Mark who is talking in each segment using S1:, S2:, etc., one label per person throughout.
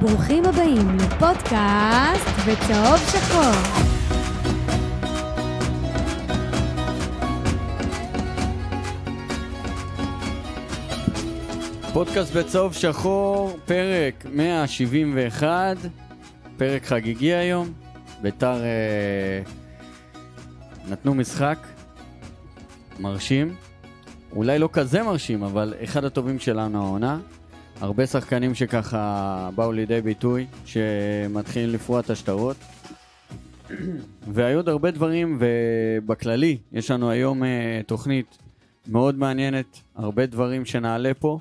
S1: ברוכים הבאים לפודקאסט בצהוב שחור.
S2: פודקאסט בצהוב שחור, פרק 171, פרק חגיגי היום. ביתר אה, נתנו משחק מרשים, אולי לא כזה מרשים, אבל אחד הטובים שלנו העונה. הרבה שחקנים שככה באו לידי ביטוי, שמתחילים לפרוע את השטרות. והיו עוד הרבה דברים, ובכללי, יש לנו היום אה, תוכנית מאוד מעניינת, הרבה דברים שנעלה פה.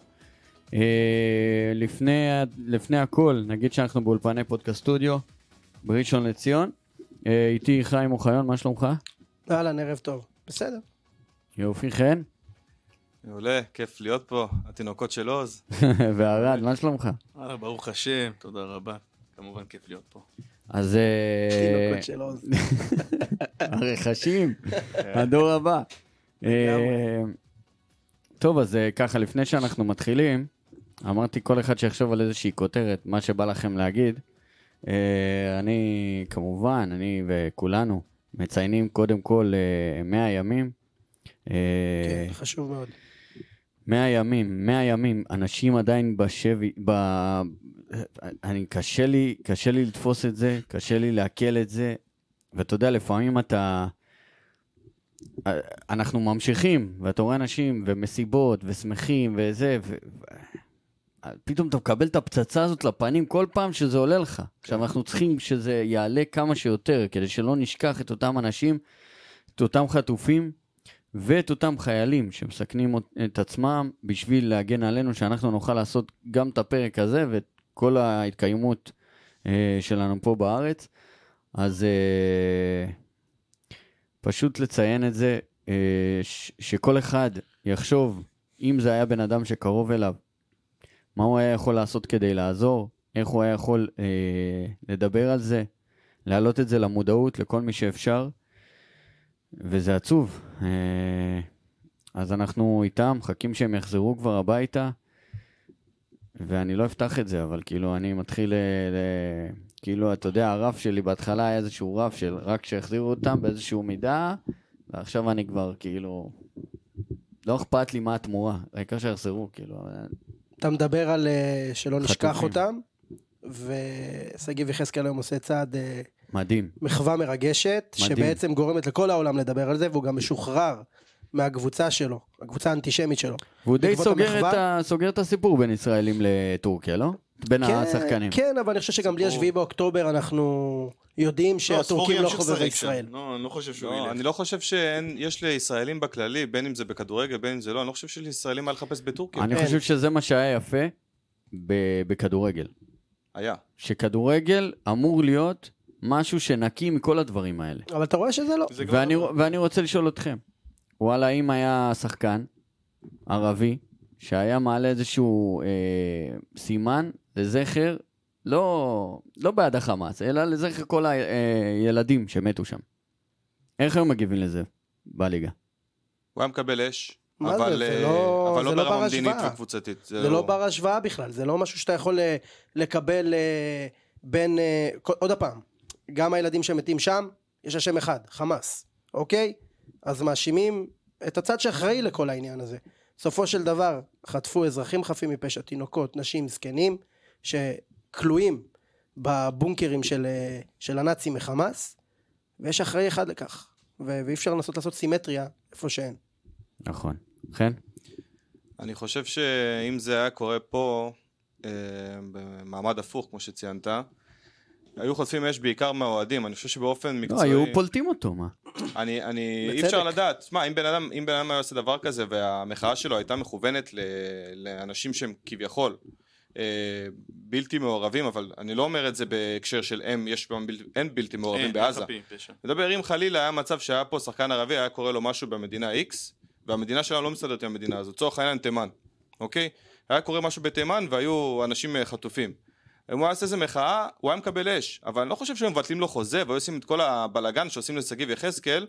S2: אה, לפני, ה- לפני הכל, נגיד שאנחנו באולפני פודקאסט סטודיו בראשון לציון. אה, איתי חיים אוחיון, מה שלומך?
S3: אהלן, ערב טוב. בסדר.
S2: יופי חן.
S4: מעולה, כיף להיות פה, התינוקות של עוז.
S2: וערד, מה שלומך?
S4: וואלה, ברוך השם, תודה רבה. כמובן כיף להיות פה.
S2: אז אה,
S3: תינוקות של עוז.
S2: הרכשים, הדור הבא. אה, טוב, אז אה, ככה, לפני שאנחנו מתחילים, אמרתי כל אחד שיחשוב על איזושהי כותרת, מה שבא לכם להגיד. אה, אני, כמובן, אני וכולנו מציינים קודם כל אה, 100 ימים. אה,
S3: כן, חשוב מאוד.
S2: 100 ימים, 100 ימים, אנשים עדיין בשבי, ב... אני, קשה לי, קשה לי לתפוס את זה, קשה לי לעכל את זה, ואתה יודע, לפעמים אתה... אה, אנחנו ממשיכים, ואתה רואה אנשים, ומסיבות, ושמחים, וזה, ו... פתאום אתה מקבל את הפצצה הזאת לפנים כל פעם שזה עולה לך. עכשיו, אנחנו צריכים שזה יעלה כמה שיותר, כדי שלא נשכח את אותם אנשים, את אותם חטופים, ואת אותם חיילים שמסכנים אות- את עצמם בשביל להגן עלינו, שאנחנו נוכל לעשות גם את הפרק הזה ואת כל ההתקיימות אה, שלנו פה בארץ. אז אה, פשוט לציין את זה, אה, ש- שכל אחד יחשוב, אם זה היה בן אדם שקרוב אליו, מה הוא היה יכול לעשות כדי לעזור, איך הוא היה יכול אה, לדבר על זה, להעלות את זה למודעות לכל מי שאפשר. וזה עצוב. אה, אז אנחנו איתם, מחכים שהם יחזרו כבר הביתה, ואני לא אפתח את זה, אבל כאילו אני מתחיל ל... ל- כאילו, אתה יודע, הרף שלי בהתחלה היה איזשהו רף של רק שיחזירו אותם באיזשהו מידה, ועכשיו אני כבר כאילו... לא אכפת לי מה התמורה, העיקר שיחזרו, כאילו... אבל-
S3: אתה מדבר על אה, שלא נשכח
S2: חטופים. אותם,
S3: אותם, ושגיב יחזקאל היום עושה צעד, אה,
S2: מדהים.
S3: מחווה מרגשת,
S2: מדהים.
S3: שבעצם גורמת לכל העולם לדבר על זה, והוא גם משוחרר מהקבוצה שלו, הקבוצה האנטישמית שלו.
S2: והוא די
S3: בעקבות
S2: סוגר את,
S3: המחווה?
S2: ה... סוגר את הסיפור בין ישראלים לטורקיה, לא? בין
S3: כן,
S2: השחקנים.
S3: כן, אבל אני חושב שגם בלי
S5: ברור.
S3: השביעי באוקטובר אנחנו יודעים שהטורקים לא חובבי ישראל.
S5: לא, אני לא חושב שהוא
S4: לא,
S5: ילך.
S4: אני לא חושב שיש לישראלים בכללי, בין אם זה בכדורגל, בין אם זה לא, אני לא חושב שלישראלים היה לחפש בטורקיה.
S2: אני
S3: כן.
S2: חושב שזה מה שהיה יפה ב- בכדורגל.
S4: היה.
S2: שכדורגל אמור להיות משהו שנקי מכל הדברים האלה.
S3: אבל אתה רואה שזה לא.
S5: זה גם
S2: ואני,
S5: לא-
S2: ואני רוצה לשאול אתכם, וואלה, אם היה שחקן ערבי שהיה מעלה איזשהו אה, סימן לזכר, לא, לא בעד החמאס, אלא לזכר כל הילדים שמתו שם, איך היו מגיבים לזה בליגה?
S4: הוא היה מקבל אש,
S3: מה זה,
S4: אבל
S3: זה
S4: אה,
S3: לא-
S4: אבל
S3: זה
S4: לא
S3: לא
S4: ברמה
S3: בר
S4: מדינית
S3: השוואה.
S4: וקבוצתית.
S3: זה לא בר השוואה בכלל, זה לא משהו שאתה יכול אה, לקבל אה, בין... אה, כל- עוד פעם, גם הילדים שמתים שם, יש השם אחד, חמאס, אוקיי? אז מאשימים את הצד שאחראי לכל העניין הזה. בסופו של דבר, חטפו אזרחים חפים מפשע, תינוקות, נשים, זקנים, שכלואים בבונקרים של, אה, של הנאצים מחמאס, ויש אחראי אחד לכך, ו- ואי אפשר לנסות לעשות סימטריה איפה שאין.
S2: נכון. חן?
S4: אני חושב שאם זה היה קורה פה, אה, במעמד הפוך, כמו שציינת, היו חוטפים אש בעיקר מהאוהדים, אני חושב שבאופן
S2: לא,
S4: מקצועי...
S2: היו פולטים אותו, מה?
S4: אני, אני, אי
S3: בצדק.
S4: אפשר לדעת, שמע, אם בן אדם, אם בן אדם היה עושה דבר כזה והמחאה שלו הייתה מכוונת ל, לאנשים שהם כביכול אה, בלתי מעורבים, אבל אני לא אומר את זה בהקשר של הם, יש, פעם בל, אין בלתי מעורבים
S5: אין,
S4: בעזה.
S5: חפים, פשע.
S4: מדבר אם חלילה היה מצב שהיה פה שחקן ערבי, היה קורה לו משהו במדינה X, והמדינה שלנו לא מסתדרת עם המדינה הזאת, לצורך העניין תימן, אוקיי? היה קורה משהו בתימן והיו אנשים אה, חטופים. אם הוא היה עושה איזה מחאה, הוא היה מקבל אש. אבל אני לא חושב שהם מבטלים לו חוזה והיו עושים את כל הבלגן שעושים לשגיב יחזקאל,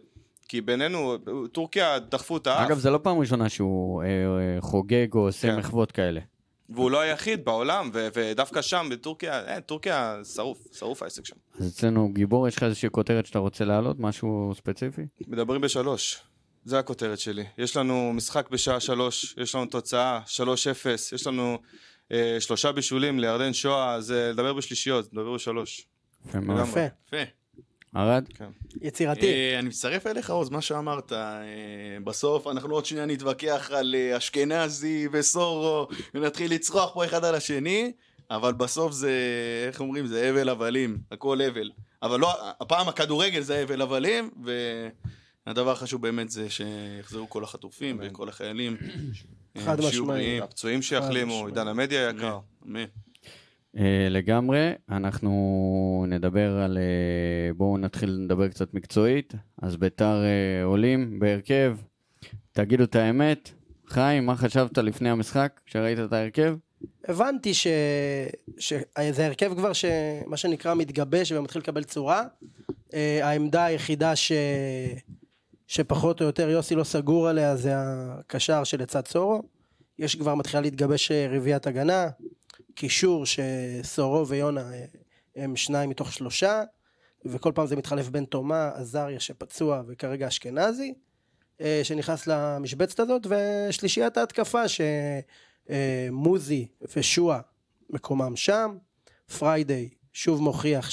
S4: כי בינינו, טורקיה דחפו את האף.
S2: אגב, זה לא פעם ראשונה שהוא אה, אה, חוגג או עושה
S4: כן.
S2: מחוות כאלה.
S4: והוא לא היחיד בעולם, ו- ודווקא שם, בטורקיה, אין, טורקיה שרוף, שרוף העסק שם.
S2: אז אצלנו גיבור, יש לך איזושהי כותרת שאתה רוצה להעלות? משהו ספציפי?
S4: מדברים בשלוש. זה הכותרת שלי. יש לנו משחק בשעה שלוש, יש לנו תוצאה, שלוש אפס, יש לנו אה, שלושה בישולים לירדן שואה, זה לדבר בשלישיות, לדבר בשלוש.
S2: יפה מאוד.
S4: לגמרי.
S3: יפה,
S5: יפה.
S2: ערד?
S4: כן.
S3: יצירתי.
S5: אה, אני מצטרף אליך, עוז, מה שאמרת. אה, בסוף אנחנו עוד שנייה נתווכח על אה, אשכנזי וסורו, ונתחיל לצרוח פה אחד על השני, אבל בסוף זה, איך אומרים, זה הבל הבלים, הכל הבל. אבל לא, הפעם הכדורגל זה הבל הבלים, והדבר החשוב באמת זה שיחזרו כל החטופים
S4: אמן.
S5: וכל החיילים. אה,
S3: חד
S5: שיהיו
S3: משמעית.
S5: בריאים.
S4: הפצועים שיחלימו,
S3: משמעית.
S4: עידן המדיה היקר.
S5: אמן, אמן.
S2: אה, לגמרי, אנחנו נדבר על... אה, בואו נתחיל לדבר קצת מקצועית. אז ביתר אה, עולים בהרכב. תגידו את האמת, חיים, מה חשבת לפני המשחק, כשראית את ההרכב?
S3: הבנתי ש... שזה הרכב כבר שמה שנקרא מתגבש ומתחיל לקבל צורה. אה, העמדה היחידה ש... שפחות או יותר יוסי לא סגור עליה זה הקשר שלצד סורו. יש כבר מתחילה להתגבש אה, רביעיית הגנה, קישור שסורו ויונה אה, הם שניים מתוך שלושה, וכל פעם זה מתחלף בין תומה, עזריה שפצוע וכרגע אשכנזי, אה, שנכנס למשבצת הזאת, ושלישיית ההתקפה ש... אה, מוזי ושועה מקומם שם, פריידיי שוב מוכיח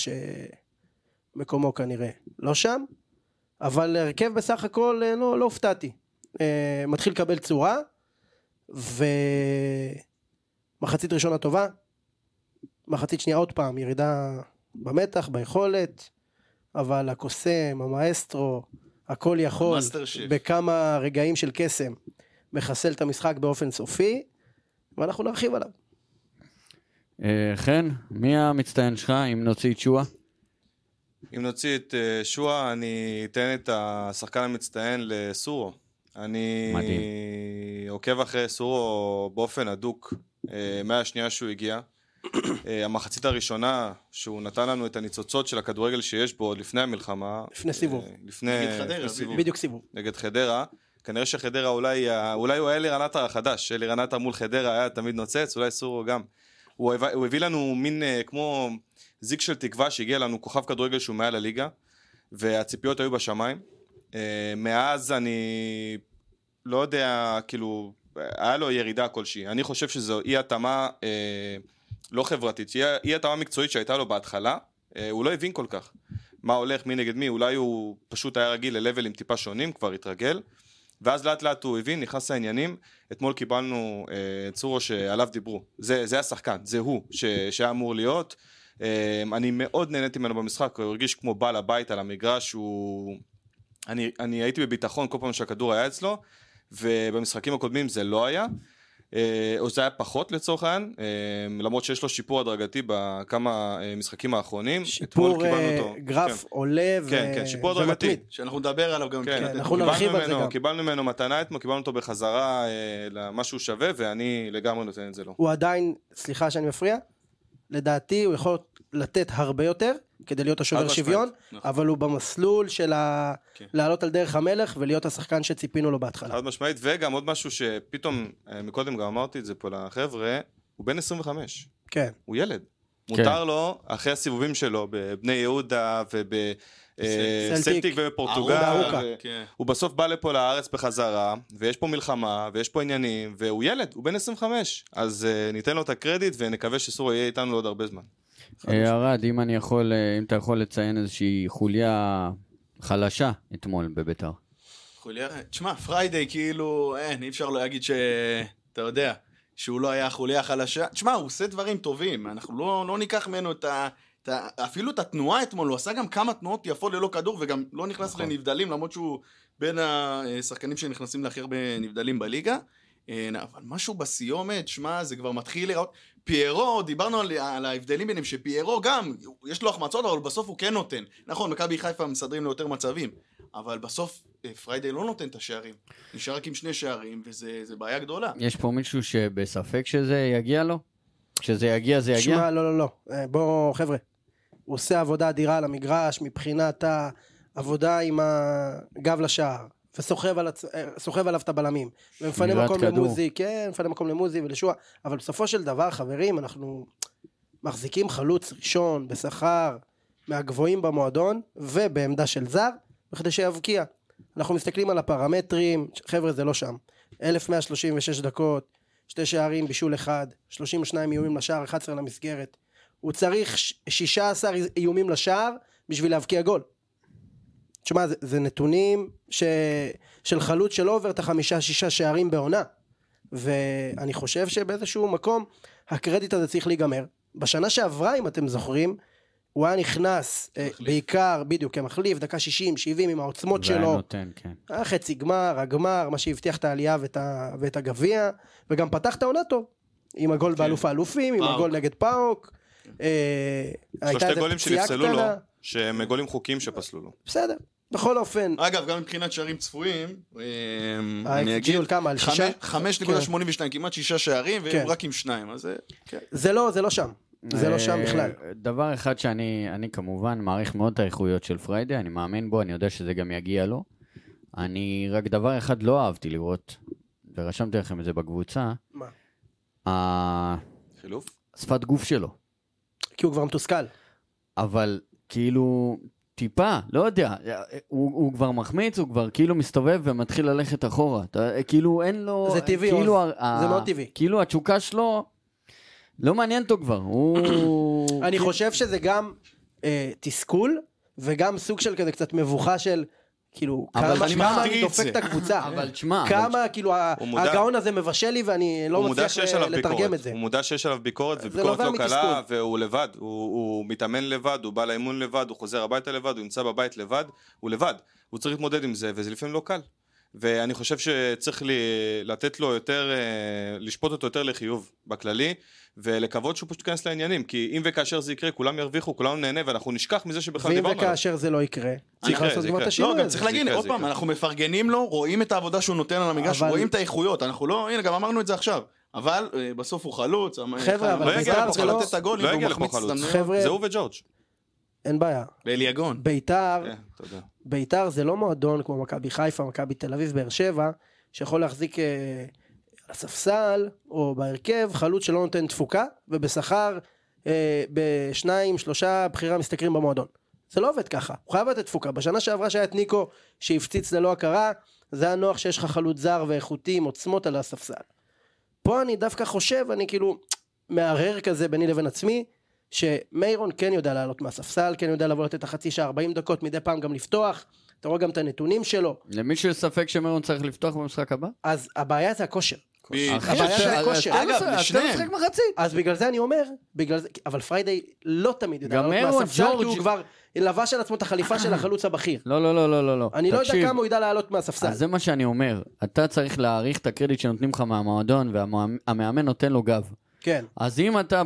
S3: שמקומו כנראה לא שם, אבל הרכב בסך הכל אה, לא, לא הופתעתי, אה, מתחיל לקבל צורה ומחצית ראשונה טובה, מחצית שנייה עוד פעם ירידה במתח, ביכולת, אבל הקוסם, המאסטרו, הכל יכול,
S5: המאסטר שף.
S3: בכמה רגעים של קסם מחסל את המשחק באופן סופי, ואנחנו נרחיב עליו.
S2: אה, חן, מי המצטיין שלך, אם נוציא את שואה?
S4: אם נוציא את אה, שואה, אני אתן את השחקן המצטיין לסורו. אני
S2: מדהים.
S4: עוקב אחרי סורו באופן הדוק אה, מהשנייה שהוא הגיע. אה, המחצית הראשונה שהוא נתן לנו את הניצוצות של הכדורגל שיש בו עוד לפני המלחמה.
S3: לפני סיבוב.
S4: אה, לפני
S5: נגד חדרה,
S4: לפני סיבוב.
S3: בדיוק סיבוב.
S4: נגד חדרה. כנראה שחדרה אולי, ה- אולי הוא היה אלירן עטר החדש, אלירן עטר מול חדרה היה תמיד נוצץ, אולי סורו גם. הוא, הביא, הוא הביא לנו מין אה, כמו זיק של תקווה שהגיע לנו כוכב כדורגל שהוא מעל הליגה, והציפיות היו בשמיים. אה, מאז אני לא יודע, כאילו, היה לו ירידה כלשהי. אני חושב שזו אי התאמה אה, לא חברתית, אי- אי התאמה מקצועית שהייתה לו בהתחלה, אה, הוא לא הבין כל כך. מה הולך, מי נגד מי, אולי הוא פשוט היה רגיל ללבלים טיפה שונים, כבר התרגל. ואז לאט לאט הוא הבין, נכנס לעניינים, אתמול קיבלנו אה, צורו שעליו דיברו, זה, זה השחקן, זה הוא ש, שהיה אמור להיות. אה, אני מאוד נהניתי ממנו במשחק, הוא הרגיש כמו בעל הבית על המגרש, הוא... אני, אני הייתי בביטחון כל פעם שהכדור היה אצלו, ובמשחקים הקודמים זה לא היה. אה, או זה היה פחות לצורך העניין, אה, למרות שיש לו שיפור הדרגתי בכמה אה, משחקים האחרונים. אתמול
S3: שיפור
S4: קיבלנו
S3: אה,
S4: אותו.
S3: גרף
S4: כן.
S3: עולה ו-
S4: כן, כן, שיפור הדרגתי.
S3: ומתמיד.
S5: שאנחנו נדבר עליו גם.
S4: כן,
S5: מבחינת-
S3: אנחנו
S4: קיבלנו
S3: נרחיב על זה
S4: ממנו-
S3: גם.
S4: קיבלנו ממנו מתנה אתמול, קיבלנו אותו בחזרה אה, למה שהוא שווה, ואני לגמרי נותן את זה לו.
S3: הוא עדיין, סליחה שאני מפריע, לדעתי הוא יכול לתת הרבה יותר כדי להיות השובר
S4: חד משמעית,
S3: שוויון,
S5: נכון.
S3: אבל הוא במסלול של ה-
S5: כן.
S3: לעלות על דרך המלך ולהיות השחקן שציפינו לו בהתחלה.
S4: חד משמעית, וגם עוד משהו שפתאום, אה, מקודם גם אמרתי את זה פה לחבר'ה, הוא בן 25,
S3: כן.
S4: הוא ילד.
S2: כן.
S4: מותר לו, אחרי הסיבובים שלו בבני יהודה
S3: סלטיק.
S4: ובסלטיק
S3: ארוכא.
S4: ובפורטוגל,
S3: ארוכה.
S4: ו-
S5: כן.
S4: הוא בסוף בא לפה לארץ בחזרה, ויש פה מלחמה, ויש פה עניינים, והוא ילד, הוא בן 25. אז אה, ניתן לו את הקרדיט, ונקווה שסורו יהיה איתנו עוד הרבה זמן.
S2: אה, ערד, אם אני יכול, אה, אם אתה יכול לציין איזושהי חוליה חלשה אתמול בביתר.
S5: חוליה, תשמע, פריידיי כאילו, אין, אי אפשר להגיד ש... אתה יודע, שהוא לא היה החוליה החלשה. תשמע, הוא עושה דברים טובים, אנחנו לא, לא ניקח ממנו את ה... את ה... אפילו את התנועה אתמול, הוא עשה גם כמה תנועות יפות ללא כדור, וגם לא נכנס
S2: נכון.
S5: נכון. לנבדלים, למרות שהוא בין השחקנים שנכנסים להכי הרבה נבדלים בליגה. אה, אבל משהו בסיומת, שמע, זה כבר מתחיל להיראות. פיירו, דיברנו על, על ההבדלים ביניהם, שפיירו גם, יש לו החמצות, אבל בסוף הוא כן נותן. נכון, מכבי חיפה מסדרים לו יותר מצבים, אבל בסוף אה, פריידי לא נותן את השערים. נשאר רק עם שני שערים, וזה זה בעיה גדולה.
S2: יש פה מישהו שבספק שזה יגיע לו? כשזה יגיע זה יגיע?
S3: שמע, לא, לא, לא. אה, בואו, חבר'ה. הוא עושה עבודה אדירה על המגרש מבחינת העבודה עם הגב לשער וסוחב על הצ- אה, סוחב עליו את הבלמים. ומפנה
S2: שמירת
S3: מקום
S2: כדור.
S3: למוזי, כן, מפנה מקום למוזי ולשועה. אבל בסופו של דבר, חברים, אנחנו מחזיקים חלוץ ראשון בשכר מהגבוהים במועדון, ובעמדה של זר, בכדי שיבקיע. אנחנו מסתכלים על הפרמטרים, חבר'ה, זה לא שם. 1136 דקות, שתי שערים, בישול אחד, 32 איומים לשער, 11 למסגרת. הוא צריך ש- 16 איומים לשער בשביל להבקיע גול. תשמע, זה, זה נתונים ש, של חלוץ שלא עובר את החמישה-שישה שערים בעונה. ואני חושב שבאיזשהו מקום הקרדיט הזה צריך להיגמר. בשנה שעברה, אם אתם זוכרים, הוא היה נכנס אה,
S5: מחליף.
S3: בעיקר, בדיוק, כמחליף, דקה 60-70 עם העוצמות
S2: והיה
S3: שלו.
S2: נותן, כן.
S3: היה אה, חצי גמר, הגמר, מה שהבטיח את העלייה ואת, ה... ואת הגביע, וגם פתח את העונה טוב. עם הגול כן. באלוף האלופים, עם
S5: פאוק.
S3: הגול נגד פאוק. אה, הייתה
S4: שלושתי
S3: איזה
S4: גולים
S3: פציעה
S4: שנפסלו לו,
S3: קטנה.
S4: שהם גולים חוקיים שפסלו לו.
S3: בסדר. בכל אופן,
S5: אגב, גם מבחינת שערים צפויים, אמ, אה, אני
S3: ה-XG
S5: אגיד,
S3: על כמה? על
S5: חמש-
S3: אה, שישה?
S5: 5.82, כמעט שישה שערים,
S3: כן.
S5: והם רק עם שניים, אז זה... כן.
S3: זה לא, זה לא שם. זה לא שם
S2: אה,
S3: בכלל.
S2: דבר אחד שאני אני כמובן מעריך מאוד את האיכויות של פריידי, אני מאמין בו, אני יודע שזה גם יגיע לו. אני רק דבר אחד לא אהבתי לראות, ורשמתי לכם את זה בקבוצה,
S3: מה?
S2: ה-
S4: חילוף?
S2: שפת גוף שלו.
S3: כי הוא כבר מתוסכל.
S2: אבל כאילו, טיפה, לא יודע, הוא, הוא כבר מחמיץ, הוא כבר כאילו מסתובב ומתחיל ללכת אחורה. אתה, כאילו אין לו...
S3: זה טבעי,
S2: כאילו,
S3: עוז. זה מאוד טבעי.
S2: כאילו התשוקה שלו, לא מעניין אותו כבר, הוא...
S3: אני חושב שזה גם אה, תסכול, וגם סוג של כזה קצת מבוכה של, כאילו,
S2: אבל
S3: כמה
S2: אני
S3: כמה
S5: מחטיא
S3: אני
S5: את
S3: דופק
S5: זה.
S3: את הקבוצה.
S2: אבל תשמע, אבל
S3: כמה, כאילו, ה-
S4: הוא מודע.
S3: הגאון הזה מבשל לי ואני
S4: הוא
S3: לא
S4: מודע
S3: מצליח
S4: שיש
S3: אה,
S4: עליו
S3: לתרגם את
S4: ביקורת,
S3: זה.
S4: הוא מודה שיש עליו ביקורת,
S3: זה
S4: וביקורת
S3: נובע
S4: לא קלה,
S3: מתסכול.
S4: והוא לבד, הוא- הוא מתאמן לבד, הוא בא לאימון לבד, הוא חוזר הביתה לבד, הוא נמצא בבית לבד, הוא לבד, הוא צריך להתמודד עם זה, וזה לפעמים לא קל. ואני חושב שצריך לי, לתת לו יותר, אה, לשפוט אותו יותר לחיוב בכללי, ולקוות שהוא פשוט ייכנס לעניינים, כי אם וכאשר זה יקרה, כולם ירוויחו, כולנו נהנה, ואנחנו נשכח מזה שבכלל
S3: ואם
S4: נכון, דיברנו עליו.
S3: וכאשר זה לא יקרה, צריך
S4: יקרה,
S3: לעשות
S4: זה
S3: כבר את
S4: יקרה.
S5: לא,
S3: השינוי
S5: גם
S3: הזה.
S5: צריך
S4: זה
S5: להגיד,
S4: יקרה,
S5: עוד
S4: זה
S5: פעם,
S4: יקרה.
S5: אנחנו מפרגנים לו, רואים את העבודה שהוא נותן על המגרש,
S3: אבל-
S5: רואים את האיכויות, אנחנו לא, הנה, גם אמרנו את זה עכשיו, אבל אה, בסוף הוא חלוץ, המ-
S3: חבר'ה, אבל
S5: לא יגיע
S4: בית"ר
S5: לפה,
S4: זה
S5: צריך
S4: לא-
S5: לתת את הגול,
S4: לא
S5: אם
S4: יגיע
S5: הוא
S4: לפה
S5: מחמיץ
S4: חלוץ.
S5: הזדמנויות.
S3: חבר'ה,
S4: זה הוא וג'ורג'.
S3: אין בעיה.
S5: ואליגון.
S3: ביתר,
S4: כן, תודה.
S3: ביתר זה לא מועדון כמו מכבי חיפה, מכבי תל אביב, באר שבע, שיכול להחזיק אה, על הספסל או בהרכב חלוץ שלא נותן תפוקה, ובשכר אה, בשניים, שלושה בחירה משתכרים במועדון. זה לא עובד ככה, הוא חייב לתת תפוקה. בשנה שעברה שהיה את ניקו שהפציץ ללא הכרה, זה היה נוח שיש לך חלוץ זר ואיכותי עם עוצמות על הספסל. פה אני דווקא חושב, אני כאילו מהרהר כזה ביני לבין עצמי, שמיירון כן יודע לעלות מהספסל, כן יודע לבוא לתת את החצי שעה 40 דקות, מדי פעם גם לפתוח, אתה רואה גם את הנתונים שלו,
S2: למישהו יש ספק שמרון צריך לפתוח במשחק הבא?
S3: אז הבעיה זה הכושר.
S5: בדיוק.
S3: אחי, הבעיה זה הכושר.
S5: אגב, לשניהם.
S2: משחק מחצית.
S3: אז בגלל זה אני אומר, בגלל זה, אבל פריידי לא תמיד יודע
S2: גם
S3: לעלות
S2: מיירון,
S3: מהספסל, כי הוא
S2: ג'ורג'-
S3: כבר לבש על עצמו את החליפה של החלוץ הבכיר.
S2: לא, לא, לא, לא, לא, לא.
S3: אני לא יודע
S2: תקשיב,
S3: כמה הוא ידע לעלות מהספסל.
S2: אז זה מה שאני אומר. אתה צריך להעריך את הקרדיט שנותנים לך מהמועדון, והמאמן נותן לו גב.
S3: כן.
S2: אז אם אתה,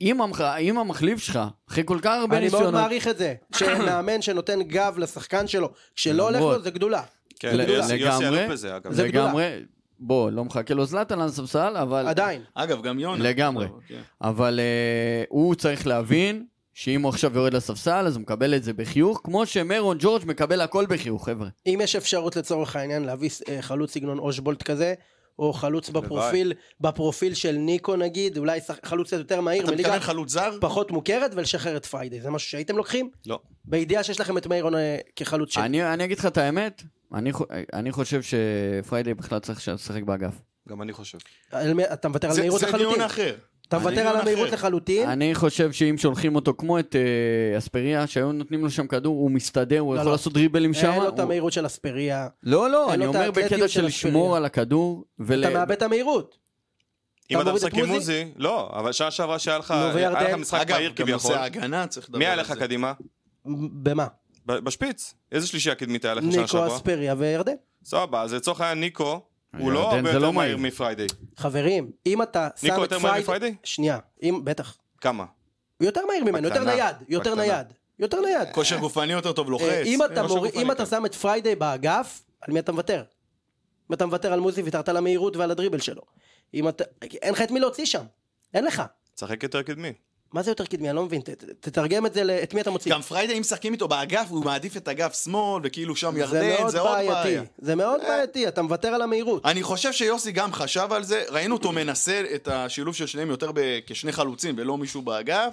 S2: אם, המח, אם המחליף שלך, אחרי כל כך הרבה
S3: אני מאוד
S2: ניסיונות,
S3: מעריך את זה, שמאמן שנותן גב לשחקן שלו, כשלא הולך
S2: למרות.
S3: לו זה גדולה.
S4: כן,
S2: ל-
S4: יוסי יוסי
S2: לגמרי.
S4: אלוף בזה, אגב.
S3: זה
S2: לגמרי, בוא, לא מחכה לו זלאטן על הספסל, אבל,
S3: עדיין.
S5: אגב, גם יונה.
S2: לגמרי.
S5: טוב, כן.
S2: אבל אה, הוא צריך להבין שאם הוא עכשיו יורד לספסל, אז הוא מקבל את זה בחיוך, כמו שמרון ג'ורג' מקבל הכל בחיוך, חבר'ה.
S3: אם יש אפשרות לצורך העניין להביא אה, חלוץ סגנון אושבולט כזה, או חלוץ בפרופיל, בפרופיל של ניקו נגיד, אולי שח- חלוץ קצת יותר מהיר,
S5: אתה
S3: מליגה
S5: מתכוון חלוץ זר?
S3: פחות מוכרת, ולשחרר את פריידי. זה משהו שהייתם לוקחים?
S4: לא.
S3: בידיעה שיש לכם את מאירון אה, כחלוץ שני.
S2: אני, אני אגיד לך את האמת, אני, חו- אני חושב שפריידי בכלל צריך לשחק באגף.
S4: גם אני חושב.
S3: על מי- אתה מוותר על
S5: זה
S3: מהירות
S5: זה
S3: לחלוטין.
S5: דיון אחר.
S3: אתה
S5: זה
S3: מוותר
S5: דיון
S3: על המהירות
S5: אחר.
S3: לחלוטין.
S2: אני חושב שאם שולחים אותו כמו את אה, אספריה, שהיו נותנים לו שם כדור, הוא מסתדר, הוא
S3: לא,
S2: יכול
S3: לא.
S2: לעשות דריבלים שם.
S3: אין לו את
S2: הוא-
S3: המהירות של אספריה.
S2: לא, לא,
S3: אין
S2: אני
S3: לו את
S2: אומר
S3: האתלטיות
S2: בקטע
S3: של
S2: של לשמור
S3: אספריה.
S2: על הכדור. ול-
S3: אתה מאבד את המהירות.
S4: אם אתה
S3: מוריד את
S4: משחק עם
S3: מוזי?
S4: מוזי, לא, אבל שנה שעברה שהיה לך,
S3: נו, וירדן?
S4: היה לך משחק
S5: אגב,
S4: מהיר
S5: גם
S4: כביכול,
S5: נושא ההגנה צריך לדבר
S4: מי היה
S5: על
S4: לך
S5: זה.
S4: קדימה?
S3: במה?
S4: ב- בשפיץ. איזה שלישייה קדמית היה לך שנה
S3: ניקו,
S4: שעברה?
S3: אספריה וירדן.
S4: סבבה, אז לצורך העניין ניקו, הוא לא
S2: ירדן
S4: הרבה
S2: זה
S4: יותר
S2: לא
S4: מהיר
S2: מהיר.
S4: מפריידי.
S3: חברים, אם אתה שם את פריידי...
S4: ניקו יותר מהיר מפריידי?
S3: שנייה, אם, בטח.
S4: כמה?
S3: הוא יותר מהיר ממנו, יותר
S4: בקטנה,
S3: נייד, יותר
S4: בקטנה.
S3: נייד. יותר נייד.
S5: כושר גופני יותר טוב, לוחץ.
S3: אה, אם אתה
S5: כושר
S3: מוריד-
S5: גופני,
S3: אם אתה
S5: כן.
S3: שם את פריידי באגף, על מי אתה מוותר? אם אתה מוותר על מוזי, ויתרת על המהירות ועל הדריבל שלו. אם אתה... אין לך את מי להוציא שם. אין לך.
S4: תשחק יותר קדמי.
S3: מה זה יותר קדמי? אני לא מבין. ת- ת- תתרגם את זה, ל- את מי אתה מוציא?
S5: גם פריידי, אם משחקים איתו באגף, הוא מעדיף את אגף שמאל, וכאילו שם ירדן,
S3: מאוד
S5: זה עוד בעיה.
S3: בעייתי. זה מאוד בעייתי, אתה מוותר על המהירות.
S5: אני חושב שיוסי גם חשב על זה, ראינו אותו מנסה את השילוב של שניהם יותר ב- כשני חלוצים ולא מישהו באגף.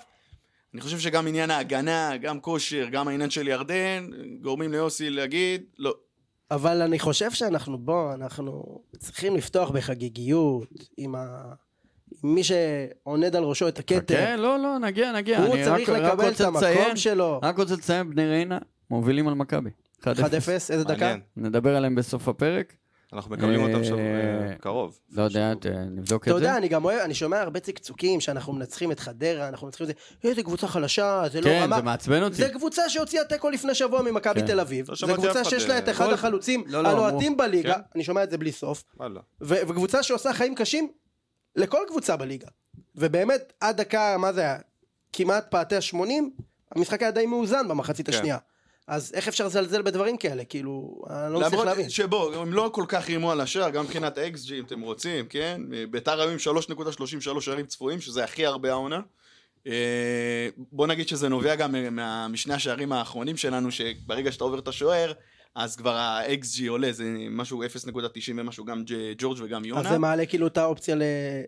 S5: אני חושב שגם עניין ההגנה, גם כושר, גם העניין של ירדן, גורמים ליוסי להגיד, לא.
S3: אבל אני חושב שאנחנו, בוא, אנחנו צריכים לפתוח בחגיגיות עם ה... עם מי שעונד על ראשו את הכתר.
S2: כן, לא, לא, נגיע, נגיע.
S3: הוא
S2: אני
S3: צריך
S2: רק- רק
S3: לקבל את
S2: רוצה
S3: המקום
S2: לציין- אה,
S3: שלו.
S2: רק רוצה לציין, בני ריינה מובילים על מכבי. 1-0.
S3: 1-0, איזה דקה?
S4: מעניין.
S2: נדבר עליהם בסוף הפרק.
S4: אנחנו מקבלים אותם שם
S2: אה,
S4: אה, קרוב.
S2: לא יודע, ת- נבדוק
S3: אתה
S2: את זה.
S3: יודע, אני גם אוהב, אני שומע הרבה צקצוקים שאנחנו מנצחים את חדרה, אנחנו מנצחים את זה, איזה קבוצה חלשה, זה לא
S2: כן,
S3: רמה.
S2: זה מעצבן אותי.
S3: זה קבוצה שהוציאה תיקו לפני שבוע ממכבי
S2: כן.
S3: תל אביב.
S4: לא
S3: זו
S4: שמעתי
S3: קבוצה
S4: אף אחד,
S3: שיש
S4: אה,
S3: לה את אחד
S2: כל-
S3: החלוצים
S2: לא, לא,
S3: הלוהטים בליגה,
S4: כן.
S3: אני שומע את זה בלי סוף,
S4: וואלה.
S3: ו- וקבוצה שעושה חיים קשים לכל קבוצה בליגה. ובאמת, עד דקה, מה זה היה? כמעט פעתי ה-80, המשחק היה די מאוזן במחצית
S4: כן.
S3: השנייה. אז איך אפשר לזלזל בדברים כאלה? כאילו, אני לא מצליח
S5: למרות
S3: להבין.
S5: שבו, הם לא כל כך רימו על השער, גם מבחינת XG אם אתם רוצים, כן? ביתר היו עם 3.33 שערים צפויים, שזה הכי הרבה העונה. אה, בוא נגיד שזה נובע גם מה- משני השערים האחרונים שלנו, שברגע שאתה עובר את השוער, אז כבר ה-XG עולה, זה משהו 0.90 ומשהו, גם ג'- ג'ורג' וגם
S3: אז
S5: יונה.
S3: זה מעלה כאילו את האופציה ל...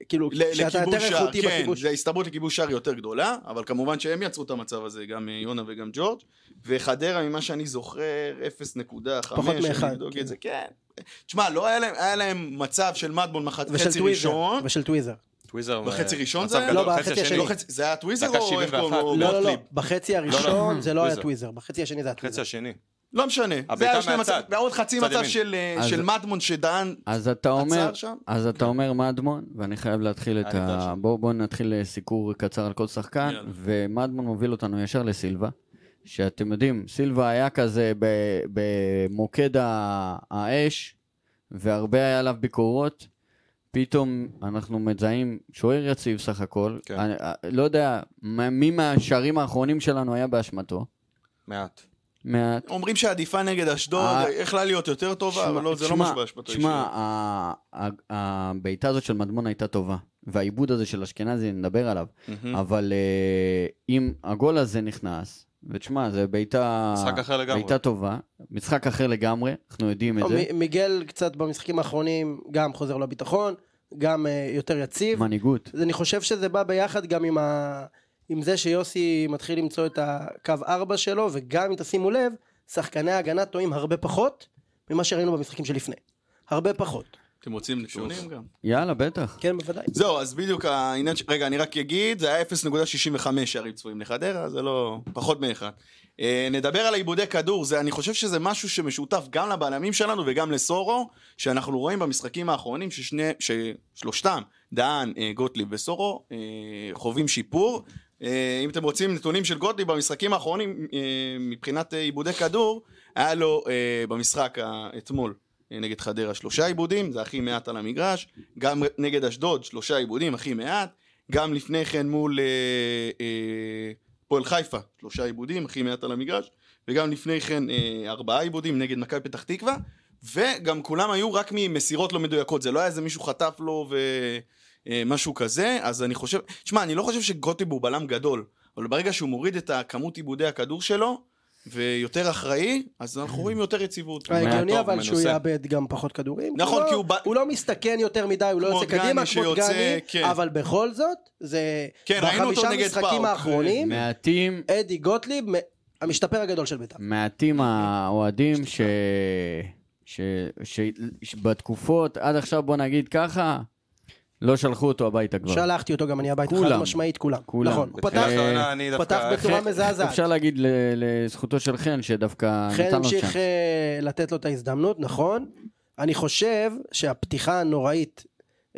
S3: כאילו,
S5: ל-
S3: שאתה יותר
S5: לכיבוש שער,
S3: איכותי
S5: כן,
S3: בכיבוש.
S5: זה ההסתברות לכיבוש שער יותר גדולה, אבל כמובן שהם יצרו את המצב הזה, גם אה, יונה וגם ג'ורג', וחדרה ממה שאני זוכר, 0.5,
S3: פחות
S5: אני
S3: מאחד,
S5: אבדוק
S3: כן.
S5: את זה, כן. תשמע, לא היה להם, היה להם מצב של מדבון מחצי
S3: ושל
S5: חצי
S3: טוויזר.
S5: ראשון,
S3: ושל טוויזר.
S4: טוויזר.
S5: בחצי
S4: אה,
S5: ראשון
S4: מצב
S5: זה היה?
S4: גדול.
S3: לא, בחצי השני.
S5: לא חצי, זה היה טוויזר
S4: דקה
S5: או איך
S4: 71?
S5: קוראים לו?
S4: לא,
S3: לא, לא, לא,
S5: גוטליב?
S3: בחצי הראשון זה לא היה
S4: טוויזר.
S3: טוויזר, בחצי השני זה היה
S4: חצי
S3: טוויזר.
S4: השני.
S5: לא משנה. זה
S4: הבעיטה
S5: היה שני
S4: מהצד.
S5: מצב, ועוד חצי
S4: צד
S5: מצב
S4: ימין.
S5: של אה,
S2: אז-
S5: של מדמון שדהן
S2: אז אתה אומר,
S5: עצר שם.
S2: אז אתה אומר מדמון, ואני חייב להתחיל את
S4: אני
S2: ה...
S4: טוב.
S2: בואו בוא נתחיל אה, סיקור קצר על כל שחקן,
S5: יאללה.
S2: ומדמון מוביל אותנו ישר לסילבה, שאתם יודעים, סילבה היה כזה ב- במוקד ה- האש, והרבה היה עליו ביקורות. פתאום אנחנו מזהים שוער יציב סך הכל,
S4: כן.
S2: אני, אה, לא יודע מה- מי מהשערים האחרונים שלנו היה באשמתו,
S4: מעט.
S2: מעט.
S5: אומרים שעדיפה נגד אשדוד,
S2: אה,
S5: יכלה להיות יותר טובה, אבל לא, זה לא משהו באשמתו
S2: תשמע, ה- ה- הבעיטה הזאת של מדמון הייתה טובה, והעיבוד הזה של אשכנזי, נדבר עליו, אבל אה, אם הגול הזה נכנס, ותשמע, זה בעיטה...
S4: משחק אחר לגמרי.
S2: בעיטה טובה, משחק אחר לגמרי, אנחנו יודעים את
S5: לא,
S3: או,
S2: זה.
S3: לא, מ- מיגל קצת במשחקים האחרונים גם חוזר לביטחון, גם אה, יותר יציב.
S2: מנהיגות.
S3: אז אני חושב שזה בא ביחד גם עם, ה... עם זה שיוסי מתחיל למצוא את הקו 4 שלו, וגם אם תשימו לב, שחקני ההגנה טועים הרבה פחות ממה שראינו במשחקים שלפני. הרבה פחות.
S5: אתם רוצים נתונים גם?
S2: יאללה, בטח.
S3: כן, בוודאי.
S5: זהו, אז בדיוק העניין, ש... רגע, אני רק אגיד, זה היה 0.65 שערים צפויים לחדרה, זה לא, פחות מאחד. אה, נדבר על העיבודי כדור, זה, אני חושב שזה משהו שמשותף גם לבלמים שלנו וגם לסורו, שאנחנו רואים במשחקים האחרונים ששני, ששלושתם, דהן, אה, גוטליב וסורו, אה, חווים שיפור. אה, אם אתם רוצים נתונים של גוטליב במשחקים האחרונים, אה, מבחינת אה, עיבודי כדור, היה לו אה, במשחק ה- אתמול. אה, נגד חדרה שלושה עיבודים, זה הכי מעט על המגרש, גם נגד אשדוד שלושה עיבודים, הכי מעט, גם לפני כן מול אה, אה, פועל חיפה שלושה עיבודים, הכי מעט על המגרש, וגם לפני כן אה, ארבעה עיבודים נגד מכבי פתח תקווה, וגם כולם היו רק ממסירות לא מדויקות, זה לא היה איזה מישהו חטף לו ו... אה, משהו כזה, אז אני חושב, תשמע, אני לא חושב שגוטיב הוא בלם גדול, אבל ברגע שהוא מוריד את הכמות עיבודי הכדור שלו, ויותר אחראי, אז אנחנו רואים יותר יציבות.
S3: ההגיוני
S4: טוב,
S3: אבל שהוא
S4: מנוסה.
S3: יאבד גם פחות כדורים.
S5: נכון,
S3: לא-
S5: כי הוא בא-
S3: הוא לא מסתכן יותר מדי, הוא לא
S5: כמו
S3: יוצא
S5: דגני
S3: קדימה כמו
S5: שיוצא,
S3: דגני,
S5: כן.
S3: אבל בכל זאת, זה...
S5: כן, ראינו אותו
S3: בחמישה
S5: נגד
S3: משחקים
S5: פאוק.
S3: האחרונים,
S2: כן. מעטים,
S3: אדי גוטליב, מ- המשתפר הגדול של בית"ר.
S2: מעטים האוהדים ש... ש... ש... שבתקופות, עד עכשיו בוא נגיד ככה, לא שלחו אותו הביתה כבר.
S3: שלחתי אותו גם אני הביתה,
S2: כולם.
S3: חד משמעית כולם.
S2: כולם.
S3: נכון, הוא
S4: בתחילת
S3: פתח,
S2: אה,
S4: העונה אני
S3: פתח
S4: דווקא...
S3: בצורה מזעזעת.
S2: אפשר להגיד ל- לזכותו של חן, שדווקא
S3: חן
S2: נתן לו
S3: המשיך
S2: שם.
S3: אה, לתת לו את ההזדמנות, נכון. אני חושב שהפתיחה הנוראית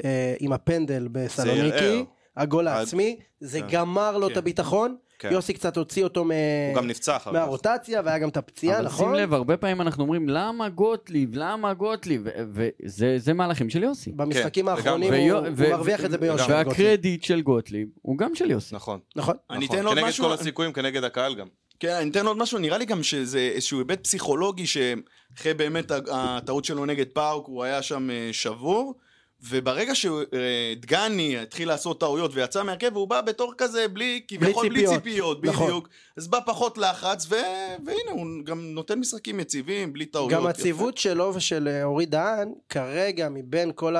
S3: אה, עם הפנדל
S4: ערער.
S3: בסלוניקי, הגול
S4: עד-
S3: העצמי, זה
S4: כן.
S3: גמר לו
S5: כן.
S3: את הביטחון.
S4: כן.
S3: יוסי קצת הוציא אותו מ-
S4: הוא גם נפצע אחר כך.
S3: מהרוטציה, והיה גם את הפציעה,
S2: אבל שים
S3: נכון?
S2: לב, הרבה פעמים אנחנו אומרים, למה גוטליב? למה גוטליב? וזה זה מהלכים של יוסי.
S3: במשחקים
S4: כן,
S3: האחרונים
S2: ויו-
S3: הוא הוא
S2: ו-
S3: מרוויח את זה
S2: ו-
S3: ביושר.
S2: והקרדיט של גוטליב הוא גם של יוסי.
S4: נכון.
S3: נכון.
S5: אני
S4: נכון.
S5: אתן עוד משהו...
S4: כנגד כל הסיכויים, כנגד הקהל גם.
S5: כן, אני אתן עוד משהו, נראה לי גם שזה איזשהו היבט פסיכולוגי שאחרי באמת הטעות שלו נגד פאוק, הוא היה שם אה, שבור, וברגע שדגני התחיל לעשות טעויות ויצא מהרכב, הוא בא בתור כזה בלי, כביכול בלי
S3: ציפיות.
S5: ציפיות,
S3: נכון.
S5: בדיוק. אז בא פחות לחץ, ו... והנה, הוא גם נותן משחקים יציבים, בלי טעויות.
S3: גם
S5: יפה.
S3: הציוות שלו ושל אה, אורי דהן, כרגע מבין כל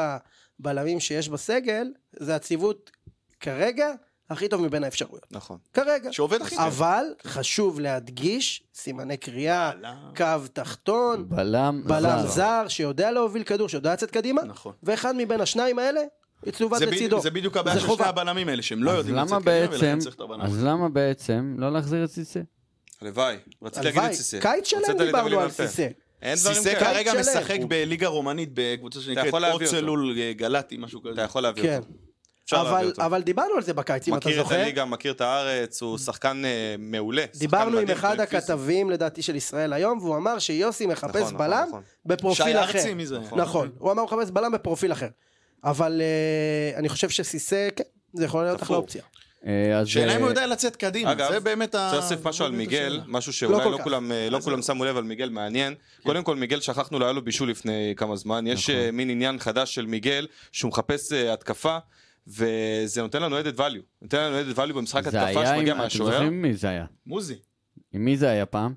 S3: הבלמים שיש בסגל, זה הציוות כרגע הכי טוב מבין האפשרויות.
S4: נכון.
S3: כרגע.
S5: שעובד הכי טוב.
S3: אבל חשוב להדגיש, סימני קריאה,
S5: עלה.
S3: קו
S4: נכון.
S3: תחתון,
S2: בלם
S3: נכון. בלם זר שיודע להוביל כדור, שיודע לצאת קדימה,
S5: נכון.
S3: ואחד מבין השניים האלה, היא צלובת
S5: זה ב-
S3: לצידו.
S5: זה בדיוק הבעיה
S3: זה
S5: של
S3: חובה.
S5: שני הבלמים האלה, שהם לא
S2: אז
S5: יודעים
S2: למה
S5: לצאת קדימה, ולכן
S2: בעצם-
S5: צריך את הבלם.
S2: אז למה בעצם לא להחזיר את סיסי?
S4: הלוואי. רציתי להגיד
S3: הלוואי,
S4: את סיסי.
S3: קיץ שלם
S4: רצית לדבר
S3: דיברנו
S4: לי
S3: על
S4: מהפה.
S3: סיסי.
S4: אין דברים
S5: סיסק
S4: כאלה.
S5: כרגע
S3: שלם.
S5: משחק
S4: הוא-
S5: בליגה רומנית בקבוצה שנקראת
S4: יכול להביא אותו.
S5: אוצלול אה, גלטי, משהו
S4: אתה
S5: כזה.
S4: יכול להביא
S3: כן.
S4: אותו. אפשר להביא
S3: אבל,
S4: אותו.
S3: אבל דיברנו על זה בקיץ, אם אתה
S4: מכיר את
S3: זוכר.
S4: הליגה, מכיר את הארץ, הוא שחקן אה, מעולה. שחקן
S3: דיברנו עם
S4: מדהים,
S3: אחד
S4: פיזי.
S3: הכתבים, לדעתי, של ישראל היום, והוא אמר שיוסי
S4: נכון,
S3: מחפש
S4: נכון,
S3: בלם
S4: נכון.
S3: בפרופיל
S5: שי
S3: אחר.
S5: ארצי, מי זה?
S3: נכון, הוא אמר הוא מחפש בלם בפרופיל אחר. אבל אה, אני חושב שסיסא, כן, זה יכול להיות אחלה
S4: תפור.
S3: אופציה.
S2: אה, אז,
S5: שאלה אם הוא
S2: אה,
S5: יודע לצאת קדימה,
S4: אגב,
S5: זה באמת ה...
S4: צריך להוסיף משהו על
S5: זאת
S4: מיגל,
S5: השאלה.
S4: משהו שאולי
S3: לא כל
S4: לא
S3: כך. כן.
S4: כולם, אה, לא כולם שמו לב על מיגל, מעניין. קודם כל מיגל שכחנו, לא היה לו בישול לפני כמה זמן, יש
S3: נכון.
S4: אה, מין עניין חדש של מיגל שהוא מחפש אה, התקפה, וזה נותן לנו added value, נותן לנו added value במשחק
S2: זה
S4: התקפה
S2: היה, עם-
S4: שמגיע
S2: אתם
S4: מהשוער,
S2: זוכרים מי זה היה?
S5: מוזי,
S2: עם מי זה היה פעם?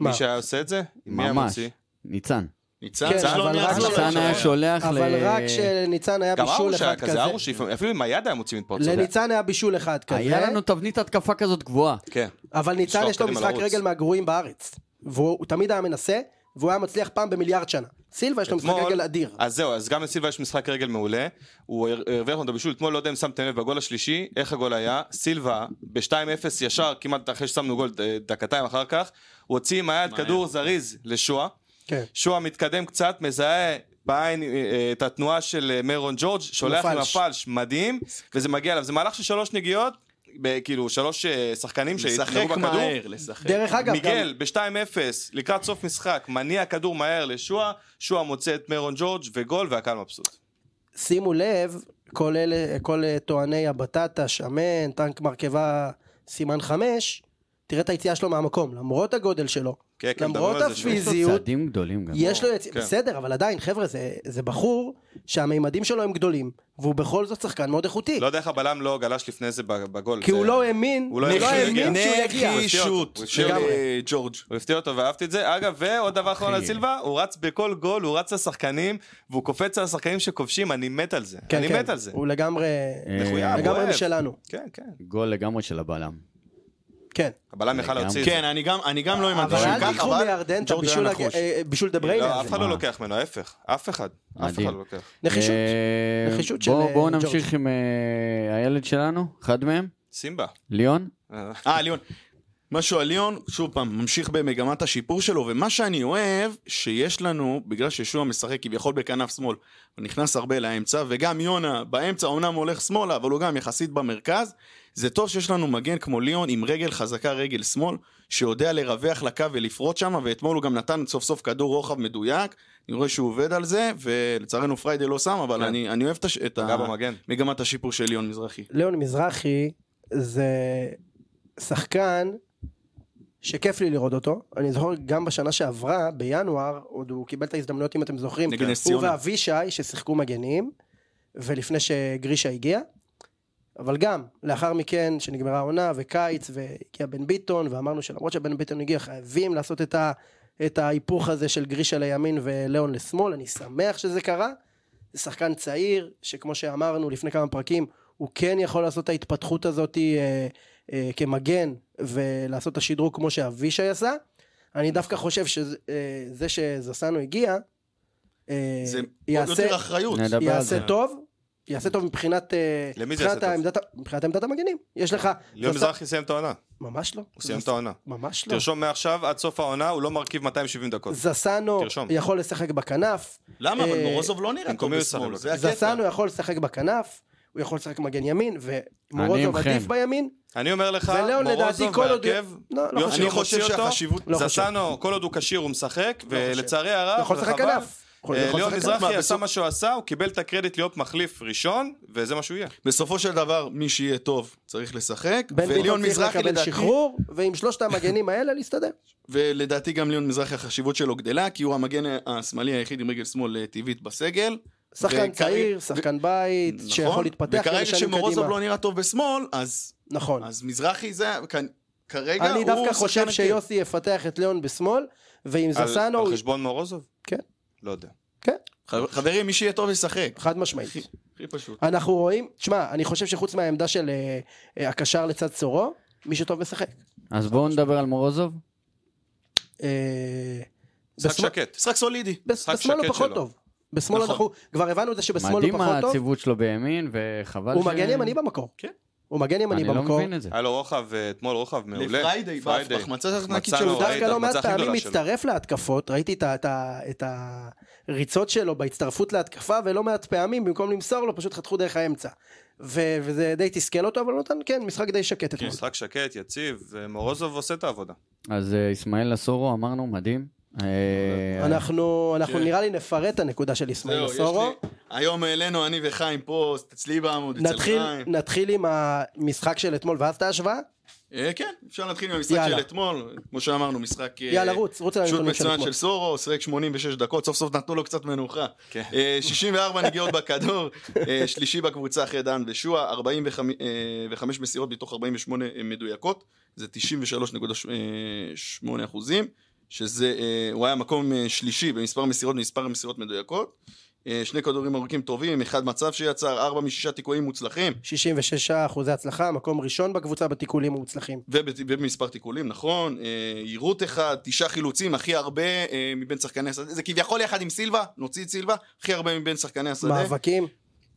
S3: מה?
S4: מי שהיה עושה את זה? מי היה
S2: ממש.
S4: מוציא?
S2: ניצן.
S5: ניצן,
S3: כן,
S5: זה
S3: אבל
S5: לא
S3: רק
S5: ניצן,
S3: לא
S2: ניצן
S3: היה
S2: היה שולח ל...
S3: אבל רק שניצן היה
S4: גם
S3: בישול
S4: ארוש היה
S3: אחד כזה.
S4: כזה, ארוש, לפעמים- אפילו עם היד היה מוציא מתפרצות.
S3: לניצן היה בישול אחד כזה,
S2: היה לנו תבנית התקפה כזאת גבוהה.
S4: כן,
S3: אבל ניצן
S4: לשלוח
S3: יש לו
S4: קדימה
S3: משחק
S4: לרוץ.
S3: רגל מהגרועים בארץ. והוא הוא תמיד היה מנסה, והוא היה מצליח פעם במיליארד שנה. סילבה יש לו משחק
S4: אתמול- אה,
S3: רגל אדיר.
S4: אז זהו, אז גם לסילבה יש משחק רגל מעולה. הוא הר- הרוויח לנו את הבישול אתמול, לא יודע אם שמתם לב, בגול השלישי, איך הגול היה? סילבה, ב-2-0 ישר, כמעט אחרי ששמנו גול אה, דקתיים אחר כך, הוא הוציא עם היד
S5: מהיד.
S4: כדור זריז לשואה.
S3: כן.
S4: שואה מתקדם קצת, מזהה בעין אה, אה, את התנועה של אה, מרון ג'ורג', שולח עם
S3: הפלש.
S4: הפלש, מדהים, וזה מגיע אליו. זה מהלך של שלוש נגיעות, ב- כאילו שלוש אה, שחקנים שהתנהגו
S5: לשחק
S4: בכדור.
S5: מהר, לשחק.
S3: דרך אגב, גם
S4: מיגל ב-2-0, לקראת סוף משחק, מניע כדור מהר לשועה, שועה מוצא את מרון ג'ורג' וגול והקהל מבסוט.
S3: שימו לב, כל אלה, כל אה, טועני הבטטה, שמן, טנק מרכבה, סימן חמש, תראה את היציאה שלו מהמקום, למרות הגודל שלו.
S4: כן, כן,
S3: למרות
S4: מדברים על זה שוב.
S3: הפיזי-
S2: יש לו
S3: זיהוי-
S2: צעדים גדולים גם.
S3: יש לו יציאה,
S4: כן.
S3: בסדר, אבל עדיין, חבר'ה, זה, זה בחור שהמימדים שלו הם גדולים, והוא בכל זאת שחקן מאוד איכותי.
S4: לא יודע איך הבלם לא גלש לפני זה בגול.
S3: כי
S4: זה-
S3: הוא לא האמין,
S4: הוא
S3: הוא
S4: לא
S3: לא
S4: האמין שהוא
S3: האמין
S4: יגיע.
S3: שהוא יגיע.
S4: הוא הפתיע אותו, הוא
S5: נחישות
S4: הפתיע
S5: של
S4: אותו.
S5: אה, ג'ורג'.
S4: הוא הפתיע אותו ואהבתי את זה. אגב, ועוד דבר אחרון על
S2: אחי.
S4: סילבה, הוא רץ בכל גול, הוא רץ לשחקנים, והוא קופץ על השחקנים שכובשים, אני מת על זה.
S3: כן,
S4: אני
S3: כן,
S4: מת על זה.
S3: הוא לגמרי,
S4: מחויב, הוא
S3: לגמרי
S4: אוהב.
S3: משלנו.
S4: כן, כן.
S2: גול לגמרי של הבלם.
S3: כן.
S4: הבלם יכל
S2: לגמרי.
S4: להוציא את זה.
S5: כן, אני גם- אני גם לא האמנתי
S3: אבל
S5: שהוא
S3: אל
S5: ייקח,
S3: תיקחו מירדן את
S5: ג'ורג' היה
S3: הבישול הג-
S5: נחוש.
S3: אה, אה, בישול דה בריינה
S4: לא,
S3: הזה.
S4: אף אחד לא
S2: מה?
S4: לוקח ממנו, ההפך. אף אחד. אף אחד
S2: מדהים.
S4: לא לוקח.
S3: נחישות.
S2: אה,
S3: נחישות
S2: בואו-
S3: של,
S2: בואו
S3: אה,
S2: נמשיך עם אה, הילד שלנו, אחד מהם,
S4: סימבה.
S2: ליאון.
S4: אה,
S5: אה, ליון. משהו על ליון, שוב פעם, ממשיך במגמת השיפור שלו, ומה שאני אוהב, שיש לנו, בגלל שישוע משחק כביכול בכנף שמאל, הוא נכנס הרבה לאמצע, וגם יונה באמצע אומנם הוא הולך שמאלה, אבל הוא גם יחסית במרכז, זה טוב שיש לנו מגן כמו ליון עם רגל חזקה, רגל שמאל, שיודע לרווח לקו ולפרוט שם, ואתמול הוא גם נתן סוף סוף כדור רוחב מדויק, אני רואה שהוא עובד על זה, ולצערנו פריידי לא שם, אבל
S4: כן.
S5: אני, אני אוהב את, הש- את
S4: פגע
S5: ה-
S4: במגן.
S5: מגמת השיפור של ליון מזרחי.
S3: ליאון מזרחי זה שחקן שכיף לי לראות אותו. אני זוכר גם בשנה שעברה, בינואר, עוד הוא קיבל את ההזדמנויות, אם אתם זוכרים,
S5: נגד נס
S3: הוא
S5: ציונה.
S3: ואבישי ששיחקו מגנים, ולפני שגרישה הגיע. אבל גם, לאחר מכן, שנגמרה העונה וקיץ, והגיע בן ביטון, ואמרנו שלמרות שבן ביטון הגיע, חייבים לעשות את, ה, את ההיפוך הזה של גרישה לימין וליאון לשמאל, אני שמח שזה קרה. זה שחקן צעיר, שכמו שאמרנו לפני כמה פרקים, הוא כן יכול לעשות את ההתפתחות הזאת אה, אה, כמגן ולעשות את השדרוג כמו שאבישי עשה. אני דווקא חושב שזה אה, זה שזסנו הגיע, אה,
S5: זה עוד
S3: יעשה,
S4: לא
S5: יותר אחריות.
S2: נדבר על זה.
S3: יעשה טוב, יעשה טוב מבחינת, אה,
S4: למי
S3: מבחינת
S4: זה יעשה טוב?
S3: העמדת, מבחינת עמדת המגנים. יש לך...
S4: ליאון
S3: זסנו-
S4: מזרחי סיים את העונה.
S3: ממש לא.
S4: הוא סיים
S3: זס-
S4: את העונה.
S3: ממש לא.
S4: תרשום מעכשיו עד סוף העונה, הוא לא מרכיב 270 דקות.
S3: זסנו
S4: תרשום.
S3: יכול לשחק בכנף,
S5: למה? אבל
S3: אה,
S5: מורוזוב לא נראה טוב
S4: במקומי הוא ישחק
S5: בשמאל,
S4: בקו.
S5: זה הקטע.
S3: זסנו יכול לשחק בכנף, הוא יכול לשחק מגן ימין, ומורוזוב
S2: אני עמכם.
S3: עדיף בימין,
S4: אני אומר לך,
S3: וליאון לדעתי
S4: מורוזוב
S3: כל עוד...
S4: בהרכב,
S3: לא, לא
S4: יוסי
S3: חושב.
S5: אני
S4: לא
S5: חושב
S4: מוציא אותו.
S5: שהחשיבות...
S3: לא חושב. לא
S4: זסנו, כל עוד הוא כשיר הוא משחק,
S3: חושב.
S4: ולצערי
S3: הוא
S4: הרב,
S3: יכול לשחק
S4: וחבל,
S3: כנף. יכול-
S4: אה,
S3: יכול
S4: ליאון
S3: לשחק כנף.
S4: מזרחי
S5: מה,
S4: עשה
S5: בסוף-
S4: מה שהוא עשה, הוא קיבל את הקרדיט להיות מחליף ראשון, וזה מה שהוא יהיה.
S5: בסופו של דבר, מי שיהיה טוב צריך לשחק,
S3: בן
S5: וליון
S3: ביטון צריך
S5: מזרחי
S3: לקבל
S5: לדעתי,
S3: שחרור, ועם שלושת המגנים האלה להסתדר.
S5: ולדעתי גם ליון מזרחי החשיבות שלו גדלה, כי הוא המגן השמאלי היחיד עם רגל שמאל אה, טבעית בסגל,
S3: שחקן
S5: וכרגע-
S3: צעיר, שחקן בית,
S5: נכון?
S3: נכון? שיכול להתפתח כמה
S5: וכרגע
S3: שנים
S5: כשמורוזוב
S3: קדימה.
S5: לא נראה טוב בשמאל, אז
S3: נכון.
S5: אז מזרחי זה, כאן- כרגע הוא...
S3: אני דווקא
S5: שחקן כן.
S3: חושב
S5: הרכב.
S3: שיוסי יפתח את ליאון בשמאל, ועם
S4: על-
S3: זסנו,
S4: על חשבון מורוזוב?
S3: כן.
S4: לא יודע.
S5: ח- חברים, מי שיהיה טוב ישחק.
S3: חד משמעית.
S5: הכי- הכי פשוט.
S3: אנחנו רואים, תשמע, אני חושב שחוץ מהעמדה של אה, אה, הקשר לצד סורו, מי שטוב משחק.
S2: אז בואו נדבר על מורוזוב.
S3: אה,
S4: משחק
S3: בשמאל-
S4: שקט.
S5: משחק סולידי.
S3: בש-
S4: משחק
S3: בשמאל הוא
S4: שקט
S3: פחות
S4: שלו.
S3: טוב. בשמאל
S5: נכון.
S3: אנחנו כבר הבנו את זה שבשמאל הוא
S2: מדהים
S3: פחות טוב.
S2: הציוות שלו בימין, וחבל
S3: הוא מגן ימני במקור.
S5: כן.
S3: הוא מגן ימני
S2: אני לא
S3: במקור.
S2: מבין את זה.
S4: היה לו רוחב, אה, אתמול רוחב מעולה.
S5: לפריידי,
S4: פריידי.
S5: בהחמצה הענקית
S4: מצאנו,
S5: שלו.
S4: ראית?
S3: דווקא לא מעט
S4: ההחמצה הכי
S3: פעמים
S4: גדולה שלו.
S3: מצטרף להתקפות, ראיתי את ה- את ה- את הריצות שלו בהצטרפות להתקפה, ולא מעט פעמים במקום למסור לו פשוט חתכו דרך האמצע. ו- וזה די תסכל אותו, אבל הוא נתן, כן, משחק די שקט אתמול.
S4: משחק שקט, יציב, אה, מורוזוב עושה את העבודה.
S2: אז אה, אסמאעיל אסורו, אמרנו, מדהים. אה,
S3: אנחנו אנחנו
S5: כן.
S3: נראה לי נפרט את הנקודה של
S5: זהו,
S3: אסמאעיל
S5: יש
S3: סורו.
S5: לי- היום העלינו אני וחיים פה, אצלי בעמוד, אצל
S3: נתחיל-
S5: חיים.
S3: נתחיל עם המשחק של אתמול ואז את ההשוואה?
S5: אה, כן, אפשר להתחיל עם המשחק
S3: יאללה.
S5: של אתמול. כמו שאמרנו, משחק... אה,
S3: יאללה, רוץ, רוץ על
S5: שוט
S3: הנתונים של
S5: מצוין
S3: אתמול.
S5: של סורו, שיחק 86 דקות, סוף סוף נתנו לו קצת מנוחה.
S4: כן.
S5: אה, 64 נגיעות בכדור, אה, שלישי בקבוצה אחרי דן ושועה, 45 אה, מסירות מתוך 48 מדויקות, זה 93.8 אחוזים, שזה, אה, הוא היה מקום אה, שלישי במספר מסירות ומספר מסירות מדויקות. אה, שני כדורים ארוכים טובים, אחד מצב שיצר, ארבע משישה תיקויים מוצלחים,
S3: 66 אחוזי הצלחה, מקום ראשון בקבוצה בתיקולים המוצלחים.
S5: וב- ובמספר תיקולים, נכון, אה, יירוט אחד, תשעה חילוצים, הכי הרבה אה, מבין שחקני השדה, זה כביכול יחד עם סילבה, נוציא את סילבה, הכי הרבה מבין שחקני השדה.
S3: מאבקים,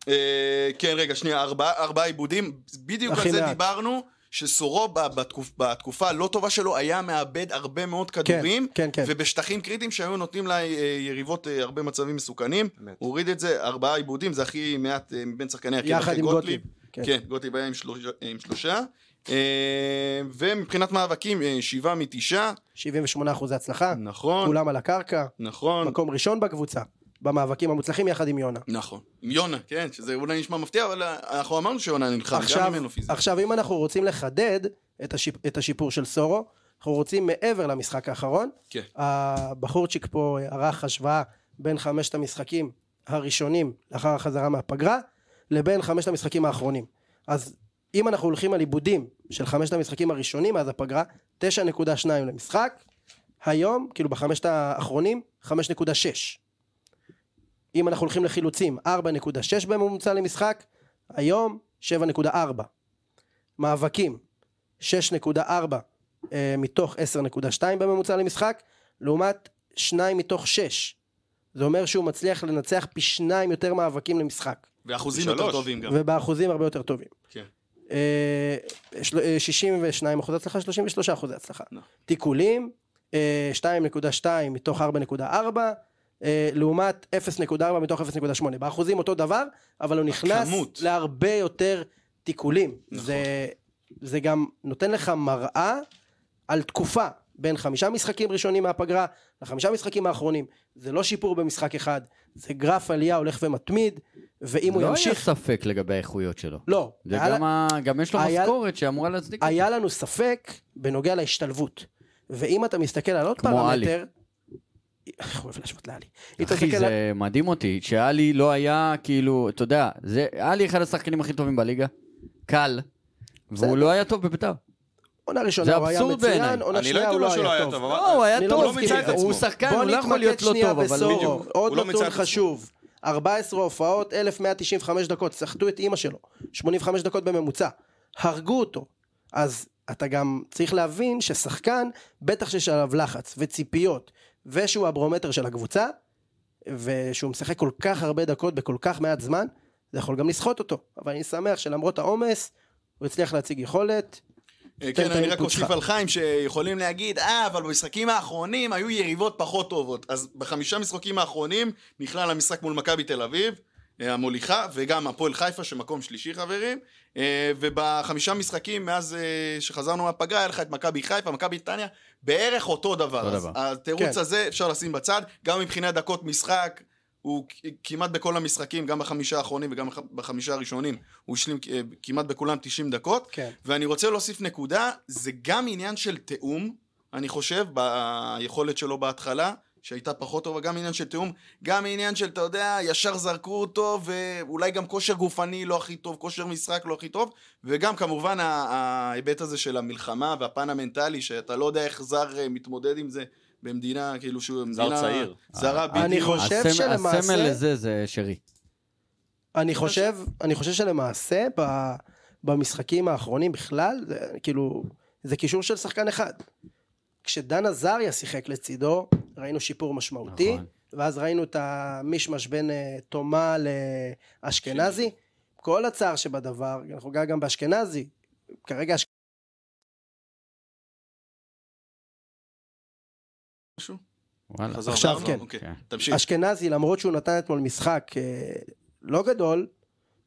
S5: אה, כן, רגע, שנייה, ארבעה ארבעה עיבודים, בדיוק
S3: הכי
S5: על זה
S3: מעט.
S5: דיברנו, שסורו ב- בתקופ- בתקופה הלא טובה שלו היה מאבד הרבה מאוד
S3: כן,
S5: כדורים,
S3: כן, כן.
S5: ובשטחים קריטיים שהיו נותנים ליריבות אה, הרבה מצבים מסוכנים,
S4: אמת.
S5: הוא הוריד את זה, ארבעה עיבודים, זה הכי מעט אה, מבין שחקני הרכב,
S3: יחד
S5: אחרי
S3: עם גוטליב. כן.
S5: כן, גוטליב היה עם שלושה. עם שלושה. אה, ומבחינת מאבקים, אה, שבעה מתשעה,
S3: 78 אחוזי הצלחה,
S5: נכון,
S3: כולם על הקרקע,
S5: נכון,
S3: מקום ראשון בקבוצה, במאבקים המוצלחים יחד עם יונה.
S5: נכון. עם יונה, כן, שזה אולי נשמע מפתיע, אבל אה, אנחנו אמרנו שיונה נלחם, גם
S3: עכשיו,
S5: ממנו פיזית.
S3: עכשיו אם אנחנו רוצים לחדד את, השיפ, את השיפור של סורו, אנחנו רוצים מעבר למשחק האחרון,
S5: כן.
S3: הבחורצ'יק פה ערך השוואה בין חמשת המשחקים הראשונים לאחר החזרה מהפגרה, לבין חמשת המשחקים האחרונים. אז אם אנחנו הולכים על עיבודים של חמשת המשחקים הראשונים מאז הפגרה, 9.2 למשחק, היום, כאילו בחמשת האחרונים, 5.6. אם אנחנו הולכים לחילוצים, 4.6 בממוצע למשחק, היום 7.4. מאבקים, 6.4 אה, מתוך 10.2 בממוצע למשחק, לעומת 2 מתוך 6. זה אומר שהוא מצליח לנצח פי שניים יותר מאבקים למשחק,
S5: ואחוזים
S4: שלוש.
S5: יותר טובים גם.
S3: ובאחוזים הרבה יותר טובים.
S5: כן.
S3: אה, של- אה, 62 אחוזי הצלחה, 33 אחוזי הצלחה.
S5: לא.
S3: תיקולים, אה, 2.2 מתוך 4.4, אה, לעומת 0.4 מתוך 0.8. באחוזים אותו דבר, אבל הוא נכנס
S5: הכמות.
S3: להרבה יותר תיקולים.
S5: נכון.
S3: זה, זה גם נותן לך מראה על תקופה בין חמישה משחקים ראשונים מהפגרה לחמישה משחקים האחרונים. זה לא שיפור במשחק אחד, זה גרף עלייה הולך ומתמיד, ואם הוא
S2: לא היה
S3: ימשיך...
S2: ספק לגבי האיכויות שלו.
S3: לא,
S2: זה
S3: היה לה-
S2: גם ה- גם יש לו
S3: היה-
S2: משכורת שאמורה להצדיק
S3: היה לנו ספק בנוגע להשתלבות. ואם אתה מסתכל על עוד
S2: כמו
S3: פרמטר... איך הוא אוהב להשוות לעלי. אם אתה
S2: אחי,
S3: מסתכל על-
S2: זה מדהים אותי, שאלי לא היה, כאילו, אתה יודע, זה, אלי אחד השחקנים הכי טובים בליגה, קל,
S3: בסדר.
S2: והוא לא היה טוב בביתר.
S3: עונה
S2: זה
S3: ראשונה הוא היה
S2: אבסורד
S3: מצוין,
S2: בעיניי.
S3: עונה
S4: אני
S3: שנייה
S4: לא הייתי
S3: הוא
S4: אומר
S3: לא
S4: שהוא לא
S3: היה
S4: היה
S3: טוב.
S4: טוב, אבל...
S2: לא, הוא היה
S3: אני לא
S2: טוב,
S3: מסכים.
S4: הוא לא מיצה את
S2: הוא
S4: עצמו.
S2: שחקן,
S3: בוא
S2: הוא לא יכול
S3: נתמקד
S2: להיות לא
S3: שנייה
S2: טוב, אבל
S3: בסורו,
S2: בדיוק.
S3: עוד
S4: הוא לא מיצה
S3: נתון
S4: את עצמו.
S3: חשוב. 14 הופעות, 1195 דקות, סחטו את אימא שלו. 85 דקות בממוצע. הרגו אותו. אז אתה גם צריך להבין ששחקן, בטח שיש עליו לחץ וציפיות, ושהוא הברומטר של הקבוצה, ושהוא משחק כל כך הרבה דקות בכל כך מעט זמן, זה יכול גם לסחוט אותו. אבל אני שמח שלמרות העומס, הוא הצליח להציג יכולת.
S5: אה,
S3: תן
S5: כן,
S3: את
S5: אני
S3: האינפוט
S5: רק אוסיף
S3: שלך.
S5: על חיים שיכולים להגיד, אה, אבל במשחקים האחרונים היו יריבות פחות טובות. אז בחמישה משחקים האחרונים נכלל המשחק מול מכבי תל אביב, אה, המוליכה, וגם הפועל חיפה שמקום שלישי חברים, אה, ובחמישה משחקים מאז אה, שחזרנו מהפגרה היה לך את מכבי חיפה, מכבי נתניה, בערך אותו דבר.
S2: אותו
S5: אז
S2: דבר.
S5: התירוץ
S3: כן.
S5: הזה אפשר לשים בצד, גם מבחינת דקות משחק. הוא כ- כמעט בכל המשחקים, גם בחמישה האחרונים וגם בח- בחמישה הראשונים, הוא השלים אה, כמעט בכולם 90 דקות.
S3: כן.
S5: ואני רוצה להוסיף נקודה, זה גם עניין של תיאום, אני חושב, ביכולת שלו בהתחלה, שהייתה פחות טובה, גם עניין של תיאום, גם עניין של, אתה יודע, ישר זרקו אותו, ואולי גם כושר גופני לא הכי טוב, כושר משחק לא הכי טוב, וגם כמובן ה- ההיבט הזה של המלחמה והפן המנטלי, שאתה לא יודע איך זר אה, מתמודד עם זה במדינה, כאילו שהוא... מדינה
S4: צעיר.
S5: זרה
S3: אני
S5: בדיוק.
S3: חושב- שלמעשה-
S2: הסמל לזה זה שרי.
S3: אני חושב, אני חושב שלמעשה ב, במשחקים האחרונים בכלל, זה, כאילו, זה קישור של שחקן אחד. כשדן עזריה שיחק לצידו, ראינו שיפור משמעותי,
S2: נכון.
S3: נכון. ואז ראינו את המישמש בין אה, תומה לאשכנזי. כל הצער שבדבר, אנחנו גם- גם באשכנזי, כרגע אש-
S5: משהו?
S2: וואלה.
S5: חזרנו,
S3: עכשיו
S5: חזרנו,
S3: כן.
S5: אוקיי,
S2: כן.
S5: תמשיך.
S3: אשכנזי, למרות שהוא נתן אתמול משחק אה, לא גדול,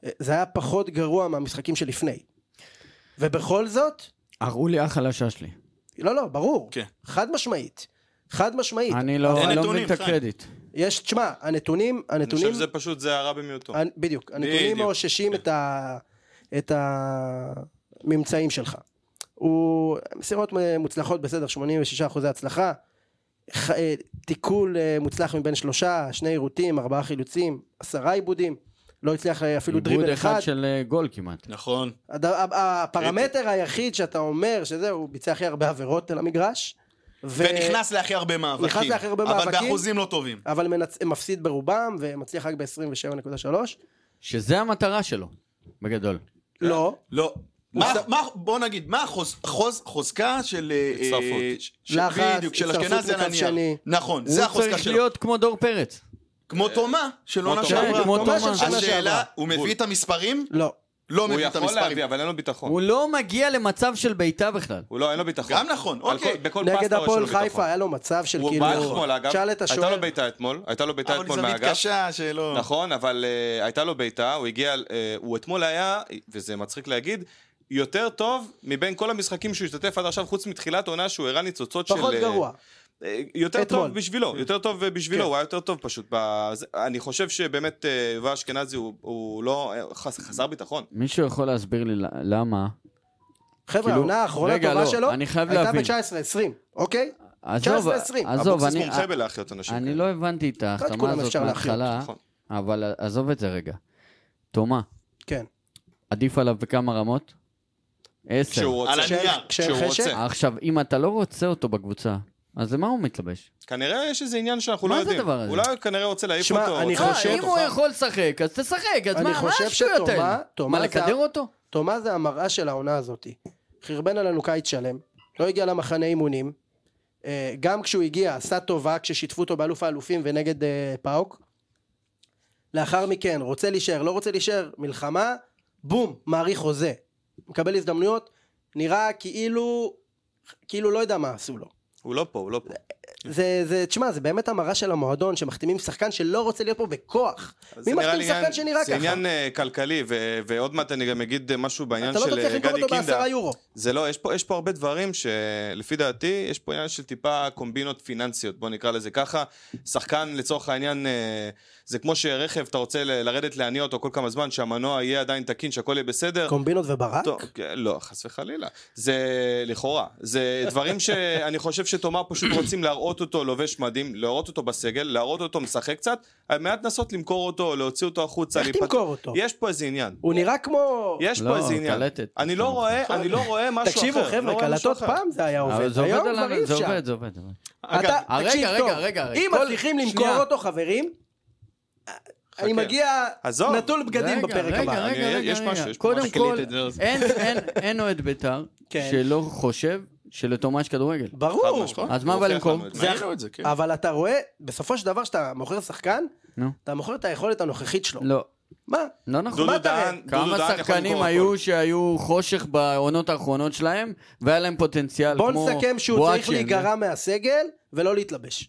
S3: אה, זה היה פחות גרוע מהמשחקים שלפני. ובכל זאת,
S2: הראו לי אח על השעה שלי.
S3: לא, לא, ברור.
S5: כן.
S3: חד משמעית. חד משמעית.
S2: אני לא
S5: אין
S2: אני לא
S5: נתונים,
S2: מבין את
S5: חיים.
S2: הקרדיט.
S3: יש, תשמע, הנתונים,
S4: אני חושב
S3: הנתונים,
S4: שזה פשוט, זה הרע במיעוטו.
S3: הנ- בדיוק, הנתונים
S5: בדיוק.
S3: מאוששים
S5: כן.
S3: את ה... את הממצאים שלך. הוא, מסירות מוצלחות בסדר, 86 אחוזי הצלחה. ח... אה, תיקול אה, מוצלח מבין שלושה, שני עירותים, ארבעה חילוצים, עשרה עיבודים. לא הצליח אה, אפילו
S2: עיבוד
S3: דריבל
S2: אחד
S3: אחד.
S2: של אה, גול כמעט.
S5: נכון.
S3: הד- ה- ה- הפרמטר היחיד שאתה אומר שזה, הוא ביצע הכי הרבה עבירות על המגרש. ו-
S5: ונכנס להכי הרבה מאבקים.
S3: נכנס להכי הרבה
S5: אבל
S3: מאבקים.
S5: באחוזים לא טובים.
S3: אבל מנצ... מפסיד ברובם ומצליח רק ב-27.3
S4: כן.
S2: שזה המטרה שלו, בגדול.
S3: לא
S5: לא. מה,
S3: הוא-
S5: מה, בוא נגיד, מה החוז, חוז, חוזקה של... אה,
S4: הצטרפות.
S5: אה, ש- ש-
S3: לחץ,
S5: בדיוק, של
S3: הצטרפות
S5: אשכנזי על
S3: לקו שני.
S5: הנייר. נכון,
S2: הוא
S5: זה החוזקה
S2: צריך
S5: שלו. אוקיי.
S2: להיות כמו דור פרץ.
S5: כמו תומה של עונה
S4: כמו
S2: תומה,
S5: שעברה.
S2: כמו
S3: תומה של
S2: תומה.
S3: שנה שעברה.
S5: השאלה, הוא מביא את המספרים?
S3: לא
S5: לא
S4: הוא
S5: מביא את
S4: יכול
S5: המספרים.
S4: להביא, אבל אין לו ביטחון.
S2: הוא לא מגיע למצב של בעיטה בכלל.
S4: הוא לא, אין לו ביטחון.
S5: גם נכון,
S4: על
S5: אוקיי.
S4: כל- בכל פסטה יש
S3: נגד
S4: לו
S3: הפועל
S4: ביטחון.
S3: חיפה היה לו מצב של
S4: הוא
S3: כאילו
S4: בא אתמול, אגב.
S3: שאל את
S4: הייתה
S3: השוער
S4: לו בעיטה אתמול, הייתה לו בעיטה
S5: אבל
S4: אתמול
S5: זווית
S4: מהאגף.
S5: קשה שלא...
S4: נכון, אבל אה, הייתה לו בעיטה, הוא הגיע, אה, הוא אתמול היה, וזה מצחיק להגיד, יותר טוב מבין כל המשחקים שהוא השתתף עד עכשיו, חוץ מתחילת עונה שהוא הראה ניצוצות של...
S3: פחות
S4: אה,
S3: גרוע
S4: אה, יותר
S3: אתמול.
S4: טוב בשבילו, יותר טוב אה, בשבילו,
S3: כן.
S4: הוא היה יותר טוב פשוט. בזה- אני חושב שבאמת אה, יובל אשכנזי הוא- הוא לא... אה, חס- חסר ביטחון.
S2: מישהו יכול להסביר לי ל- למה?
S3: חבר'ה
S2: כאילו,
S3: העונה האחרונה
S2: רגע, לא,
S3: הטובה שלו
S2: אני חייב
S3: הייתה
S2: להבין.
S3: ב-19-20 אוקיי?
S2: עזוב,
S3: 19-20.
S2: עזוב,
S4: אבוקסיס
S2: אני- אה,
S4: מורשה בלהחיות אנשים.
S2: אני
S4: כאלה.
S2: לא הבנתי את
S3: את כולם
S2: ההחתמה הזאת
S3: אפשר להחיות,
S2: מההתחלה,
S4: נכון.
S2: אבל עזוב את זה רגע. תומה,
S3: כן
S2: עדיף עליו בכמה רמות?
S3: כן.
S2: עשר.
S4: כשהוא
S5: על
S4: רוצה.
S5: הנייר,
S3: כשאין
S4: כשהוא
S3: חשק?
S4: רוצה.
S2: עכשיו, אם אתה לא רוצה אותו בקבוצה, אז למה הוא מתלבש?
S4: כנראה יש איזה עניין שאנחנו לא
S2: מה זה
S4: יודעים.
S2: הדבר הזה?
S4: אולי כנראה רוצה להעיף
S3: שמע,
S4: אותו.
S3: אני
S4: רוצה
S3: חושב-
S4: להשאיר
S2: אה, אם
S4: אותו.
S2: הוא יכול לשחק, אז תשחק, אז
S3: אני
S2: מה מה
S3: חושב
S2: השטויות
S3: שתומה-
S2: האלה? מה,
S3: תומה זה-
S2: לקדר אותו?
S3: תומה זה המראה של העונה הזאתי חרבן עלינו קיץ שלם לא הגיע למחנה אימונים אה, גם כשהוא הגיע עשה טובה כששיתפו אותו באלוף האלופים ונגד אה, פאוק לאחר מכן רוצה להישאר לא רוצה להישאר מלחמה בום מעריך חוזה מקבל הזדמנויות נראה כאילו כאילו לא יודע מה עשו לו
S4: הוא לא פה, הוא לא פה.
S3: זה זה תשמע זה באמת המראה של המועדון שמחתימים שחקן שלא רוצה להיות פה בכוח
S4: אז
S3: מי
S4: זה נראה
S3: מחתים
S4: לי
S3: שחקן
S4: עניין-
S3: שנראה
S4: זה
S3: ככה
S4: עניין אה, כלכלי, ו- ועוד מעט אני גם אגיד אה, משהו בעניין
S3: אתה לא
S4: של
S3: תצליח
S4: אה,
S3: למכור
S4: גדי
S3: אותו
S4: קינדה.
S3: בעשרה יורו
S4: זה לא, יש פה, יש פה הרבה דברים שלפי דעתי, יש פה עניין של טיפה קומבינות פיננסיות, בוא נקרא לזה ככה. שחקן לצורך העניין, אה, זה כמו שרכב, אתה רוצה ל- לרדת להניע אותו כל כמה זמן, שהמנוע יהיה עדיין תקין, שהכל יהיה בסדר.
S3: קומבינות וברק
S4: טוב, כן, לא, חס וחלילה. זה לכאורה. זה דברים שאני חושב שתומר פשוט רוצים להראות אותו לובש מדים, להראות אותו בסגל, להראות אותו משחק קצת, על מנת לנסות למכור אותו, להוציא אותו החוצה.
S3: איך
S4: להיפט-
S3: תמכור אותו
S4: יש פה איזה עניין.
S3: הוא נראה כמו...
S4: יש
S2: לא,
S4: פה איזה עניין.
S2: קלטת.
S4: אני לא רואה, אני לא רואה משהו אחר.
S3: נכון. תקשיבו
S4: לא
S3: חבר'ה,
S4: רואה משהו
S3: קלטות
S4: אחר.
S3: פעם זה היה
S2: אבל
S3: עובד,
S2: זה עובד
S3: היום
S2: עליו,
S3: כבר אי
S2: זה
S3: אפשר.
S2: עובד, זה עובד. זה עובד.
S5: אגב,
S3: אתה-
S2: רגע,
S3: תקשיב
S2: רגע,
S3: טוב,
S2: רגע, רגע,
S3: אם
S2: כל-
S3: מצליחים
S2: שנייה.
S3: למכור אותו חברים, אני
S4: חכה.
S3: מגיע
S4: עזוב.
S3: נטול בגדים
S2: רגע,
S3: בפרק
S2: רגע,
S3: הבא.
S2: רגע,
S4: אני-
S2: רגע,
S4: יש
S2: רגע.
S4: משהו, יש פה
S2: קודם
S4: משהו.
S2: כל,
S5: תקליט את זה, אז-
S2: אין- אין- אין אוהד בית"ר
S3: כן.
S2: שלא חושב שלתומה יש כדורגל.
S4: חד
S3: ברור,
S4: משמעית.
S2: אז מה
S4: הוא
S2: בא
S4: הוכיח
S2: למכור?
S4: לנו את זה.
S3: זה-
S5: ראינו את זה, כן.
S3: אבל אתה רואה, בסופו של דבר כשאתה מוכר שחקן,
S2: נו.
S3: אתה מוכר את היכולת הנוכחית שלו.
S2: לא.
S3: מה?
S2: לא נכון.
S4: דודו
S3: מה אתה-
S4: דהן, דודו
S2: כמה
S4: דהן יכול
S2: שחקנים
S4: למכור
S2: היו
S4: הכל.
S2: שהיו חושך בעונות האחרונות שלהם, והיה להם פוטנציאל
S3: בוא
S2: כמו...
S3: נסכם שהוא
S2: בואצ'ן,
S3: צריך להיגרע מהסגל ולא להתלבש.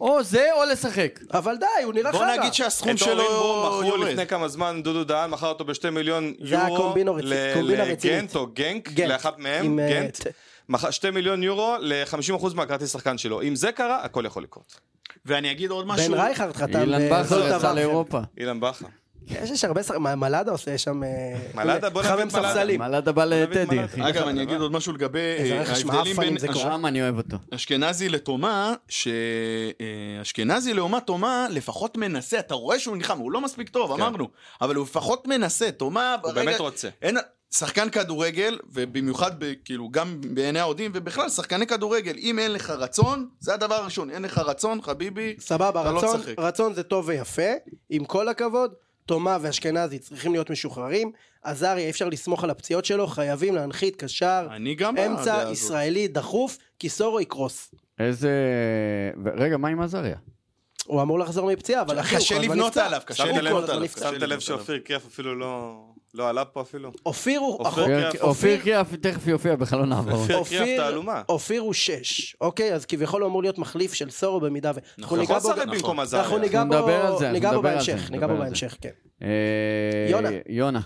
S2: או זה או לשחק.
S3: אבל די, הוא נראה
S5: בוא
S3: חרא.
S5: נגיד שהסכום
S4: את אורן
S5: שלו
S4: בור מכרו
S5: יורד.
S4: לפני כמה זמן, דודו דהן מכר אותו בשתי מיליון
S3: זה היה
S4: יורו
S3: קומבינה רצינית,
S4: ל-
S3: קומבינה רצינית.
S4: לגנט או גנק,
S3: גנט.
S4: לאחת מהם,
S3: עם, אה,
S4: גנט,
S3: ת-
S4: מכר שתי מיליון יורו ל-50% מהכרטיס שחקן שלו. אם זה קרה, הכל יכול לקרות.
S5: ואני אגיד עוד משהו.
S3: בן רייכרד חתם.
S2: אילן
S3: ו-
S2: בכר
S3: זאת
S2: יצא
S3: הבכר.
S2: לאירופה.
S4: אילן בכר.
S3: יש יש הרבה שחקנים, מלאדה עושה שם... אה,
S4: מלאדה? בוא נביא את
S3: חמם
S4: מלאדה.
S3: ספסלים.
S2: מלאדה בא
S4: נביא את
S2: לטדי,
S4: מלאדה.
S2: אחי.
S5: אגב, אני אגיד עוד משהו לגבי
S3: איזה
S5: אה,
S3: רכש
S5: ההבדלים
S3: מעפן
S5: בין
S3: זה
S5: אש-
S3: קורה.
S2: שם אני אוהב אותו.
S5: אשכנזי לתומה, שאשכנזי לעומת תומה לפחות מנסה, אתה רואה שהוא נלחם, הוא לא מספיק טוב,
S4: כן.
S5: אמרנו, אבל הוא לפחות מנסה, תומה...
S4: הוא
S5: ברגע-
S4: באמת רוצה.
S5: אין... שחקן כדורגל, ובמיוחד ב, כאילו גם בעיני האוהדים, ובכלל שחקני כדורגל, אם אין לך רצון, זה הדבר הראשון, אין לך רצון, חביבי,
S3: סבבה,
S5: אתה לא
S3: רצון,
S5: תשחק.
S3: רצון זה טוב ויפה, עם כל הכבוד, תומה ואשכנזי צריכים להיות משוחררים, עזריה אי אפשר לסמוך על הפציעות שלו, חייבים להנחית קשר,
S5: אני גם... בדעה
S3: אמצע
S5: הזאת.
S3: ישראלי דחוף, כי סורו יקרוס.
S2: איזה... ו- רגע, מה עם עזריה?
S3: הוא אמור לחזור מפציעה, אבל אחי, הוא כל
S5: קשה
S3: הזמן
S5: לבנות
S3: נפצע.
S5: עליו, קשה
S3: הוא כל
S5: לבנות
S3: הזמן
S5: עליו,
S3: נפצע.
S5: קשה
S4: שמת לב שאופיר קריאף אפילו לא... לא עלה פה אפילו.
S3: אופיר הוא...
S4: אופיר
S3: אח-
S4: קריאף,
S2: אופיר- אופיר קריאף תכף יופיע בחלון העברות.
S4: אופיר קריאף תעלומה.
S3: אופיר הוא שש, אוקיי? אז כביכול הוא אמור להיות מחליף של סורו במידה ו... אנחנו
S5: נכון.
S4: הוא
S3: ניגע
S4: יכול
S3: בו
S4: לשחק
S3: גם-
S4: במקום עזריה.
S3: אנחנו ניגע
S2: אנחנו נדבר על זה,
S3: בו-
S2: אנחנו
S3: ניגע בו
S2: נדבר על זה,
S3: בהמשך,
S2: אנחנו
S3: ניגע בו
S2: נדבר על זה.
S3: בהמשך, כן.
S2: אה,
S3: יונה.
S2: יונה.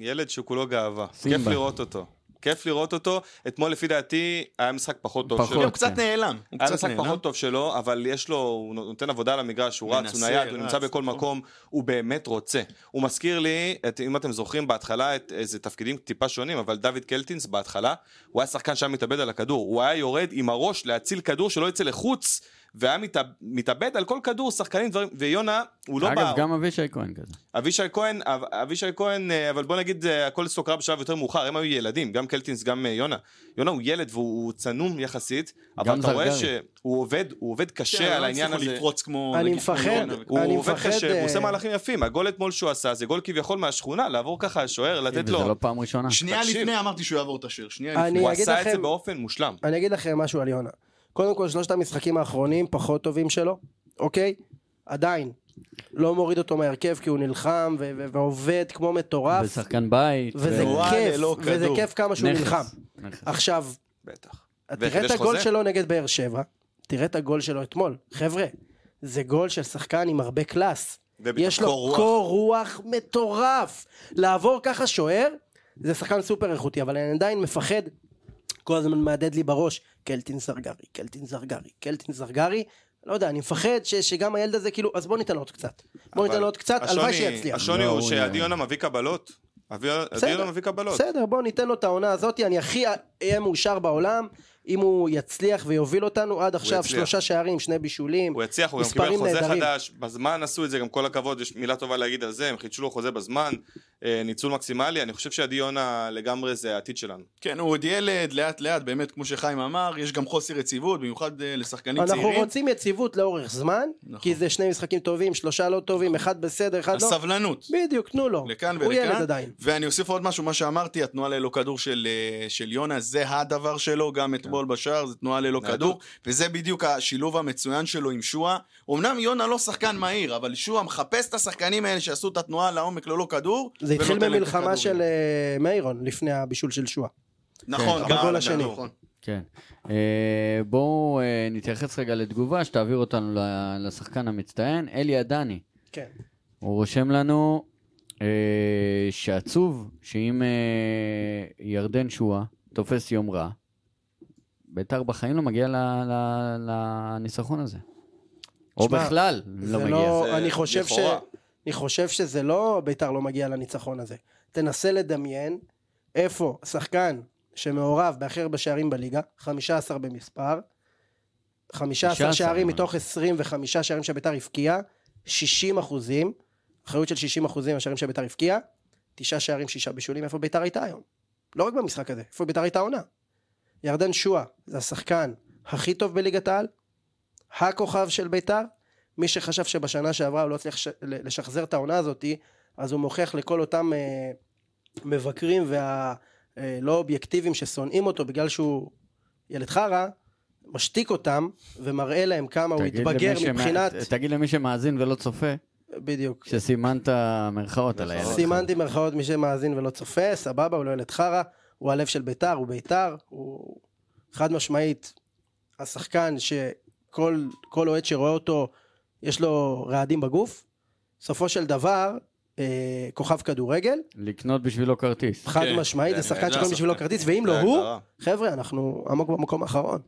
S4: ילד שהוא כולו גאווה. כיף
S2: סימבה.
S4: לראות אותו. כיף לראות אותו. אתמול לפי דעתי היה משחק פחות טוב
S2: פחות.
S4: שלו.
S5: הוא קצת
S2: כן.
S5: נעלם, הוא
S4: היה
S5: קצת
S4: משחק
S5: נעלם.
S4: פחות טוב שלו, אבל יש לו, הוא נותן עבודה על המגרש, הוא רץ, הוא
S5: מנסה,
S4: נייד, הוא
S5: רץ,
S4: נמצא בכל
S5: נכון.
S4: מקום, הוא באמת רוצה. הוא מזכיר לי, את, אם אתם זוכרים בהתחלה, את איזה תפקידים טיפה שונים, אבל דוד קלטינס בהתחלה, הוא היה שחקן שהיה מתאבד על הכדור, הוא היה יורד עם הראש להציל כדור שלא יצא לחוץ, והיה מתאב- מתאבד על כל כדור, שחקנים, דברים, ויונה, הוא לא
S2: אגב,
S4: בער.
S2: גם אבישי כהן כזה.
S4: אבישי כהן, אב- אבישי כהן, אה, אבל בוא נגיד, אה, הכל אצלו קרה בשלב יותר מאוחר, הם היו ילדים, גם קלטינס, גם אה, יונה. יונה הוא ילד והוא הוא צנום יחסית, אבל
S2: גם
S4: אתה רואה
S2: זרגרי.
S4: שהוא עובד, הוא עובד
S5: כן,
S4: קשה על
S5: לא
S4: העניין
S5: הצליחו
S4: הזה.
S5: לפרוץ כמו...
S3: אני
S5: נגיד, כמו
S3: מפחד.
S5: יונה וכאלה.
S4: הוא
S3: אני
S4: עובד
S3: מפחד,
S4: קשה,
S3: אה,
S4: הוא עושה מהלכים יפים, הגול אתמול שהוא עשה, זה גול כביכול מהשכונה, לעבור ככה
S3: אה,
S4: השוער, לתת
S2: וזה לא
S4: לו.
S2: פעם ראשונה.
S5: שנייה
S4: תקשיב.
S5: לפני אמרתי שהוא יעבור את השיר, שנייה
S3: אני-
S5: לפני.
S4: הוא
S3: אגיד
S4: עשה את
S3: לכם-
S4: זה באופן מושלם.
S3: אני אגיד לכם משהו על יונה. קודם כל, שלושת המשחקים האחרונים פחות טובים שלו, אוקיי? עדיין. לא מוריד אותו מהרכב כי הוא נלחם ו- ו- ועובד כמו מטורף.
S2: ושחקן בית.
S3: וזה
S2: ו-
S5: וואי,
S3: כיף,
S5: ללא
S3: וזה
S5: כדור.
S3: כיף כמה שהוא
S2: נכס.
S3: נלחם.
S2: נכס.
S3: עכשיו,
S4: בטח.
S3: תראה את
S4: וחידש
S3: הגול
S4: חוזה?
S3: שלו נגד באר שבע, תראה את הגול שלו אתמול. חבר'ה, זה גול של שחקן עם הרבה קלאס.
S4: וביטחון
S3: יש לו
S4: רוח.
S3: קור רוח מטורף. לעבור ככה שוער, זה שחקן סופר איכותי, אבל אני עדיין מפחד. כל הזמן מהדהד לי בראש, קלטין זרגרי, קלטין זרגרי, קלטין זרגרי. לא יודע, אני מפחד ש, שגם הילד הזה, כאילו, אז בוא ניתן לו עוד קצת. בוא ניתן
S4: אבל
S3: לו עוד קצת, הלוואי
S4: השוני-
S3: שיצליח.
S4: השוני
S2: לא,
S4: הוא
S2: הוא
S4: שעדי
S2: יהיה.
S4: יונה מביא קבלות. עדי
S3: בסדר.
S4: יונה מביא קבלות.
S3: בסדר, בוא ניתן לו את העונה הזאת, אני הכי אהיה מאושר בעולם, אם הוא יצליח ויוביל אותנו עד עכשיו
S4: יצליח.
S3: שלושה שערים, שני בישולים.
S4: הוא יצליח, הוא גם
S3: מספרים
S4: קיבל חוזה
S3: נהדרים.
S4: חדש, בזמן עשו את זה, גם כל הכבוד, יש מילה טובה להגיד על זה, הם חידשו לו חוזה בזמן, אה, ניצול מקסימלי, אני חושב שעדי יונה לגמרי זה העתיד שלנו.
S5: כן, הוא עוד ילד, לאט לאט, באמת, כמו שחיים אמר, יש גם חוסר יציבות, במיוחד אה, לשחקנים
S3: אנחנו
S5: צעירים.
S3: רוצים יציבות לאורך זמן,
S5: נכון.
S3: כי זה שני משחקים טובים, שלושה לא טובים, אחד בסדר, אחד לא.
S5: הסבלנות.
S3: בדיוק, תנו לו.
S5: לכאן
S3: הוא ילד
S5: ולכאן.
S3: עדיין.
S5: ואני אוסיף עוד משהו, מה שאמרתי, התנועה ללא כדור של, אה, של יונה, זה הדבר שלו, גם אתמול בשער, זה תנועה ללא
S4: כן. ניידות.
S5: כדור, וזה בדיוק השילוב המצוין שלו עם שועה. אמנם יונה לא שחקן מהיר, אבל שועה מחפש את השחקנים האלה שעשו את התנועה לעומק ללא כדור.
S3: זה התחיל
S5: ונותן להם את
S3: במלחמה
S5: הכדורים.
S3: של אה, מיירון, לפני הבישול של שואה.
S5: נכון,
S4: כן,
S5: גם
S3: בגול
S5: על
S3: השני.
S5: הכדור.
S2: כן. אה, בואו אה, נתייחס רגע לתגובה שתעביר אותנו ל- לשחקן המצטיין, אלי עדני.
S3: כן.
S2: הוא רושם לנו אה, שעצוב שאם אה, ירדן שואה תופס יום רע, ביתר בחיים לא מגיע ל- ל- לניצחון הזה. או
S3: תשמע,
S2: בכלל
S3: זה
S2: לא
S3: לא,
S2: מגיע.
S4: זה
S3: אני חושב ש...
S4: לכאורה.
S3: אני חושב שזה לא ביתר לא מגיע לניצחון הזה. תנסה לדמיין איפה שחקן שמעורב בהכי הרבה שערים בליגה, 15 במספר, 15
S2: 15,
S3: שערים
S2: אבל.
S3: מתוך 25 שערים שביתר הבקיעה, 60 אחוזים, אחריות של 60 אחוזים מהשערים שביתר הבקיעה, תשעה שערים, שישה בישולים, איפה ביתר הייתה היום? לא רק במשחק הזה, איפה ביתר הייתה עונה? ירדן שואה זה השחקן הכי טוב בליגת העל, הכוכב של ביתר, מי שחשב שבשנה שעברה הוא לא הצליח ש- ל- לשחזר את העונה הזאתי, אז הוא מוכיח לכל אותם אה, מבקרים והלא אובייקטיביים ששונאים אותו בגלל שהוא ילד חרא, משתיק אותם ומראה להם כמה הוא
S2: תגיד למי
S3: התבגר
S2: שמא-
S3: מבחינת...
S2: תגיד למי שמאזין ולא צופה,
S3: בדיוק.
S2: שסימנת מירכאות על הילד.
S3: סימנתי מירכאות מי שמאזין ולא צופה, סבבה, הוא לא ילד חרא, הוא הלב של ביתר, הוא ביתר, הוא חד משמעית השחקן שכל כל אוהד שרואה אותו, יש לו רעדים בגוף. בסופו של דבר, אה, כוכב כדורגל,
S2: לקנות בשבילו כרטיס.
S3: חד
S5: כן,
S3: משמעית, זה
S4: זה
S3: שחקן
S4: אני- זה
S3: שקוראים בשבילו
S4: השחקן.
S3: כרטיס, ואם
S4: זה
S3: לא הוא,
S4: ההגדרה.
S3: חבר'ה, אנחנו עמוק במקום האחרון.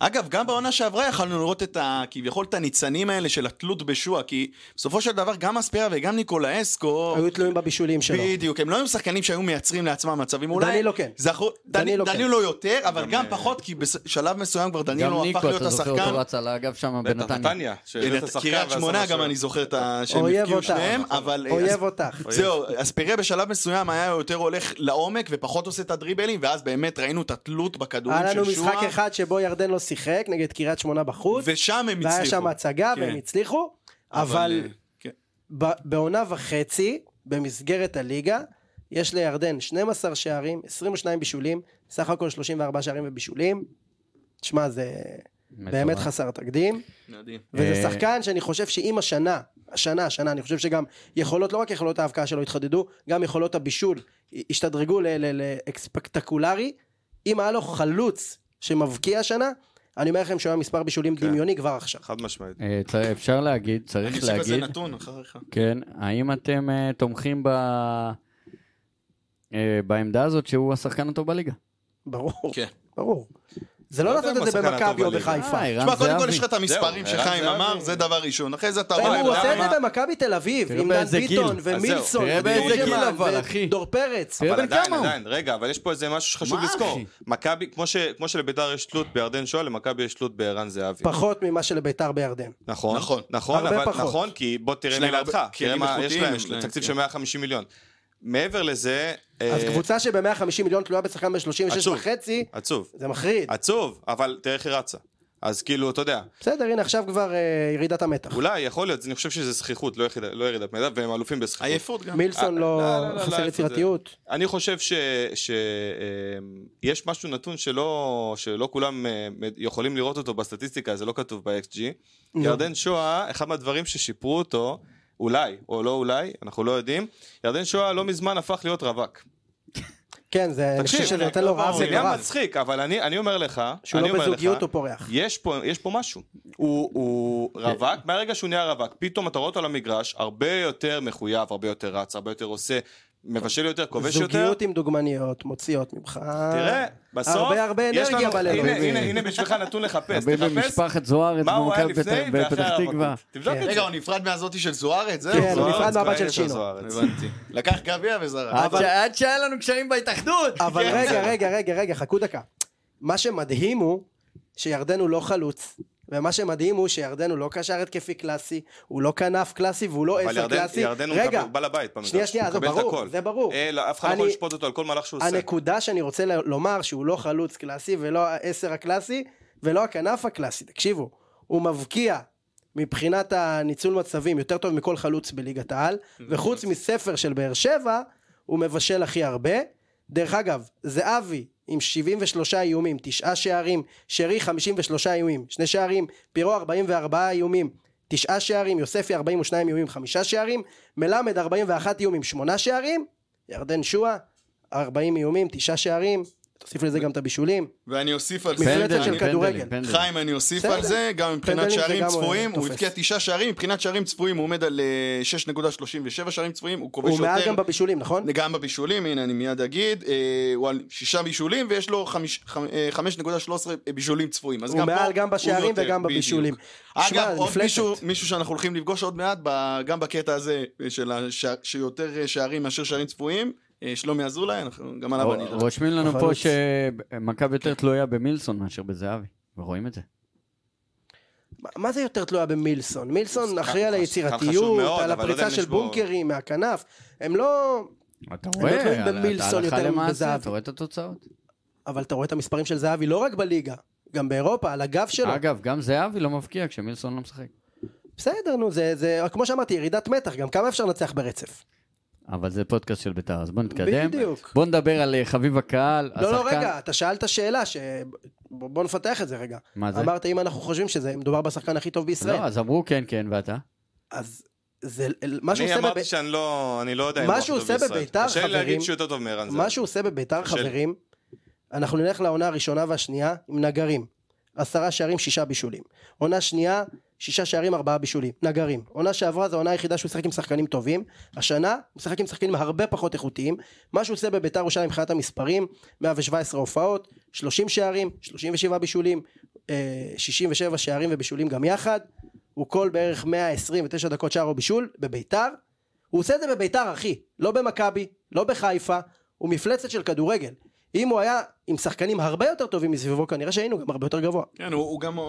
S5: אגב, גם בעונה שעברה יכלנו לראות את ה... כביכול את הניצנים האלה של התלות בשועה, כי בסופו של דבר גם אספירה וגם ניקולה אסקו...
S3: היו תלויים בבישולים שלו.
S5: בדיוק, הם לא היו שחקנים שהיו מייצרים לעצמם מצבים, אולי...
S3: דנילו כן.
S5: זכו...
S3: דנילו
S5: דנילו,
S3: כן.
S5: דנילו יותר, אבל
S4: גם,
S5: גם
S4: אה,
S5: פחות, כי בשלב מסוים כבר
S2: גם
S5: דנילו הפך
S2: ניקו,
S5: להיות
S2: אתה זוכר
S5: השחקן.
S2: אותו רץ על האגב שם
S4: בטח,
S2: בנתניה.
S4: נתניה, שהבאת
S5: הנה,
S4: שחקן
S5: קריית
S4: ואז
S5: שמונה
S4: המשהו.
S5: גם אני זוכר את ה... שהם
S3: אויב
S5: הבקיעו
S3: אותך.
S5: שניהם, אבל... אה,
S3: אויב אותך.
S4: אויב.
S5: זהו, אספיריה בשלב מסוים היה יותר הולך לעומק ופחות עושה את הדריבלים, ואז באמת ראינו את התלות בכדורים
S3: היה לנו
S5: של שועה,
S3: משחק אחד שבו ירדן לא שיחק נגד קריית שמונה בחוץ,
S5: ושם הם הצליחו.
S3: והיה שם הצגה
S5: כן.
S3: והם הצליחו, אבל
S5: אה, כן.
S3: ב- בעונה וחצי, במסגרת הליגה, יש לירדן 12 שערים, 22 בישולים, סך הכל 34 שערים ובישולים. תשמע, זה באמת
S2: מטורף.
S3: חסר תקדים,
S5: מדהים.
S3: וזה
S2: אה,
S3: שחקן שאני חושב שאם השנה, השנה, השנה, אני חושב שגם יכולות, לא רק יכולות ההבקעה שלו התחדדו, גם יכולות הבישול השתדרגו לאקספקטקולרי. אם היה לו חלוץ שמבקיע השנה, אני אומר לכם שהוא היה מספר בישולים
S4: כן.
S3: דמיוני כבר עכשיו.
S4: חד משמעית.
S2: אה, צ- אפשר להגיד,
S5: אני
S2: צריך
S5: אוסיף על זה
S2: להגיד,
S5: נתון אחריך.
S2: כן, האם אתם אה, תומכים ב... אה, בעמדה הזאת שהוא השחקן הטוב בליגה?
S3: ברור,
S5: כן.
S3: ברור. זה לא
S4: לא יודע
S3: לעשות את זה
S4: אם השחקן הטוב
S3: במכבי או
S4: בליגה.
S3: בחיפה.
S2: אה, ערן
S5: תשמע, קודם כל
S2: זהבי.
S5: יש לך את המספרים
S4: זהו,
S5: שחיים
S4: ערן
S5: אמר,
S4: זאבי.
S5: זה דבר ראשון. אחרי זה אתה
S3: אם
S5: רואה...
S3: אה, הוא עושה את
S5: למה-
S3: זה במכבי תל אביב,
S2: תראה
S3: עם דן
S2: באיזה
S3: ביטון
S2: גיל.
S4: אז
S3: ומילסון,
S4: זהו,
S2: תראה באיזה גיל
S3: ותורג'מן,
S2: אבל, אחי.
S3: דור פרץ.
S2: תראה
S4: אבל
S2: בן
S4: עדיין,
S2: כמה הוא.
S4: עדיין, רגע, אבל יש פה איזה משהו שחשוב
S2: מה,
S4: לזכור.
S2: אחי?
S4: מכבי, כמו ש- כמו שלביתר יש תלות בירדן שואה, למכבי יש תלות בערן זאבי.
S3: אה, פחות ממה שלביתר בירדן.
S4: נכון,
S5: נכון.
S4: נכון,
S3: הרבה
S4: אבל
S3: פחות.
S4: נכון, כי בוא תראה
S5: יש להם
S4: מלעדך,
S5: הרבה-
S4: תראה
S5: כלים
S4: מה יש
S5: איכותיים
S4: להם,
S5: יש להם,
S4: תקציב
S5: כן.
S4: של 150 מיליון. מעבר לזה,
S3: אז
S4: אה,
S3: קבוצה שב-150 מיליון תלויה בשחקן ב-36
S4: עצוב. אה,
S3: וחצי,
S4: עצוב,
S3: זה מחריד.
S4: עצוב, אבל תראה איך היא רצה. אז כאילו, אתה יודע,
S3: בסדר, הנה עכשיו כבר אה, ירידת המתח.
S4: אולי, יכול להיות, אני חושב שזה זכיחות, לא יחידה- לא ירידת מידע, והם אלופים בזכיחות.
S5: עייפות גם.
S3: מילסון
S4: אה,
S3: לא
S4: לא, לא, לא,
S3: חסר
S4: איפה
S3: יצירתיות.
S4: אני חושב שיש ש... אמ, יש משהו נתון שלא, שלא כולם אה, מ- יכולים לראות אותו בסטטיסטיקה, זה לא כתוב ב-XG.
S3: נו.
S4: ירדן שואה, אחד מהדברים ששיפרו אותו, אולי, או לא אולי, אנחנו לא יודעים, ירדן שואה לא מזמן הפך להיות רווק.
S3: כן, זה- אני
S4: תקשיב,
S3: חושב שזה
S4: זה
S3: נותן לו רעב
S4: זה גם
S3: וגרב.
S4: מצחיק, אבל אני, אני אומר לך,
S3: שהוא
S4: אני
S3: לא
S4: אומר לך,
S3: בזוגיות הוא פורח.
S4: יש פה, יש פה משהו. הוא, הוא רווק, מהרגע שהוא נהיה רווק, פתאום אתה רואה אותו על המגרש, הרבה יותר מחויב, הרבה יותר רץ, הרבה יותר עושה, מבשל יותר, כובש יותר.
S3: זוגיות עם דוגמניות מוציאות ממך.
S4: תראה, בסוף...
S3: הרבה הרבה
S4: יש
S3: אנרגיה
S4: לנו-
S3: בלילות.
S4: הנה, הנה, הנה בשבילך נתון לחפש,
S2: הרבה
S4: תחפש
S2: במשפחת זוהרץ
S4: מה הוא היה
S2: במכבי
S4: לפני
S2: פתח-
S4: ואחרי
S2: בפתח תקווה.
S4: הרווקות. תבדוק
S2: כן.
S4: את
S5: רגע,
S4: זה. לא,
S5: הוא נפרד מהזאתי של זוארץ, זהו?
S3: כן, הוא
S4: זוארץ,
S3: נפרד מהבת של
S4: ראינו
S3: שינו.
S4: זוארץ.
S5: הבנתי. לקח גביע וזרק.
S2: עד ש- עד שהיה לנו קשיים בהתאחדות.
S3: אבל
S4: כן.
S3: רגע, רגע, רגע, רגע, חכו דקה. מה שמדהים הוא שירדן הוא לא חלוץ. ומה שמדהים הוא שירדן הוא לא קשר התקפי קלאסי, הוא לא כנף קלאסי והוא לא
S4: אבל
S3: עשר
S4: ירדן-
S3: קלאסי.
S4: ירדן הוא
S3: רגע,
S4: מקבל- בעל הבית במגרש.
S3: שנייה, שנייה,
S4: הוא
S3: זה
S4: מקבל את
S3: ברור,
S4: הכל.
S3: זה ברור.
S4: אה, לא, אף אחד לא יכול
S3: אני-
S4: לשפוט אותו על כל מהלך שהוא עושה.
S3: הנקודה שאני רוצה ל- לומר שהוא לא חלוץ קלאסי ולא העשר הקלאסי ולא הכנף הקלאסי, תקשיבו, הוא מבקיע מבחינת הניצול מצבים יותר טוב מכל חלוץ בליגת העל,
S4: Mm-hmm.
S3: וחוץ מספר של באר שבע, הוא מבשל הכי הרבה. דרך אגב, זהבי עם 73 איומים, 9 שערים, שרי 53 איומים, 2 שערים, פירו 44 איומים, 9 שערים, יוספי 42 איומים, 5 שערים, מלמד 41 איומים, 8 שערים, ירדן שואה 40 איומים, 9 שערים, תוסיף לזה גם את הבישולים.
S5: ואני אוסיף על זה.
S3: מפלצת
S2: פנדלים,
S3: של
S5: אני-
S3: כדורגל.
S2: פנדלים, פנדלים.
S5: חיים, אני אוסיף
S3: בסדר.
S5: על זה, גם מבחינת
S3: פנדלים זה
S5: שערים
S3: גם, אה,
S5: צפויים, הוא
S3: תופס.
S5: הבקיע תשעה שערים, מבחינת שערים צפויים הוא עומד על אה, 6.37 שערים צפויים, הוא כובש
S3: הוא מעל
S5: יותר,
S3: גם בבישולים, נכון?
S5: גם בבישולים, הנה אני מיד אגיד, אה, הוא על שישה בישולים ויש לו חמיש- חמ- אה, 5.13 בישולים צפויים, אז
S3: הוא
S5: גם פה
S3: מעל גם בשערים
S5: יותר,
S3: וגם
S5: בדיוק.
S3: בבישולים. שמע,
S5: אגב, עוד
S3: מפלצת.
S5: מישהו, מישהו שאנחנו הולכים לפגוש עוד מעט, ב, גם בקטע הזה אה, של הש, שיותר אה, שערים מאשר שערים צפויים, אה, שלומי אזולאי, אנחנו גם עליו אני אדבר.
S2: רושמים לנו פה
S3: חלוץ.
S2: שמכבי יותר תלויה במילסון מאשר בזהבי, ורואים את זה.
S3: מה- מה זה יותר תלויה במילסון? מילסון
S4: שחקן
S3: אחראי על
S4: חשוב- שחקן
S3: היצירתיות,
S4: חשוב מאוד,
S3: על
S4: אבל לא יודע
S3: הפריצה
S4: אם
S3: של
S4: יש בו-
S3: בונקרים מהכנף. הם לא...
S2: אתה
S3: לא תלויים
S2: רואה, על- אתה
S3: במילסון
S2: הלכה
S3: יותר
S2: למעשה,
S3: מבזהבי.
S2: אתה רואה את התוצאות.
S3: אבל אתה רואה את המספרים של זהבי לא רק בליגה, גם באירופה, על הגב שלו.
S2: אגב, גם זהבי לא מבקיע כשמילסון לא משחק.
S3: בסדר, נו, זה, זה, כמו שאמרתי, ירידת מתח, גם כמה אפשר לנצח ברצף?
S2: אבל זה פודקאסט של בית"ר, אז בוא נתקדם.
S3: בדיוק.
S2: בוא נדבר על אה, חביב הקהל,
S3: לא, לא,
S2: השחקן-
S3: רגע, אתה שאלת שאלה, ש... בוא בוא נפתח את זה רגע.
S2: מה זה?
S3: אמרת, אם אנחנו חושבים שזה, מדובר בשחקן הכי טוב בישראל.
S2: לא, אז אמרו כן, כן, ואתה?
S3: אז זה, מה שהוא
S4: אני
S3: עושה...
S4: אמרתי
S3: בב-
S4: שאני לא, אני לא יודע אם
S3: מה
S4: הוא הכי
S3: שהוא
S4: טוב
S3: עושה
S4: בישראל.
S3: בביתר,
S4: קשה לי
S3: חברים,
S4: להגיד שהוא יותר טוב מערן זאבי.
S3: מה שהוא עושה בביתר
S4: קשה לי.
S3: חברים, אנחנו נלך לעונה הראשונה והשנייה עם נגרים. עשרה שערים, שישה בישולים. עונה שנייה, שישה שערים, ארבעה בישולים. נגרים. עונה שעברה זו העונה היחידה שהוא משחק עם שחקנים טובים. השנה, הוא משחק עם שחקנים הרבה פחות איכותיים. מה שהוא עושה בביתר ירושלים מבחינת המספרים, 117 הופעות, 30 שערים, 37 בישולים, אה, 67 שערים ובישולים גם יחד, הוא כל בערך 129 דקות שער או בישול בביתר. הוא עושה את זה בביתר אחי, לא במכבי, לא בחיפה, הוא מפלצת של כדורגל. אם הוא היה עם שחקנים הרבה יותר טובים מסביבו, כנראה שהיינו גם הרבה יותר גבוה.
S5: כן, הוא, הוא גם אה,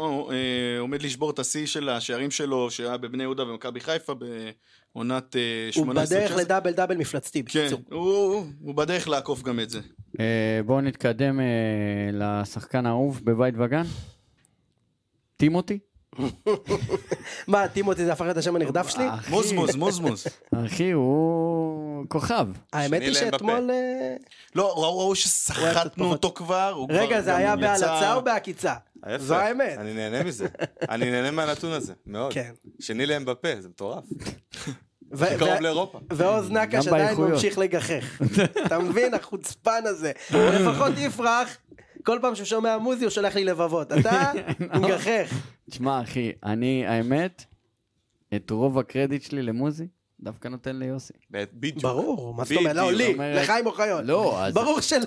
S5: עומד לשבור את השיא של השערים שלו, שהיה בבני יהודה ומכבי חיפה בעונת אה, 18-19.
S3: הוא בדרך לדאבל דאבל מפלצתי.
S5: כן,
S3: בקיצור.
S5: הוא, הוא, הוא בדרך לעקוף גם את זה.
S2: אה, בואו נתקדם אה, לשחקן האהוב בבית וגן. טימותי?
S3: מה, טימותי זה הפך להיות השם
S4: אה,
S3: הנרדף שלי?
S2: אחי,
S5: מוזמוז, מוזמוז.
S2: אחי, הוא כוכב.
S3: האמת היא
S4: שני להם
S3: שאתמול... אה,
S5: לא, ראו, ראו
S3: הוא היה קצת
S5: שסחטנו
S3: פחות.
S5: אותו כבר, הוא כבר
S3: רגע, זה
S5: גם
S3: היה
S5: יצא-
S3: בהלצה או בהקיצה?
S4: ההפך.
S3: זו האמת.
S4: אני נהנה מזה. אני נהנה מהנתון הזה, מאוד.
S3: כן.
S4: שני להם בפה, זה מטורף.
S3: ו-
S4: זה קרוב
S3: ו-
S4: לאירופה.
S3: ועוז נקש
S2: גם
S3: עדיין
S2: באיכויות.
S3: ממשיך לגחך. אתה מבין, החוצפן הזה. לפחות יפרח, כל פעם שהוא שומע מוזי הוא שולח לי לבבות. אתה מגחך.
S2: תשמע, אחי, אני, האמת, את רוב הקרדיט שלי למוזי, דווקא נותן ליוסי.
S4: בדיוק.
S3: ברור, מה זאת אומרת? לא,
S4: בדיוק,
S3: לי,
S2: אומרת-
S3: לחיים אוחיון.
S2: לא, אז...
S3: ברור של...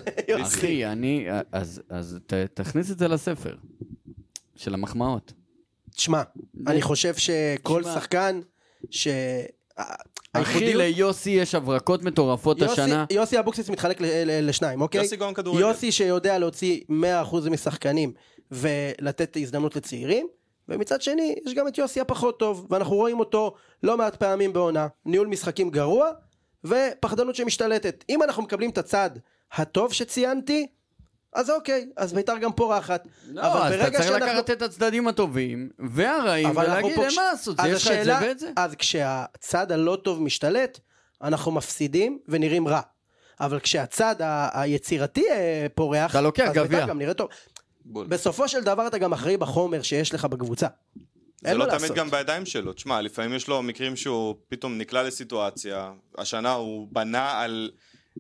S2: אחי, אני... אז, אז ת, תכניס את זה לספר. של המחמאות.
S3: תשמע, אני חושב שכל
S2: תשמע.
S3: שחקן ש...
S2: אחי,
S3: הייחודיות-
S2: ליוסי יש הברקות מטורפות
S3: יוסי-
S2: השנה.
S3: יוסי אבוקסיס מתחלק ל- ל- לשניים, אוקיי?
S4: יוסי גאון כדורגל.
S3: יוסי שיודע להוציא 100% משחקנים ולתת הזדמנות לצעירים, ומצד שני, יש גם את יוסי הפחות טוב, ואנחנו רואים אותו לא מעט פעמים בעונה. ניהול משחקים גרוע, ופחדנות שמשתלטת. אם אנחנו מקבלים את הצד הטוב שציינתי, אז אוקיי, אז בית"ר גם פורחת.
S2: לא, אז אתה צריך לקחת את הצדדים הטובים והרעים
S3: אבל אנחנו
S2: ולהגיד,
S3: פה-
S2: אין מה לעשות, זה
S3: אז
S2: יש לך את זה
S3: השאלה-
S2: ואת זה.
S3: אז כשהצד הלא טוב משתלט, אנחנו מפסידים ונראים רע. אבל כשהצד ה- היצירתי אה, פורח,
S2: אתה לוקח
S3: אז בית"ר
S2: גביע.
S3: גם נראה טוב.
S4: בול.
S3: בסופו של דבר אתה גם אחראי בחומר שיש לך בקבוצה.
S4: זה
S3: אין
S4: לא
S3: מה
S4: תמיד
S3: לעשות.
S4: גם בידיים שלו. תשמע, לפעמים יש לו מקרים שהוא פתאום נקלע לסיטואציה. השנה הוא בנה על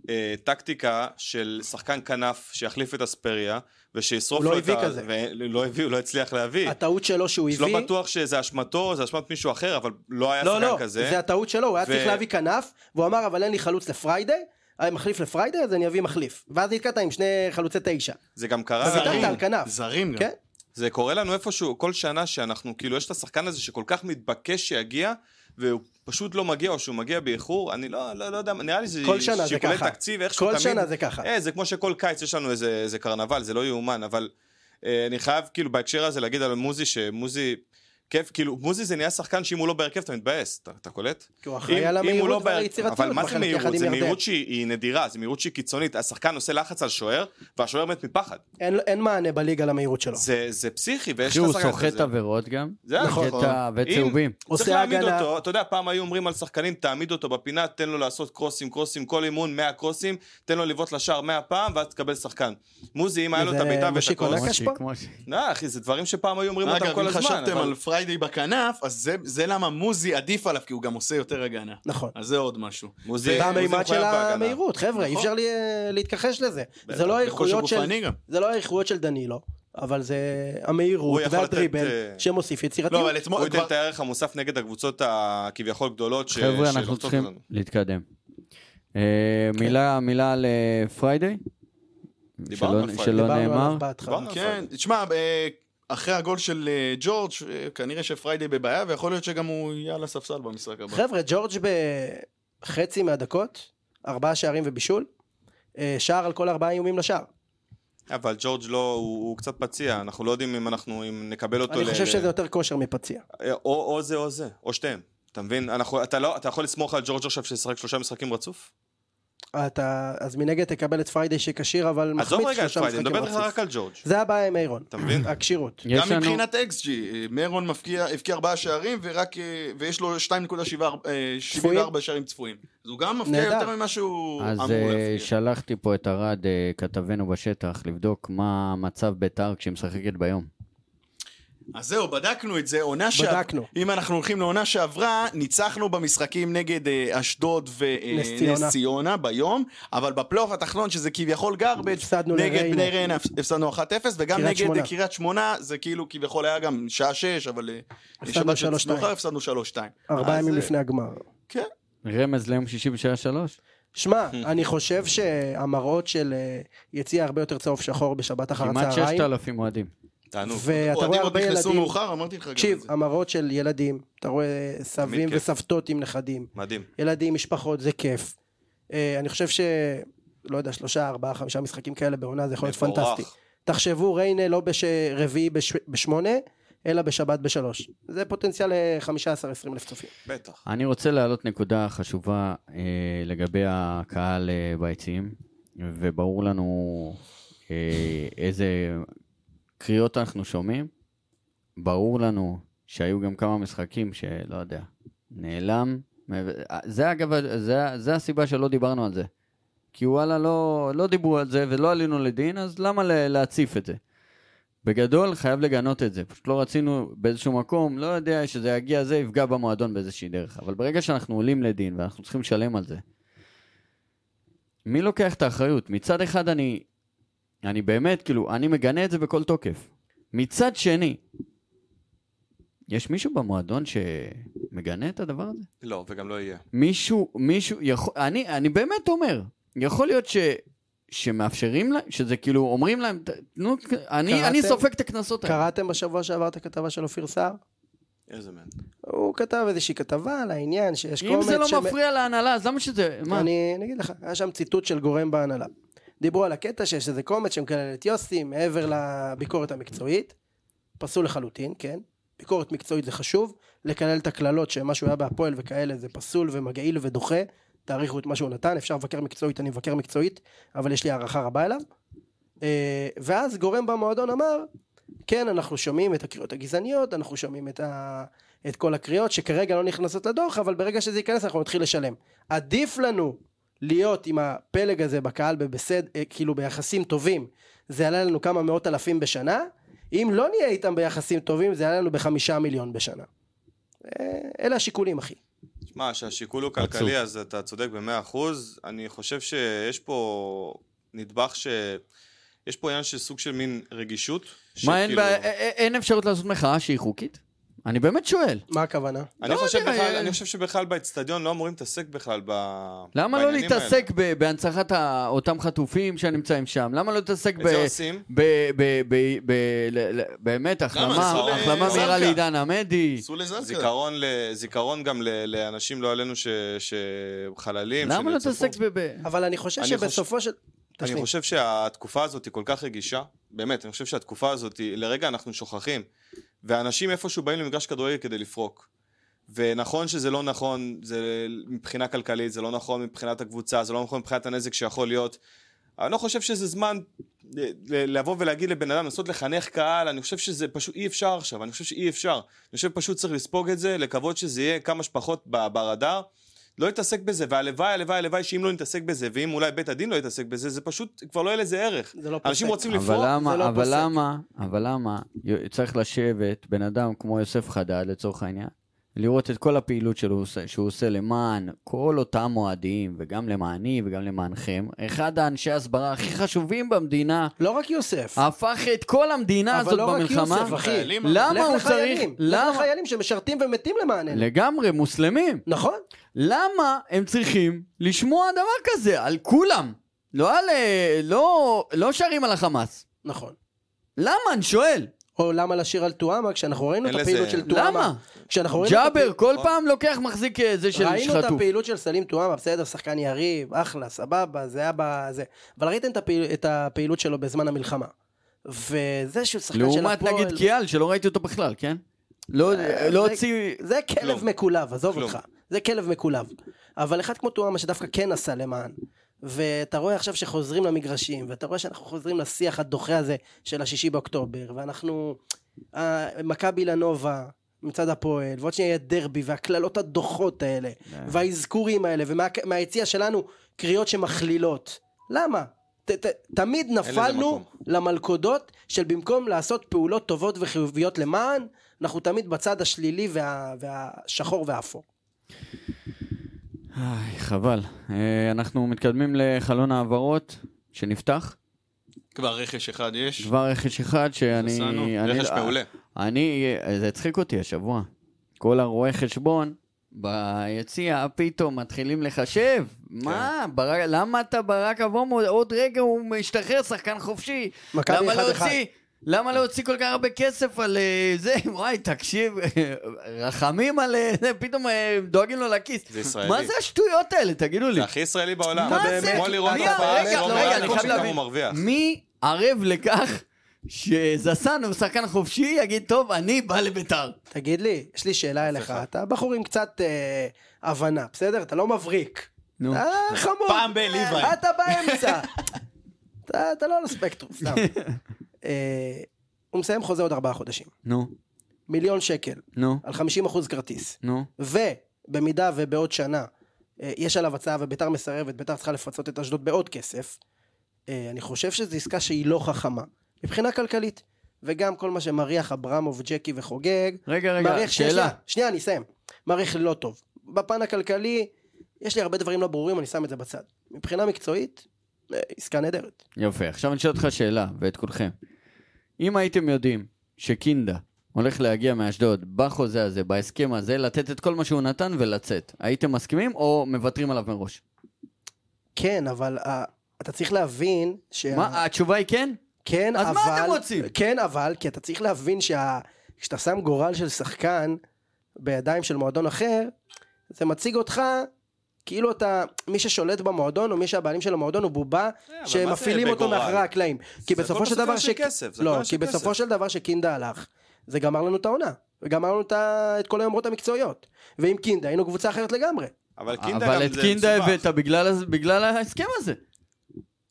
S4: אה, טקטיקה של שחקן כנף שיחליף את אספריה, ושישרוף
S3: הוא לא
S4: לו את
S3: הביא
S4: ה...
S3: כזה.
S4: ולא הביא, הוא לא הצליח להביא.
S3: הטעות שלו שהוא הביא...
S4: לא בטוח שזה אשמתו, זה אשמת מישהו אחר, אבל לא היה
S3: לא,
S4: שחקן
S3: לא,
S4: כזה.
S3: זה הטעות שלו, הוא היה
S4: ו-
S3: צריך להביא כנף, והוא אמר אבל אין לי חלוץ לפריידי, אה, מחליף לפריידי אז אני אביא מחליף. ואז נתקעת עם שני חלוצי תשע.
S4: זה גם קרה.
S3: אז ויתרת על כנף.
S5: זרים גם.
S3: כן?
S4: זה קורה לנו איפשהו כל שנה שאנחנו, כאילו, יש את השחקן הזה שכל כך מתבקש שיגיע, והוא פשוט לא מגיע, או שהוא מגיע באיחור, אני לא, לא, לא יודע, נראה לי שזה
S3: כל שנה זה
S4: שיקולי
S3: ככה.
S4: תקציב, איכשהו
S3: כל
S4: תמיד...
S3: שנה זה ככה.
S4: אה, זה כמו שכל קיץ יש לנו איזה, איזה קרנבל, זה לא יאומן, אבל אה, אני חייב, כאילו, בהקשר הזה להגיד על מוזי, שמוזי... כיף, כאילו, מוזי זה נהיה שחקן שאם הוא לא בהרכב אתה מתבאס, אתה, אתה קולט?
S3: כי הוא אחראי
S4: אם-
S3: על
S4: אם הוא
S3: המהירות
S4: לא
S3: ועל
S4: בהרכב-
S3: היצירתיות
S4: אבל מה זה
S3: בחלק
S4: מהירות?
S3: יחד
S4: זה
S3: עם ירדן.
S4: מהירות שהיא היא נדירה, זו מהירות שהיא קיצונית. השחקן עושה לחץ על שוער, והשוער מת מפחד.
S3: אין- אין מענה בליגה למהירות שלו.
S4: זה, זה פסיכי, ויש
S2: אחי,
S4: את
S2: הוא
S4: השחקן
S2: סוחט
S4: הזה.
S2: עבירות גם.
S4: זה
S2: נכון.
S4: נכון.
S2: קטע וצהובים.
S4: אם צריך
S3: עושה
S4: להעמיד
S3: הגנה.
S4: אותו, אתה יודע, פעם היו אומרים על שחקנים, תעמיד אותו בפינה, תן לו לעשות קרוסים, קרוסים, כל אימון 100 קרוסים, תן לו לבעוט לשער 100 פעם, ואז תקבל שחקן. מוזי, אם היה לו את
S3: זה
S4: הבעיטה ואת
S3: מושיקו
S4: הקרוס...
S3: נקש?
S2: כמו ש-
S3: פה?
S2: כמו ש-
S4: לא, אחי, זה דברים שפעם היו אומרים אותם
S5: אגב,
S4: כל
S5: אם
S4: הזמן.
S5: חשבתם
S4: אבל-
S5: על פריידי בכנף, אז זה- זה למה מוזי עדיף עליו, כי הוא גם עושה יותר הגנה.
S3: נכון.
S5: אז זה עוד משהו.
S4: מוזי-
S5: ו-
S4: אה, הוא
S3: והמימד
S4: מחויב
S3: של
S4: בהגנה.
S3: המהירות, חבר'ה, אי
S5: נכון.
S3: אפשר לה- להתכחש לזה. זה לא
S5: בכושר
S3: האיכויות של...
S5: גופני גם.
S3: זה לא האיכויות של דנילו, אבל זה
S4: הוא
S3: המהירות
S4: יכול
S3: והדריבל
S4: לתת, אה,
S3: שמוסיף
S5: לא,
S3: יצירתיות.
S5: אבל
S4: הוא
S5: אתמול...
S4: ייתן
S5: כבר-
S4: את הערך המוסף נגד הקבוצות הכביכול גדולות ש-
S2: חבר'ה, אנחנו
S4: שלוחצות
S2: צריכים
S4: אותנו.
S2: להתקדם. אה, מילה מילה על אה, פריידי?
S4: דיברנו
S2: שלא-
S4: על פריידי.
S2: שלא
S3: דיברנו
S2: לא נאמר?
S3: עליו בהתחלה.
S4: דיברנו.
S5: כן, תשמע, אה, אחרי הגול של אה, ג'ורג', אה, כנראה שפריידי בבעיה, ויכול להיות שגם הוא יהיה על הספסל במשחק הבא.
S3: חבר'ה, ג'ורג' בחצי מהדקות, ארבעה שערים ובישול, אה, שער על כל ארבעה איומים לשער.
S4: אבל ג'ורג' לא, הוא הוא קצת פציע, אנחנו לא יודעים אם אנחנו, אם נקבל אותו
S3: אני
S4: ל-
S3: חושב
S4: ל-
S3: שזה יותר כושר מפציע.
S4: אה, או, או זה או זה, או שתיהם. אתה מבין? אנחנו, אתה, לא, אתה יכול לסמוך על ג'ורג' עכשיו שישחק שלושה משחקים רצוף?
S3: אתה, אז מנגד תקבל את פריידי שכשיר, אבל מחמיץ
S4: עזוב רגע את
S3: שלושה
S4: פריידי, אני מדבר
S3: משחקים
S4: איתך
S3: רצוף.
S4: רק על ג'ורג'.
S3: זה הבעיה עם איירון,
S4: אתה מבין?
S3: הכשירות.
S2: יש
S5: גם
S2: לנו-
S5: מבחינת XG, אה, מרון מפקיע- הבקיע ארבעה שערים, ורק, אה, ויש לו 2.74 אה, שערים צפויים. אז הוא גם מפקיע
S3: נהדר.
S5: יותר ממה שהוא
S2: אז
S5: אמור
S2: אה,
S5: להפקיע.
S2: שלחתי פה את ארד, אה, כתבנו בשטח, לבדוק מה מצב ביתר כשהיא משחקת ביום.
S5: אז זהו, בדקנו את זה, עונה
S3: בדקנו.
S5: אם אנחנו הולכים לעונה שעברה, ניצחנו במשחקים נגד אה, אשדוד
S3: נס ציונה.
S5: ונס ציונה ביום, אבל בפלייאוף התחתון, שזה כביכול גרבג',
S3: הפסדנו
S5: נגד
S3: לריינה.
S5: בני ריינה הפס- הפסדנו 1-0, וגם
S3: קריית
S5: נגד
S3: שמונה.
S5: אה, קריית שמונה, זה כאילו כביכול היה גם שעה 6, אבל... אה,
S3: הפסדנו
S5: שבת של
S3: 3-2.
S5: מאוחר, הפסדנו 3-2.
S3: ארבעה
S5: אז,
S3: ימים
S5: אה,
S3: לפני הגמר.
S5: כן.
S2: רמז ליום שישי בשעה שלוש?
S3: שמע, אני חושב שהמראות של אה, יציע הרבה יותר צהוב שחור בשבת אחר
S2: כמעט
S3: הצהריים,
S2: 6,000 אוהדים.
S4: תענוג.
S3: ואתה רואה
S5: אוהדים עוד
S3: הרבה
S5: נכנסו
S3: ילדים,
S5: מאוחר, אמרתי לך גם את
S3: תקשיב,
S5: זה.
S3: המראות של ילדים, אתה רואה סבים
S4: כיף.
S3: וסבתות עם נכדים,
S4: מדהים.
S3: ילדים, משפחות, זה כיף. אה, אני חושב ש... לא יודע, שלושה, ארבעה, חמישה משחקים כאלה בעונה, זה יכול להיות
S4: מבורך.
S3: פנטסטי. תחשבו, ריינה לא ברביעי בשמונה, אלא בשבת בשלוש. זה פוטנציאל אה, ל-15-20 אלף צופים.
S4: בטח.
S2: אני רוצה להעלות נקודה חשובה אה, לגבי הקהל אה, ביציעים, וברור לנו אה, איזה קריאות אנחנו שומעים. ברור לנו שהיו גם כמה משחקים שלא יודע, נעלם. אה, זה אגב, זה, זה הסיבה שלא דיברנו על זה. כי וואלה, לא, לא דיברו על זה ולא עלינו לדין, אז למה ל- להציף את זה? בגדול, חייב לגנות את זה. פשוט לא רצינו באיזשהו מקום, לא יודע, שזה יגיע זה, יפגע במועדון באיזושהי דרך. אבל ברגע שאנחנו עולים לדין ואנחנו צריכים לשלם על זה, מי לוקח את האחריות? מצד אחד אני, אני באמת, כאילו, אני מגנה את זה בכל תוקף. מצד שני, יש מישהו במועדון שמגנה את הדבר הזה?
S4: לא, וגם לא יהיה.
S2: מישהו, מישהו, יכול, אני, אני באמת אומר, יכול להיות ש, שמאפשרים להם, שזה כאילו אומרים להם, "ת- תנו, אני, אני
S3: קראתם?
S2: סופג את הקנסות האלה.
S3: קראתם בשבוע שעבר את הכתבה של אופיר סער?
S4: איזה מן.
S3: הוא כתב איזושהי כתבה על העניין שיש
S2: אם
S3: קומץ
S2: זה לא
S3: שמ-
S2: מפריע להנהלה, אז למה שזה, מה?
S3: אני אני אגיד לך, היה שם ציטוט של גורם בהנהלה. דיברו על הקטע שיש איזה קומץ שמקלל את יוסי מעבר לביקורת המקצועית. פסול לחלוטין, כן. ביקורת מקצועית זה חשוב. לקלל את הקללות שמה שהוא היה בהפועל וכאלה זה פסול ומגעיל ודוחה. תעריכו את מה שהוא נתן, אפשר לבקר מקצועית, אני מבקר מקצועית, אבל יש לי הערכה רבה אליו. אה, ואז גורם במועדון אמר, כן, אנחנו שומעים את הקריאות הגזעניות, אנחנו שומעים את, ה... את כל הקריאות שכרגע לא נכנסות לדוח, אבל ברגע שזה ייכנס אנחנו נתחיל לשלם. עדיף לנו להיות עם הפלג הזה בקהל בבסד, אה, כאילו ביחסים טובים, זה יעלה לנו כמה מאות אלפים בשנה, אם לא נהיה איתם ביחסים טובים, זה יעלה לנו בחמישה מיליון בשנה. אה, אלה השיקולים, אחי.
S4: שמע, שהשיקול הוא
S2: עצוב.
S4: כלכלי, אז אתה צודק במאה אחוז. אני חושב שיש פה נדבך ש... יש פה עניין של סוג של מין רגישות.
S2: מה, אין, אה,
S4: שכאילו-
S2: בה, א- א- אין אפשרות לעשות מחאה שהיא חוקית? אני באמת שואל.
S3: מה הכוונה?
S4: אני
S2: לא
S4: חושב
S2: יודע,
S4: בכלל-
S2: אה.
S4: אני חושב שבכלל באצטדיון לא אמורים להתעסק בכלל ב...
S2: למה לא
S4: בעניינים
S2: להתעסק ב- בהנצחת ה- אותם חטופים שנמצאים שם? למה לא להתעסק
S4: האלה. את זה
S2: ב...
S4: עושים?
S2: ב... ב... ב... ב... ל- ל- באמת, החלמה,
S4: עשו ל-
S2: החלמה מהירה
S5: זרקא?
S2: לעידן עמדי.
S5: סעו לזלקה.
S4: זיכרון, ל... זיכרון גם ל... לאנשים לא עלינו ש... שחללים,
S2: למה לא
S4: שנרצחו.
S2: להתעסק ב... ב-
S3: אבל אני חושב
S4: אני
S3: שבסופו של...
S4: אני
S3: תשלים.
S4: חושב שהתקופה הזאת היא כל כך רגישה, באמת, אני חושב שהתקופה הזאת, היא- לרגע אנחנו שוכחים, ואנשים איפשהו באים למגרש כדורגל כדי לפרוק. ונכון שזה לא נכון, זה מבחינה כלכלית, זה לא נכון מבחינת הקבוצה, זה לא נכון מבחינת הנזק שיכול להיות. אני לא חושב שזה זמן ל- ל- לבוא ולהגיד לבן אדם, לנסות לחנך קהל, אני חושב שזה פשוט אי אפשר עכשיו, אני חושב שאי אפשר. אני חושב פשוט צריך לספוג את זה, לקוות שזה יהיה כמה שפחות ב- ברדאר. לא להתעסק בזה, והלוואי, הלוואי, הלוואי שאם לא נתעסק בזה, ואם אולי בית הדין לא יתעסק בזה, זה פשוט, כבר לא יהיה לזה ערך.
S3: זה לא
S4: אנשים
S3: פוסק.
S4: רוצים
S2: אבל
S4: לפרוק,
S2: למה,
S3: זה לא
S2: אבל
S3: פוסק.
S2: למה, אבל למה י- צריך לשבת בן אדם כמו יוסף חדד לצורך העניין, לראות את כל הפעילות שלו עושה- שהוא עושה למען כל אותם אוהדים, וגם למעני וגם למענכם, אחד האנשי ההסברה הכי חשובים במדינה,
S3: לא רק יוסף.
S2: הפך את כל המדינה
S3: אבל
S2: הזאת
S3: לא רק
S2: במלחמה,
S3: יוסף, אחי.
S5: חיילים,
S2: למה
S3: לך
S2: הוא
S3: לחיילים,
S2: צריך,
S3: לך
S2: למה,
S3: לחיילים שמשרתים ומתים למעננו.
S2: לגמרי, מוסלמים,
S3: נכון?
S2: למה הם צריכים לשמוע דבר כזה על כולם, לא על, אה, לא, לא שרים על החמאס,
S3: נכון.
S2: למה אני שואל?
S3: או למה לשיר על טועמה כשאנחנו ראינו
S4: אין
S3: את
S4: לזה-
S3: הפעילות של טועמה.
S2: למה?
S3: כשאנחנו ראינו את
S2: ג'אבר
S3: הפעילות-
S2: כל פעם לוקח מחזיק אה, זה של
S3: ראינו את
S2: שחטוף.
S3: הפעילות של סלים טועמה, בסדר, שחקן יריב, אחלה, סבבה, זה היה בזה. אבל ראיתם את הפעיל- את הפעילות שלו בזמן המלחמה. וזה שהוא שחקן של הפועל...
S2: לעומת נגיד קיאל שלא ראיתי אותו בכלל, כן? לא
S3: אה,
S2: לא
S3: זה-
S2: הוציא...
S3: זה כלב
S2: לא.
S4: כלום.
S3: מקולב, עזוב
S4: כלום.
S3: אותך. זה כלב מקולב. אבל אחד כמו טועמה שדווקא כן עשה למען. ואתה רואה עכשיו שחוזרים למגרשים, ואתה רואה שאנחנו חוזרים לשיח הדוחה הזה של השישי באוקטובר, ואנחנו... אה, מכבי לנובה מצד הפועל, ועוד שנייה יהיה דרבי, והקללות הדוחות האלה, והאזכורים האלה, ומהיציע שלנו קריאות שמכלילות. למה? ת, ת, תמיד
S4: לזה
S3: נפלנו
S4: מקום.
S3: למלכודות של במקום לעשות פעולות טובות וחיוביות למען, אנחנו תמיד בצד השלילי וה, והשחור והאפור.
S2: איי, חבל. אה, אנחנו מתקדמים לחלון העברות שנפתח.
S5: כבר רכש אחד יש.
S2: דבר רכש אחד שאני...
S5: עשינו.
S2: אני-
S4: רכש מעולה.
S2: אני... אה, זה הצחיק אותי השבוע. כל הרואי חשבון ביציע פתאום מתחילים לחשב. מה?
S4: כן.
S2: ברק- למה אתה ברק אבומו? עוד רגע הוא משתחרר, שחקן חופשי.
S3: מכבי
S2: למה
S3: אחד אחד.
S2: להוציא? למה להוציא כל כך הרבה כסף על אה, זה? וואי, תקשיב, רחמים על אה, זה, פתאום אה, דואגים לו לכיס.
S4: זה ישראלי.
S2: מה זה השטויות האלה? תגידו לי.
S4: זה הכי ישראלי בעולם.
S2: מה
S3: אתה
S2: זה?
S3: באמת-
S4: כמו לראות
S2: מי
S4: את הבעל
S2: רגע,
S4: שלו
S2: רגע,
S4: מעל
S2: אני
S4: הכל
S2: חייב
S4: שכמה
S2: להבין.
S4: הוא מרוויח.
S2: מי ערב לכך שזסן הוא שחקן חופשי, יגיד, טוב, אני בא לביתר.
S3: תגיד לי, יש לי שאלה אליך, אתה בחור עם קצת אה, הבנה, בסדר? אתה לא מבריק.
S2: נו.
S3: אתה חמוד.
S5: פעם בליוואי.
S3: אתה באמצע. אתה אתה לא על הספקטרום, סתם. אה, הוא מסיים חוזה עוד ארבעה חודשים.
S2: נו,
S3: מיליון שקל,
S2: נו,
S3: על 50 אחוז כרטיס.
S2: נו.
S3: ובמידה ובעוד שנה אה, יש עליו הצעה וביתר מסרבת, ביתר צריכה לפצות את אשדוד בעוד כסף, אה, אני חושב שזו עסקה שהיא לא חכמה, מבחינה כלכלית. וגם כל מה שמריח אברמוב, ג'קי וחוגג,
S2: רגע, רגע,
S3: מעריך שיש
S2: שאלה.
S3: לה- שנייה, אני אסיים. מעריך לא טוב. בפן הכלכלי, יש לי הרבה דברים לא ברורים, אני שם את זה בצד. מבחינה מקצועית, אה, עסקה נהדרת.
S2: יפה, עכשיו אני אשאל אותך שאלה, ואת כולכם. אם הייתם יודעים שקינדה הולך להגיע מאשדוד בחוזה הזה, בהסכם הזה, לתת את כל מה שהוא נתן ולצאת, הייתם מסכימים או מוותרים עליו מראש?
S3: כן, אבל אה, אתה צריך להבין שה...
S2: מה, התשובה היא כן?
S3: כן,
S2: אז
S3: אבל...
S2: מה אתם רוצים?
S3: כן, אבל, כי אתה צריך להבין שה... כשאתה שם גורל של שחקן בידיים של מועדון אחר, זה מציג אותך כאילו אתה, מי ששולט במועדון, או מי שהבעלים של המועדון הוא
S2: אה,
S3: בובה,
S4: אבל
S3: שמפעילים
S4: מה זה
S3: אותו
S4: בגורל?
S3: מאחורי הקלעים. כי
S4: זה
S3: בסופו
S4: הכל
S3: של
S4: בסופו
S3: דבר...
S4: של
S3: ש-
S4: כסף, זה
S3: לא,
S4: הכל של
S3: כי בסופו
S4: כסף.
S3: של דבר שקינדה הלך, זה גמר לנו את העונה. וגמר לנו את ה- את כל היומרות המקצועיות. ועם קינדה היינו קבוצה אחרת לגמרי.
S4: אבל קינדה גם
S2: אבל
S4: זה
S2: את קינדה
S4: מסובך.
S2: הבאת בגלל הז- בגלל ההסכם הזה.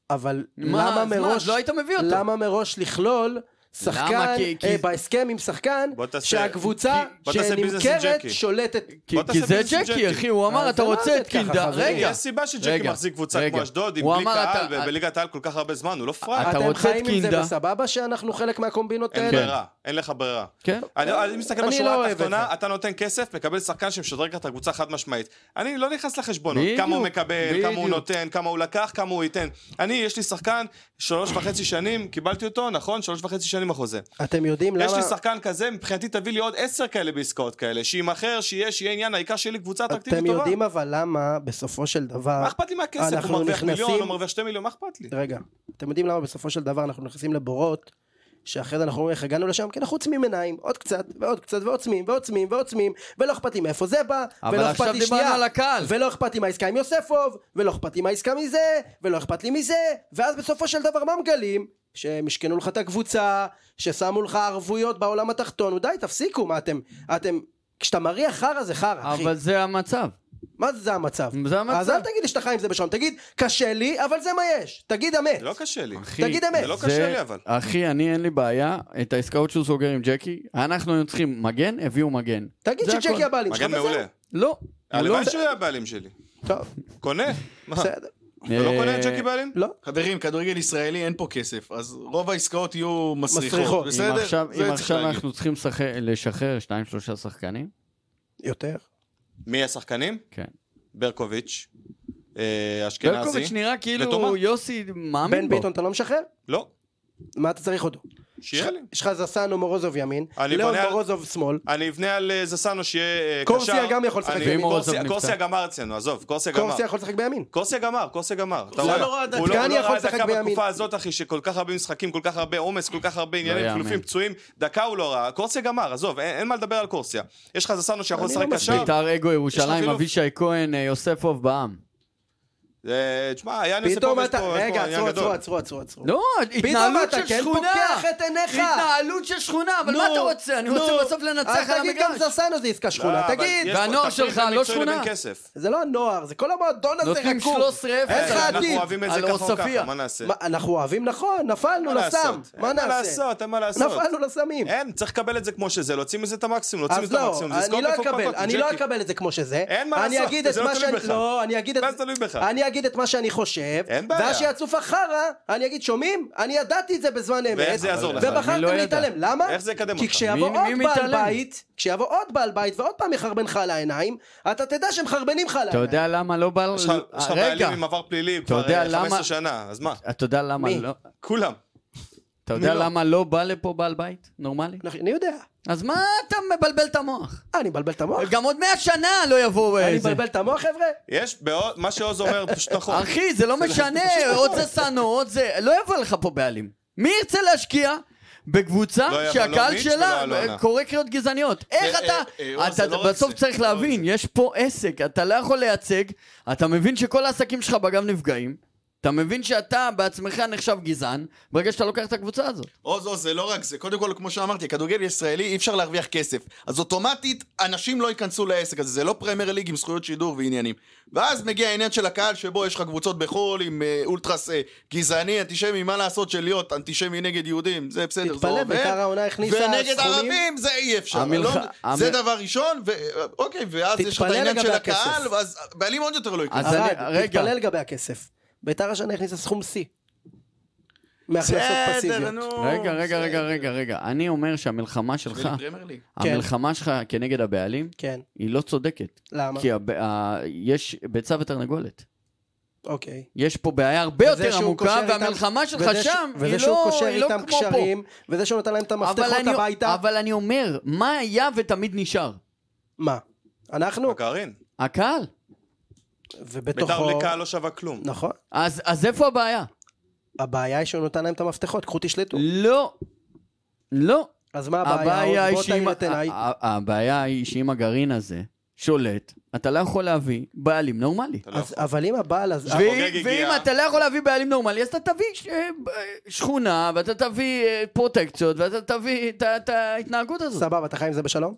S3: אבל
S2: מה,
S3: למה
S2: אז מה,
S3: מראש...
S2: אז לא היית מביא אותו.
S3: למה מראש לכלול שחקן,
S2: למה? כי- כי-
S3: אה, בהסכם עם שחקן,
S4: בוא תעשה-
S3: שהקבוצה
S4: כי- בוא תעשה ביזנס עם
S3: שנמכרת
S4: ג'קי.
S3: שולטת.
S2: כי
S4: בוא תעשה
S2: כי זה
S4: ביזנס עם
S2: ג'קי,
S4: ג'קי.
S2: אחי, הוא אמר,
S3: אז
S2: אתה
S3: זה לא
S2: רוצה
S3: עובד
S2: את
S3: ככה,
S2: קינדה,
S3: חברים.
S2: רגע.
S4: יש סיבה שג'קי
S2: רגע,
S4: מחזיק קבוצה
S2: רגע.
S4: כמו אשדוד, עם
S2: הוא
S4: בלי
S2: אמר,
S4: קהל,
S2: אתה- אה,
S4: ובליגת העל כל כך הרבה זמן, הוא לא פראייר.
S2: אתה
S3: אתם
S2: רוצה את
S3: חיים עם זה
S2: קינדה?
S3: בסבבה שאנחנו חלק מהקומבינות
S4: אין
S3: האלה?
S4: ברירה, אין לך ברירה.
S2: כן.
S4: אני אני מסתכל
S3: אני לא
S4: בשורה
S3: אוהב את
S4: התחתונה,
S3: זה.
S4: אתה נותן כסף, מקבל שחקן שמשדרג לך את הקבוצה חד משמעית. אני לא נכנס לחשבונות,
S2: בדיוק,
S4: כמה הוא מקבל, כמה
S2: בדיוק.
S4: הוא נותן, כמה הוא לקח, כמה הוא ייתן. אני, יש לי שחקן, שלוש וחצי שנים, קיבלתי אותו, נכון? שלוש וחצי שנים החוזה.
S3: אתם יודעים למה...
S4: יש לי שחקן כזה, מבחינתי תביא לי עוד עשר כאלה בעסקאות כאלה, שימכר, שיהיה, שיהיה עניין, העיקר שיהיה לי קבוצה אטרקטיבית
S3: אתם
S4: טובה.
S3: יודעים אבל למה בסופו של דבר...
S4: מה אכפת לי מהכסף?
S3: אנחנו
S4: הוא מרוויח מיליון,
S3: נכנסים-
S4: הוא מרוויח שתי מיליון, מה אכפת לי?
S3: רגע, אתם יודעים למה בסופו של דבר אנחנו נכנסים לבורות שאחרי זה אנחנו אומרים איך הגענו לשם? כי אנחנו עוצמים עיניים, עוד קצת, ועוד קצת, ועוצמים, ועוצמים, ועוצמים, ולא אכפת לי מאיפה זה בא,
S2: אבל
S3: ולא
S2: עכשיו
S3: אכפת לי
S2: דיברנו
S3: שנייה,
S2: על הקהל.
S3: ולא אכפת לי מהעסקה עם יוספוב, ולא אכפת לי מהעסקה מזה, ולא אכפת לי מזה, ואז בסופו של דבר מה מגלים? שהם ישכנו לך את הקבוצה, ששמו לך ערבויות בעולם התחתון, די תפסיקו, מה אתם, אתם, כשאתה מריח חרא זה חרא, אחי.
S2: אבל זה המצב.
S3: מה זה, זה המצב?
S2: זה
S3: אז
S2: המצב.
S3: אל תגיד לי שאתה חי עם אה, זה בשלום, תגיד, קשה לי, אבל זה מה יש, תגיד אמת.
S4: זה לא קשה לי.
S2: אחי,
S3: תגיד אמת. זה
S4: לא קשה לי, אבל.
S2: אחי, אני אין לי בעיה, את העסקאות שהוא סוגר עם ג'קי, אנחנו היינו צריכים מגן, הביאו מגן.
S3: תגיד
S2: זה הכל.
S3: שג'קי הבעלים שלך
S4: מגן
S3: וזהו.
S4: מעולה.
S2: לא. הוא לא-
S4: הלוואי שהוא יהיה הבעלים שלי.
S3: טוב,
S2: אה.
S4: קונה? מה?
S3: בסדר.
S4: אתה לא קונה את ג'קי בעלים?
S3: לא.
S5: חברים, כדורגל ישראלי אין פה כסף, אז רוב העסקאות יהיו מסריחות,
S3: מסריחות.
S2: אם
S5: בסדר?
S2: עכשיו,
S5: זה
S2: אם
S5: צריך
S2: עכשיו
S5: להגיד.
S2: אנחנו צריכים לשחר- לשחרר שניים שלושה שחקנים,
S3: יותר.
S4: מי השחקנים?
S2: כן.
S4: ברקוביץ', אה, אשכנזי.
S2: ברקוביץ' נראה כאילו
S4: ותומה.
S2: יוסי מאמין
S3: בן
S2: בו.
S3: ביטון אתה לא משחרר?
S4: לא,
S3: מה אתה צריך אותו?
S4: שיהיה לי.
S3: יש לך זסנו מורוזוב ימין,
S4: אני
S3: לאון
S4: בונה על-
S3: מורוזוב שמאל.
S4: אני אבנה על אה, זסנו שיהיה אה, קשר.
S3: קורסיה גם יכול לשחק
S4: אני-
S2: ואם
S4: קורסיה-
S2: אורזוב נפצע?
S4: קורסיה גמר אצלנו, עזוב, קורסיה גמר.
S3: קורסיה יכול לשחק בימין.
S4: קורסיה גמר, קורסיה גמר. אתה
S5: לא
S4: רואה?
S5: נורא,
S4: הוא לא- הוא
S3: דגני
S4: לא
S3: יכול
S4: ראה
S3: לשחק
S4: דקה
S3: בימין. לא
S4: בתקופה הזאת, אחי, שכל כך הרבה משחקים, כל כך הרבה עומס, כל כך הרבה עניינים,
S2: יאמן.
S4: חילופים, פצועים, דקה הוא לא ראה. קורסיה גמר, עזוב, אין אין מה לדבר על קורסיה. יש לך זסנו שיכול
S3: אני
S4: לשחק
S3: לא
S4: קשר.
S2: ביתר אגו ירושלים,
S4: חילוף?
S2: אבישי כהן, אה, יוספוב בעם.
S4: אה, תשמע, היה
S3: פתאום
S4: נוספוביץ'
S3: אתה...
S4: פה, יש
S3: רגע,
S4: פה עניין
S3: עצרו, עצרו,
S4: גדול.
S3: עצרו, עצרו, עצרו.
S2: לא, התנהלות
S3: אתה
S2: של
S3: כן
S2: שכונה.
S3: פוקח את עיניך.
S2: התנהלות של שכונה, אבל מה
S3: נו,
S2: אתה רוצה? אני
S3: נו.
S2: רוצה בסוף לנצח על
S3: אז תגיד גם
S2: המגרש.
S3: זסנו זה עסקה שכונה,
S4: לא, אבל
S3: תגיד.
S4: יש פה
S2: והנוער
S4: תפריד
S2: שלך
S4: בין
S2: לא
S4: מקצועי לבין
S2: שכונה?
S4: כסף.
S3: זה לא הנוער, זה כל המועדון הזה
S2: נותנים
S3: רקוב.
S2: 13-0.
S3: אין לך
S4: אה, אנחנו
S3: עתיד.
S4: אוהבים את זה
S2: על
S4: ככה או
S2: עוספיא.
S4: ככה, מה נעשה?
S3: מה, אנחנו אוהבים נכון, נפלנו
S4: מה
S3: לסם.
S4: לעשות?
S3: מה
S4: אין מה
S3: נעשה?
S4: לעשות, אין מה לעשות.
S3: נפלנו לסמים.
S4: אין, צריך לקבל את זה כמו שזה, להוציא מזה את המקסימום, להוציא
S3: אז
S4: מזה את
S3: לא,
S4: המקסימום. זה
S3: אני
S4: עסקאות
S3: לא אקבל,
S4: מפוקפקות,
S3: אני לא
S4: ג'קי.
S3: אקבל את זה כמו שזה.
S4: אין מה
S3: אני
S4: לעשות,
S3: אגיד
S4: זה
S3: את
S4: לא
S3: מה
S4: תלוי
S3: שאני-
S4: בך.
S3: לא, אני אגיד את...
S4: מה זה תלוי בך?
S3: אני אגיד את מה שאני חושב.
S4: אין בעיה.
S3: ואז שיעצוף החרא, אני אגיד, שומעים? אני ידעתי את זה בזמן אמת.
S4: ואיך זה יעזור לך?
S2: מי לא
S3: ובחרתם
S2: ידע?
S3: להתעלם. למה?
S4: איך זה יקדם
S3: כי
S4: אותך?
S3: כשיבוא
S2: מי- מי
S3: עוד בעל
S2: מתעלם?
S3: בית, כשיבוא עוד בעל בית ועוד פעם יחרבן לך על העיניים, אתה תדע שמחרבנים לך על
S2: אתה
S3: העיניים.
S2: יודע למה לא בא...
S4: יש לך- יש לך
S2: רגע,
S4: בעלים עם עבר פלילי כבר
S2: יודע
S4: אה, 15
S2: למה-
S4: שנה, אז מה?
S2: אתה יודע למה
S3: מי?
S2: לא...
S4: כולם.
S2: אתה
S3: מי
S2: יודע
S3: לא?
S2: למה לא בא לפה בעל בית נורמלי?
S3: אנחנו- נכון, אני יודע.
S2: אז מה אתה מבלבל את המוח?
S3: אה, אני מבלבל את המוח?
S2: גם עוד מאה שנה לא יבואו
S3: אני
S2: איזה.
S3: מבלבל את המוח, חבר'ה?
S4: יש, בעוד- מה שעוז אומר פשוט נכון.
S2: לא אחי, זה לא משנה, עוד זה סנו, עוד זה... לא יבוא לך פה בעלים. מי ירצה להשקיע? בקבוצה
S4: לא היה
S2: שהקהל
S4: ולא מיץ'
S2: שלה
S4: ולא אלונה.
S2: קורא קריאות גזעניות. איך
S5: לא. אה,
S2: אתה...
S5: אה, אה, אור,
S2: אתה
S5: זה לא רק
S2: בסוף
S5: זה,
S2: צריך
S5: זה לא רק
S2: להבין,
S5: זה.
S2: יש פה עסק, אתה לא יכול לייצג, אתה מבין שכל העסקים שלך בגב נפגעים. אתה מבין שאתה בעצמך נחשב גזען ברגע שאתה לוקח את הקבוצה הזאת.
S5: עוז עוז זה לא רק זה, קודם כל כמו שאמרתי, הכדורגל הישראלי אי אפשר להרוויח כסף. אז אוטומטית אנשים לא ייכנסו לעסק הזה, זה לא פרמייר ליג עם זכויות שידור ועניינים. ואז מגיע העניין של הקהל שבו יש לך קבוצות בחו"ל עם אה, אולטרס אה, גזעני, אנטישמי, מה לעשות שלהיות אנטישמי נגד יהודים, זה בסדר, זה
S3: תתפלא,
S5: עובד.
S3: בית"ר העונה הכניסה
S5: ונגד
S3: סכומים.
S5: ערבים זה אי אפשר.
S2: המלח-
S5: לא, זה
S2: המ-
S5: דבר ראשון, ו... אוקיי, ואז יש לך את
S3: תתפלא
S5: העניין
S3: לגבי
S5: של
S3: הכסף.
S5: הקהל, ואז בעלים עוד יותר לא ייכנסו.
S2: אז
S3: ערד,
S2: אני- רגע.
S3: תתפלא לגבי הכסף. ביתר השנה הכניסה סכום שיא. מהכנסות
S5: בסדר,
S3: פסיביות.
S5: נו.
S2: רגע, רגע,
S5: בסדר.
S2: רגע, רגע, רגע. אני אומר שהמלחמה שלך,
S5: בשביל פרמייר ליג.
S2: המלחמה שלך כנגד הבעלים,
S3: כן,
S2: היא לא צודקת.
S3: למה?
S2: כי הב- ה- יש ביצה ותרנגולת.
S3: אוקיי.
S2: יש פה בעיה הרבה
S3: וזה
S2: יותר
S3: שהוא
S2: עמוקה,
S3: קושר איתם-
S2: והמלחמה שלך
S3: וזה ש-
S2: שם היא
S3: וזה שהוא
S2: לא
S3: קושר
S2: היא לא
S3: איתם
S2: כמו פה.
S3: קשרים, וזה שהוא נתן להם את
S2: אבל
S3: המפתחות
S2: אני-
S3: הביתה.
S2: אבל אני אומר, מה היה ותמיד נשאר?
S3: מה? אנחנו?
S4: הקהרין.
S2: הקהל.
S4: לא, אוקיי. ביתר
S3: ובתוכו...
S4: בלי קהל לא שווה כלום.
S3: נכון.
S2: אז אז איפה הבעיה?
S3: הבעיה היא שהוא נתן להם את המפתחות, קחו תשלטו.
S2: לא. לא.
S3: אז מה
S2: הבעיה
S3: הבעיה?
S2: היא
S3: בוא
S2: שאם... אה,
S3: תאיר את עיניי.
S2: ה- ה- הבעיה היא שאם הגרעין הזה שולט, אתה לא יכול להביא בעלים נורמלי.
S4: אתה לא
S3: אז-
S4: יכול.
S3: אבל אם הבעל... אז-
S2: ואם
S4: החוגג הגיע.
S2: ואם אתה לא יכול להביא בעלים נורמלי, אז אתה תביא ש- אה, שכונה, ואתה תביא אה, פרוטקציות, ואתה תביא את ה- את ההתנהגות הזאת.
S3: סבבה, אתה חי עם זה בשלום?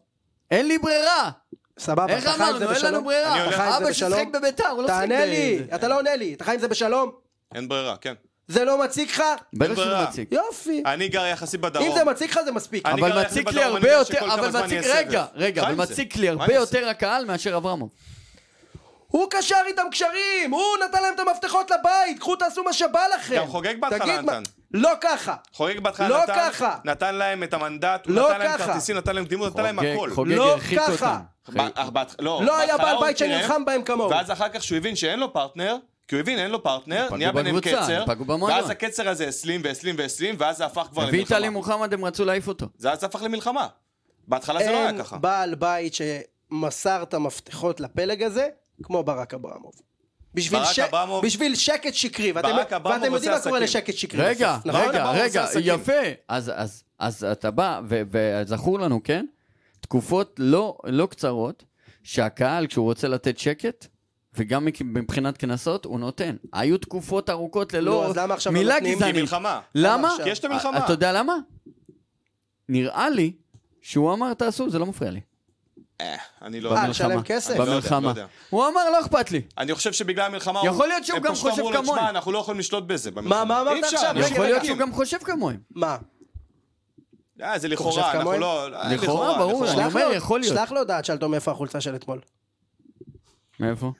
S2: אין לי ברירה!
S3: סבבה,
S2: איך
S3: אתה חי עם זה
S2: אמרנו? אין לנו
S3: בשלום?
S4: אני
S2: ברירה.
S4: הולך-
S3: אתה חי עם זה
S2: אבא ששיחק
S3: בשלום?
S2: בביתר, הוא לא שיחק
S3: תענה
S2: ב-
S3: לי, אתה לא עונה לי, אתה חי עם זה בשלום?
S4: אין ברירה, כן.
S3: זה לא מציק לך?
S2: בטח שזה
S4: ברירה.
S2: מציק.
S3: יופי.
S4: אני גר יחסית בדרום.
S3: אם זה מציק לך זה מספיק.
S4: אני גר
S2: אבל
S4: יחד
S2: מציק לי
S4: בדרום,
S2: הרבה
S4: אני יודע שכל
S2: יותר,
S4: כמה
S2: אבל
S4: זמן
S2: מציק,
S4: יהיה
S2: רגע,
S4: סבב.
S2: רגע,
S4: חי
S2: אבל
S4: עם זה.
S2: מציק לי
S4: מה
S2: הרבה
S4: אני אעשה?
S2: יותר הקהל מאשר אברמוב.
S3: הוא קשר איתם קשרים! הוא נתן להם את המפתחות לבית! קחו תעשו מה שבא לכם!
S4: גם חוגג בהתחלה
S3: תגיד מה-
S4: נתן.
S3: לא ככה!
S4: חוגג בהתחלה
S3: לא
S4: נתן,
S3: ככה.
S4: נתן להם את המנדט, הוא
S3: לא
S4: נתן להם
S3: ככה.
S4: כרטיסים, נתן להם קדימות, נתן להם
S2: חוגג-
S4: הכל.
S2: חוגג
S3: לא
S2: הרחיק
S3: ככה.
S2: אותם.
S4: ב- אך בהתח-
S3: לא היה
S4: בהתחלה
S3: בעל
S4: הוא
S3: בית
S4: קירב,
S3: שנלחם בהם כמוהו.
S4: ואז אחר כך שהוא הבין שאין לו פרטנר, כי הוא הבין אין לו פרטנר,
S2: פגעו
S4: נהיה ביניהם
S2: בקבוצה,
S4: קצר,
S2: הם פגעו במועדון.
S4: ואז הקצר הזה הסלים והסלים והסלים, ואז זה הפך כבר
S2: הביא את עלי
S4: למלחמה.
S2: מוחמד, הם רצו להעיף אותו.
S4: זה אז הפך למלחמה. בהתחלה זה לא
S3: אין
S4: היה ככה.
S3: בעל בית שמסר את המפתחות לפלג הזה כמו ברק אברמוב. בשביל,
S4: ברק
S3: ש...
S4: אברמוב-
S3: בשביל שקט שקרי, ואתם,
S4: ברק אברמוב
S3: ואתם יודעים
S4: עושה
S3: מה קורה
S4: עסקים.
S3: לשקט שקרי.
S2: רגע,
S3: בסוף, נכון?
S2: רגע,
S4: אמרנו,
S2: רגע,
S4: זה עסקים.
S2: יפה. אז- אז- אז אתה בא, ו- וזכור לנו, כן? תקופות לא לא קצרות, שהקהל, כשהוא רוצה לתת שקט, וגם מכ- מבחינת קנסות, הוא נותן. היו תקופות ארוכות
S3: נו,
S2: ללא
S3: אז למה עכשיו לא
S2: מילה
S3: נותנים?
S4: כי
S2: גזענית.
S4: מלחמה.
S2: למה?
S3: עכשיו?
S4: כי יש את המלחמה.
S2: אתה יודע למה? נראה לי שהוא אמר תעשו, זה לא מפריע לי.
S4: אה, אני לא
S3: אה,
S4: יודע.
S2: במלחמה.
S3: לשלם כסף?
S4: לא יודע, לא
S2: במלחמה.
S4: יודע.
S2: הוא אמר, לא אכפת לי.
S4: אני חושב שבגלל המלחמה...
S2: יכול
S4: הוא-
S2: להיות שהוא
S4: הם
S2: גם
S4: פשוט אמרו
S2: חושב
S4: לו,
S2: כמוני.
S4: "תשמע, אנחנו לא יכולים לשלוט בזה במלחמה.
S3: מה
S4: אי
S3: אמרת
S4: אפשר,
S3: עכשיו?
S4: אנחנו
S3: רגע,
S2: יכול להיות
S4: חלקים.
S2: שהוא גם חושב כמוהם.
S3: מה?
S4: אה, זה
S3: חושב
S4: לכאורה, אנחנו
S3: כמוהם?
S4: לא... אה,
S2: לכאורה, ברור,
S4: לכאורה.
S2: אני
S3: שלח
S2: אומר,
S3: לו-
S2: יכול להיות.
S3: שלח לו הודעה, תשאל אותו מאיפה החולצה של אתמול.
S2: מאיפה?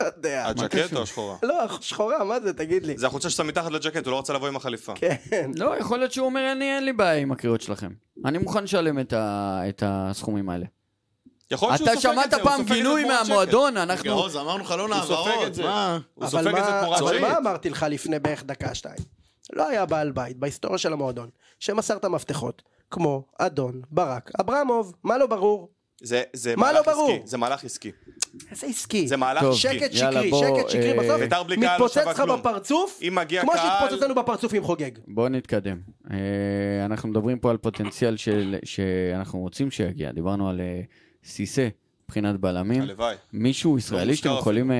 S3: לא יודע.
S4: הג'קט או השחורה?
S3: לא, שחורה, מה זה? תגיד לי.
S4: זה החולצה שאתה מתחת לג'קט, הוא לא רצה לבוא עם החליפה.
S3: כן.
S2: לא, יכול להיות שהוא אומר, "אני- אין לי בעיה עם הקריאות שלכם. אני מוכן לשלם את ה- את הסכומים האלה.
S4: יכול להיות
S2: אתה
S4: שהוא סופג את
S2: שמעת
S4: זה, הוא
S2: פעם
S4: סופג את זה
S2: גינוי
S4: תמורת
S2: מהמועדון,
S5: רגע,
S2: אנחנו...
S5: עוז, אמרנו חלון
S4: הוא סופג
S5: העברות,
S4: את זה.
S5: מה?
S4: שקט. הוא
S3: אבל
S4: סופג את זה
S3: מה,
S4: תמורת
S3: אבל מה
S4: שקט.
S3: אמרתי לך לפני בערך דקה-שתיים? לא היה בעל בית בהיסטוריה של המועדון שמסר את המפתחות, כמו אדון ברק אברמוב, מה לא ברור?
S4: זה- זה
S3: מה לא
S4: מהלך
S3: ברור? כן.
S4: עסקי, זה מהלך עסקי.
S3: איזה עסקי.
S4: זה מהלך
S2: טוב.
S4: עסקי.
S3: שקט
S2: יאללה,
S3: שקרי,
S2: בוא,
S3: שקט שקרי,
S2: אה,
S3: בסוף
S4: בית"ר בלי קהל לא
S3: מתפוצץ
S4: שווה
S3: לך
S4: כלום.
S3: בפרצוף,
S4: אם מגיע
S3: כמו
S4: קהל-
S3: שהתפוצץ לנו בפרצוף עם חוגג.
S2: בואו נתקדם. אה, אנחנו מדברים פה על פוטנציאל של- שאנחנו רוצים שיגיע. דיברנו על אה, סיסא מבחינת בלמים.
S4: הלוואי. לא,
S2: מישהו ישראלי שאתם
S4: מוזכר
S2: יכולים... אה,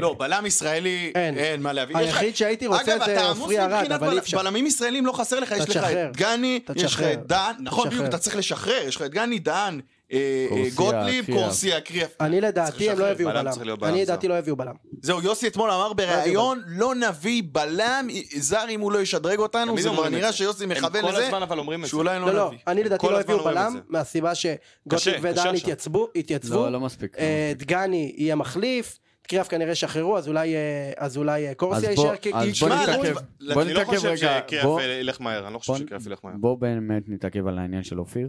S5: לא, בלם ישראלי,
S3: אין.
S5: אין מה להביא. יש לך-
S3: כן. היחיד שהייתי רוצה
S5: אגב,
S3: זה
S5: אתה עמוס
S3: עופרי ארד,
S5: מבחינת
S3: אבל אי
S5: בל-
S3: אפשר.
S5: בלמים ישראלים לא חסר לך, יש לך
S3: תשחרר.
S5: את דגני,
S3: אתה
S5: יש לך
S3: תשחרר.
S5: את דן, נכון,
S3: תשחרר.
S5: בדיוק, אתה צריך לשחרר, יש לך את דגני, דן, אה, אה,
S2: קורסיה,
S5: גוטליב,
S2: קריאף.
S5: קורסיה, קריאף.
S3: אני לדעתי הם לא
S5: לשחרר.
S3: יביאו
S4: בלם
S3: בלם.
S4: צריך להיות
S3: אני
S4: בלם,
S3: לדעתי לא יביאו בלם.
S5: זהו, יוסי אתמול אמר בריאיון, לא נביא בלם זר אם הוא לא ישדרג אותנו,
S4: תמיד
S5: זה כבר
S4: אומרים את
S5: נראה
S4: זה.
S5: שיוסי מכוון
S4: הם כל
S5: לזה,
S4: הזמן אבל אומרים את זה.
S5: שאולי
S3: לא,
S5: לא
S3: לא,
S5: נביא.
S3: אני לדעתי לא
S4: כל הזמן
S3: הביאו
S4: אומרים את
S3: בלם,
S4: זה.
S3: מהסיבה שגוטליב
S4: קשה
S3: ודן
S4: שם.
S3: התייצבו, התייצבו.
S2: לא, לא מספיק. לא
S3: אה,
S2: מספיק.
S3: דגני יהיה מחליף, קריאף כנראה שחררו, אז אולי, אה, אז אולי אה, קורסיה
S2: אז בוא-
S3: יישאר כי...
S2: אז בוא
S3: תשמע,
S2: נתעכב.
S3: אנחנו-
S2: בוא
S4: אני לא
S2: נתעכב
S4: חושב
S2: רגע,
S4: שקריאף
S2: בוא-
S4: ילך מהר, אני לא חושב
S2: בוא-
S4: שקריאף ילך מהר.
S2: בוא באמת נתעכב על העניין של אופיר.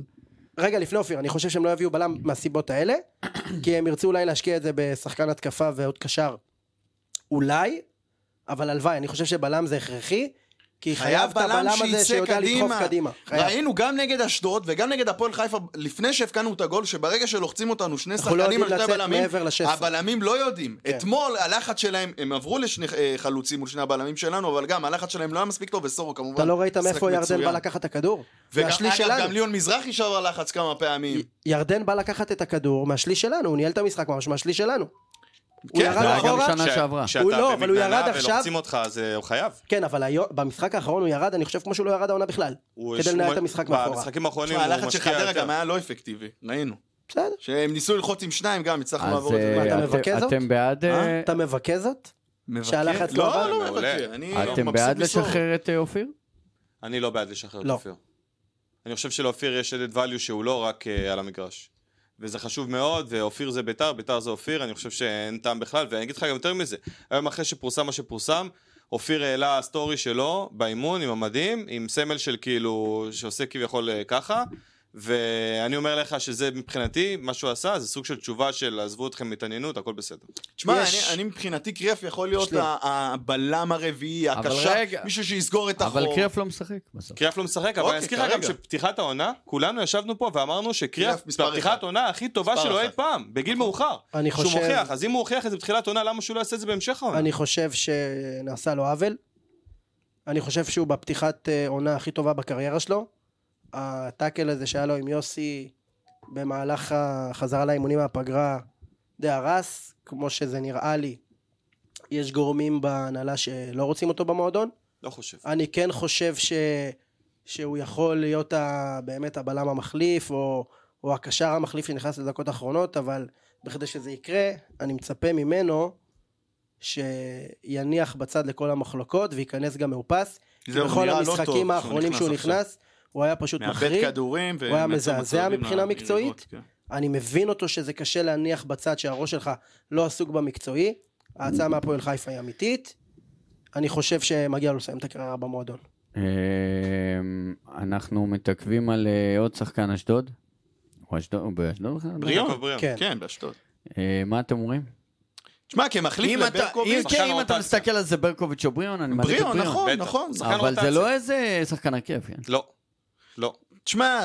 S3: רגע, לפני אופיר, אני חושב שהם לא יביאו בלם מהסיבות האלה, כי הם ירצו אולי להשקיע את זה בשחקן התקפה ועוד קשר. אולי, אבל הלוואי, אני חושב שבלם זה הכרחי, כי
S5: חייב
S3: חייב את הבלם הזה
S5: שיצא
S3: שיודע לדחוף קדימה. חייב.
S5: ראינו גם נגד אשדוד וגם נגד הפועל חיפה, לפני שהבקענו את הגול, שברגע שלוחצים אותנו שני
S3: אנחנו לא
S5: שחקנים על
S3: יודעים
S5: שתי
S3: לצאת
S5: בלמים,
S3: מעבר לשש עשרה.
S5: הבלמים לא יודעים.
S3: כן.
S5: אתמול הלחץ שלהם, הם עברו לשני אה, חלוצים מול שני הבלמים שלנו, אבל גם הלחץ שלהם לא היה מספיק טוב, וסורו כמובן.
S3: אתה לא ראית
S5: משחק
S3: מאיפה ירדן
S5: מצוין.
S3: בא לקחת את הכדור?
S5: וגם,
S3: מהשליש
S5: אגב,
S3: שלנו.
S5: גם ליאון מזרחי שבר לחץ כמה פעמים.
S3: ירדן בא לקחת את הכדור מהשליש שלנו, הוא ניהל את המשחק ממש מהשליש שלנו. הוא
S5: כן,
S3: ירד
S2: זה היה גם
S3: אחורה,
S2: שנה שעברה.
S4: כשאתה
S3: הוא לא, אבל הוא
S4: במגננה
S3: ירד עכשיו.
S4: ולוחצים אותך, אז אה, הוא חייב.
S3: כן, אבל היום- במשחק האחרון הוא ירד, אני חושב כמו שהוא לא ירד העונה בכלל.
S4: הוא-
S3: כדי
S4: שהוא-
S3: לנהל את המשחק מאחורה.
S4: במשחקים האחרונים
S5: תשמע,
S4: הוא
S5: הלחץ של
S4: משקיע
S5: חדרה
S4: יותר.
S5: גם היה לא אפקטיבי, ראינו.
S3: בסדר.
S5: שהם ניסו ללחוץ עם שניים גם, הצלחנו
S2: אז
S5: לעבור את
S2: אה,
S5: זה.
S3: מה, אתה
S2: אתם-
S3: מבכה זאת?
S2: אתם בעד... אה,
S3: אתה מבכה זאת?
S5: מבקר?
S3: שהלחץ לא
S5: לא,
S3: עבר?
S5: לא
S4: מעולה.
S5: מבקר. אני
S2: אתם
S5: מבסוט
S2: בעד
S5: מסורו.
S2: לשחרר את אה, אופיר?
S4: אני לא בעד לשחרר את
S3: לא.
S4: אופיר. אני חושב שלאופיר יש added value שהוא לא רק אה, על המגרש. וזה חשוב מאוד, ואופיר זה ביתר, ביתר זה אופיר, אני חושב שאין טעם בכלל, ואני אגיד לך גם יותר מזה, היום אחרי שפורסם מה שפורסם, אופיר העלה סטורי שלו באימון עם המדים, עם סמל של כאילו, שעושה כביכול אה, ככה, ואני אומר לך שזה מבחינתי, מה שהוא עשה, זה סוג של תשובה של עזבו אתכם מהתעניינות, הכל בסדר.
S5: תשמע,
S3: יש-
S5: אני- אני מבחינתי קריאף יכול להיות
S3: שנייה.
S5: ה- הבלם הרביעי,
S2: אבל רגע.
S5: הקשר, מישהו שיסגור את החור.
S2: אבל קריאף לא משחק בסוף.
S4: קריאף לא משחק, אבל
S5: אוקיי,
S4: אני אזכיר לך גם
S5: כרגע.
S4: שפתיחת העונה, כולנו ישבנו פה ואמרנו שקריאף,
S5: קריאף מספר
S4: בפתיחת
S5: אחד.
S4: עונה הכי טובה
S5: מספר נכון.
S4: שלו
S5: אחד.
S4: אי פעם, בגיל מאוחר.
S3: אני
S4: שהוא
S3: חושב-
S4: מוכיח, אז אם הוא הוכיח את זה בתחילת עונה, למה שהוא לא יעשה את זה בהמשך העונה?
S3: אני חושב שנעשה לו עוול. אני חושב שהוא בפתיחת אה, עונה הכי טובה בקריירה שלו. הטאקל הזה שהיה לו עם יוסי במהלך החזרה לאימונים מהפגרה די הרס, כמו שזה נראה לי. יש גורמים בהנהלה שלא רוצים אותו במועדון.
S4: לא חושב.
S3: אני כן חושב ש... שהוא יכול להיות ה... באמת הבלם המחליף, או... או הקשר המחליף שנכנס לדקות האחרונות, אבל בכדי שזה יקרה, אני מצפה ממנו שיניח בצד לכל המחלוקות וייכנס גם מאופס.
S5: זהו, הוא
S3: בכל
S5: נראה לא טוב
S3: המשחקים
S5: כשהוא
S3: האחרונים שהוא
S5: עכשיו.
S3: נכנס, הוא היה פשוט
S5: מאבד
S3: מחריד.
S5: כדורים.
S3: הוא היה
S5: ומייצר
S3: מזעזע
S5: מצבים
S3: מבחינה
S5: למרירות,
S3: מקצועית.
S5: כן.
S3: אני מבין אותו שזה קשה להניח בצד שהראש שלך לא עסוק במקצועי. ההצעה מהפועל חיפה היא אמיתית. אני חושב שמגיע לו לסיים את הקריירה במועדון.
S2: אמ, אנחנו מתעכבים על אה, עוד שחקן אשדוד. הוא אשדוד, הוא באשדוד בכלל?
S5: בריאון.
S4: יעקב בריאון.
S3: כן.
S5: כן, באשדוד.
S2: אה, מה אתם אומרים?
S5: תשמע, כמחליף
S2: אם אתה- אם
S5: לברקוביץ',
S2: כן,
S4: שחקן
S2: אם אתה
S4: רוטציה.
S2: מסתכל על זה ברקוביץ' או בריאון, אני מעדיף את
S5: בריאון,
S2: בריאון.
S5: נכון,
S4: בטח.
S5: נכון.
S4: שחקן
S2: אבל זה
S4: רוטציה.
S2: לא איזה שחקן הרכב, כן.
S4: לא. לא.
S5: תשמע,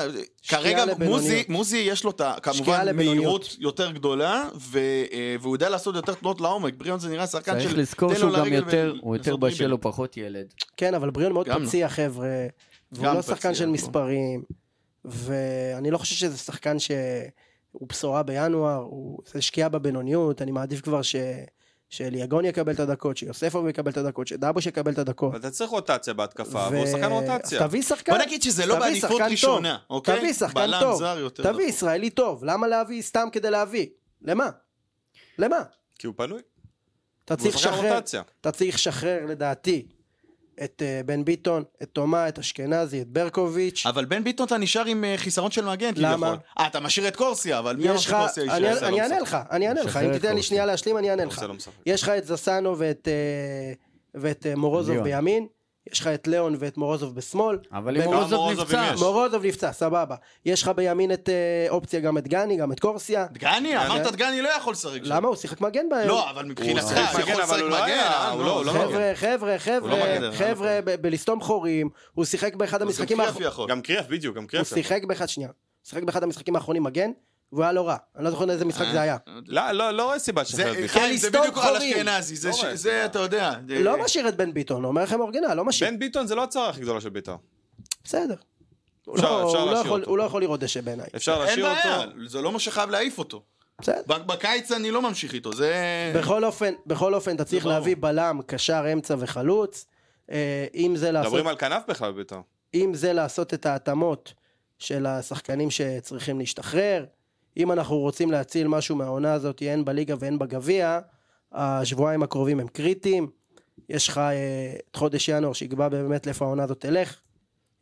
S5: כרגע
S3: לבינוניות.
S5: מוזי, מוזי יש לו את ה- כמובן
S3: לבינוניות.
S5: מהירות יותר גדולה, ו- אה, והוא יודע לעשות יותר תנועות לעומק. בריאון זה נראה שחקן של...
S2: צריך לזכור
S5: תן לו
S2: שהוא גם
S5: לרגל
S2: יותר,
S5: ול-
S2: הוא יותר
S5: לעשות
S2: בשל,
S5: דריבל.
S2: הוא פחות ילד.
S3: כן, אבל בריאון מאוד
S5: גם לא.
S3: פציע, חבר'ה. והוא
S5: גם
S3: לא
S5: פציע, נכון.
S3: שחקן של
S5: בוא.
S3: מספרים. ואני לא חושב שזה שחקן שהוא בשורה בינואר, הוא זה שקיעה בבינוניות, אני מעדיף כבר ש... שאליגון יקבל את הדקות, שיוספוב יקבל את הדקות, שדבוש יקבל את הדקות.
S4: אבל אתה צריך רוטציה בהתקפה,
S3: ו-
S4: והוא שחקן
S3: אז
S4: רוטציה.
S3: תביא שחקן.
S5: בוא נגיד שזה לא
S3: כן. תביא
S5: בעדיפות
S3: שחקן
S5: ראשונה,
S3: טוב.
S5: אוקיי?
S3: תביא שחקן
S5: בלם
S3: טוב.
S5: זר יותר
S3: תביא
S5: דחוף.
S3: ישראלי טוב, למה להביא סתם כדי להביא? למה? למה?
S4: כי הוא פנוי.
S3: אתה
S4: הוא
S3: צריך
S4: שחקן
S3: לשחרר,
S4: רוטציה.
S3: אתה צריך לשחרר לדעתי את אה, בן ביטון, את תומה, את אשכנזי, את ברקוביץ'.
S5: אבל בן ביטון אתה נשאר עם אה, חיסרון של מגן,
S3: למה?
S5: כביכול. אה, אתה משאיר את קורסיה, אבל מי אמר
S3: יש לך,
S5: שקורסיה
S3: אני-
S4: לא
S5: יישאר?
S3: אני אענה לך, אני אענה לך,
S2: משחרר
S3: אם
S2: את
S3: תיתן לי
S2: קורסיה.
S3: שנייה להשלים אני אענה לך.
S4: קורסיה לא משחק.
S3: יש לך את זסנו ואת אה, ואת אה, מורוזוב
S2: ליאון.
S3: בימין, יש לך את ליאון ואת מורוזוב בשמאל,
S2: אבל אם
S3: גם
S2: מורוזוב
S4: מורוזוב אם
S2: נפצע,
S4: יש.
S3: מורוזוב נפצע, סבבה. יש לך בימין את אה, אופציה גם את גני, גם את קורסיה.
S5: דגני, אמרת דגני לא יכול לשחק שם.
S3: למה? הוא שיחק מגן בהם.
S5: לא, אבל מבחינתך,
S4: שיחק
S5: הוא
S4: מגן,
S5: יכול
S4: אבל
S5: לשחק
S4: הוא לא
S5: מגן,
S4: היה,
S5: אה,
S4: הוא
S5: נו.
S4: לא- הוא לא
S5: זה-
S4: מגן.
S3: חבר'ה, חבר'ה,
S4: לא מגן,
S3: חבר'ה,
S4: אבל-
S3: חבר'ה, ב- בלסתום חורים, הוא שיחק באחד
S5: אז גם
S3: המשחקים
S5: קריאף
S3: האחרונים.
S5: יכול.
S4: גם קריאף, בדיוק, גם
S3: הוא
S4: קריאף.
S3: שיחק באחד, שנייה, הוא שיחק באחד המשחקים האחרונים מגן, והוא היה לא רע. אני לא זוכר איזה משחק זה היה.
S4: לא, לא, לא רואה סיבה
S5: זה-
S4: לשחרר בכלל.
S5: כן, זה
S3: לסתום
S5: בדיוק על
S3: חורים.
S5: אשכנזי, זה
S4: לא
S5: ש-
S4: רואה.
S5: זה אתה יודע. זה-
S3: לא משאיר את בן ביטון, אומר לכם אורגינל, לא משאיר.
S4: בן ביטון זה לא הצהרה הכי גדולה של בית"ר.
S3: בסדר. הוא
S4: אפשר-
S3: לא-
S4: אפשר
S3: הוא לא
S4: להשאיר
S3: יכול-
S4: אותו.
S3: הוא לא יכול לראות דשא בעיניי.
S4: אפשר
S5: אין
S4: להשאיר
S5: בעיה,
S4: אותו.
S5: זה לא מה שחייב להעיף אותו.
S3: בסדר.
S5: ב- בקיץ אני לא ממשיך איתו, זה...
S3: בכל אופן, בכל אופן, אתה צריך
S5: ברור.
S3: להביא בלם, קשר, אמצע וחלוץ. אה, אם זה לעשות,
S4: מדברים על כנף בכלל בבית"ר.
S3: אם זה לעשות את ההתאמות של השחקנים שצריכים להשתחרר, אם אנחנו רוצים להציל משהו מהעונה הזאת, הן בליגה והן בגביע, השבועיים הקרובים הם קריטיים. יש לך אה, את חודש ינואר שיקבע באמת לאיפה העונה הזאת תלך.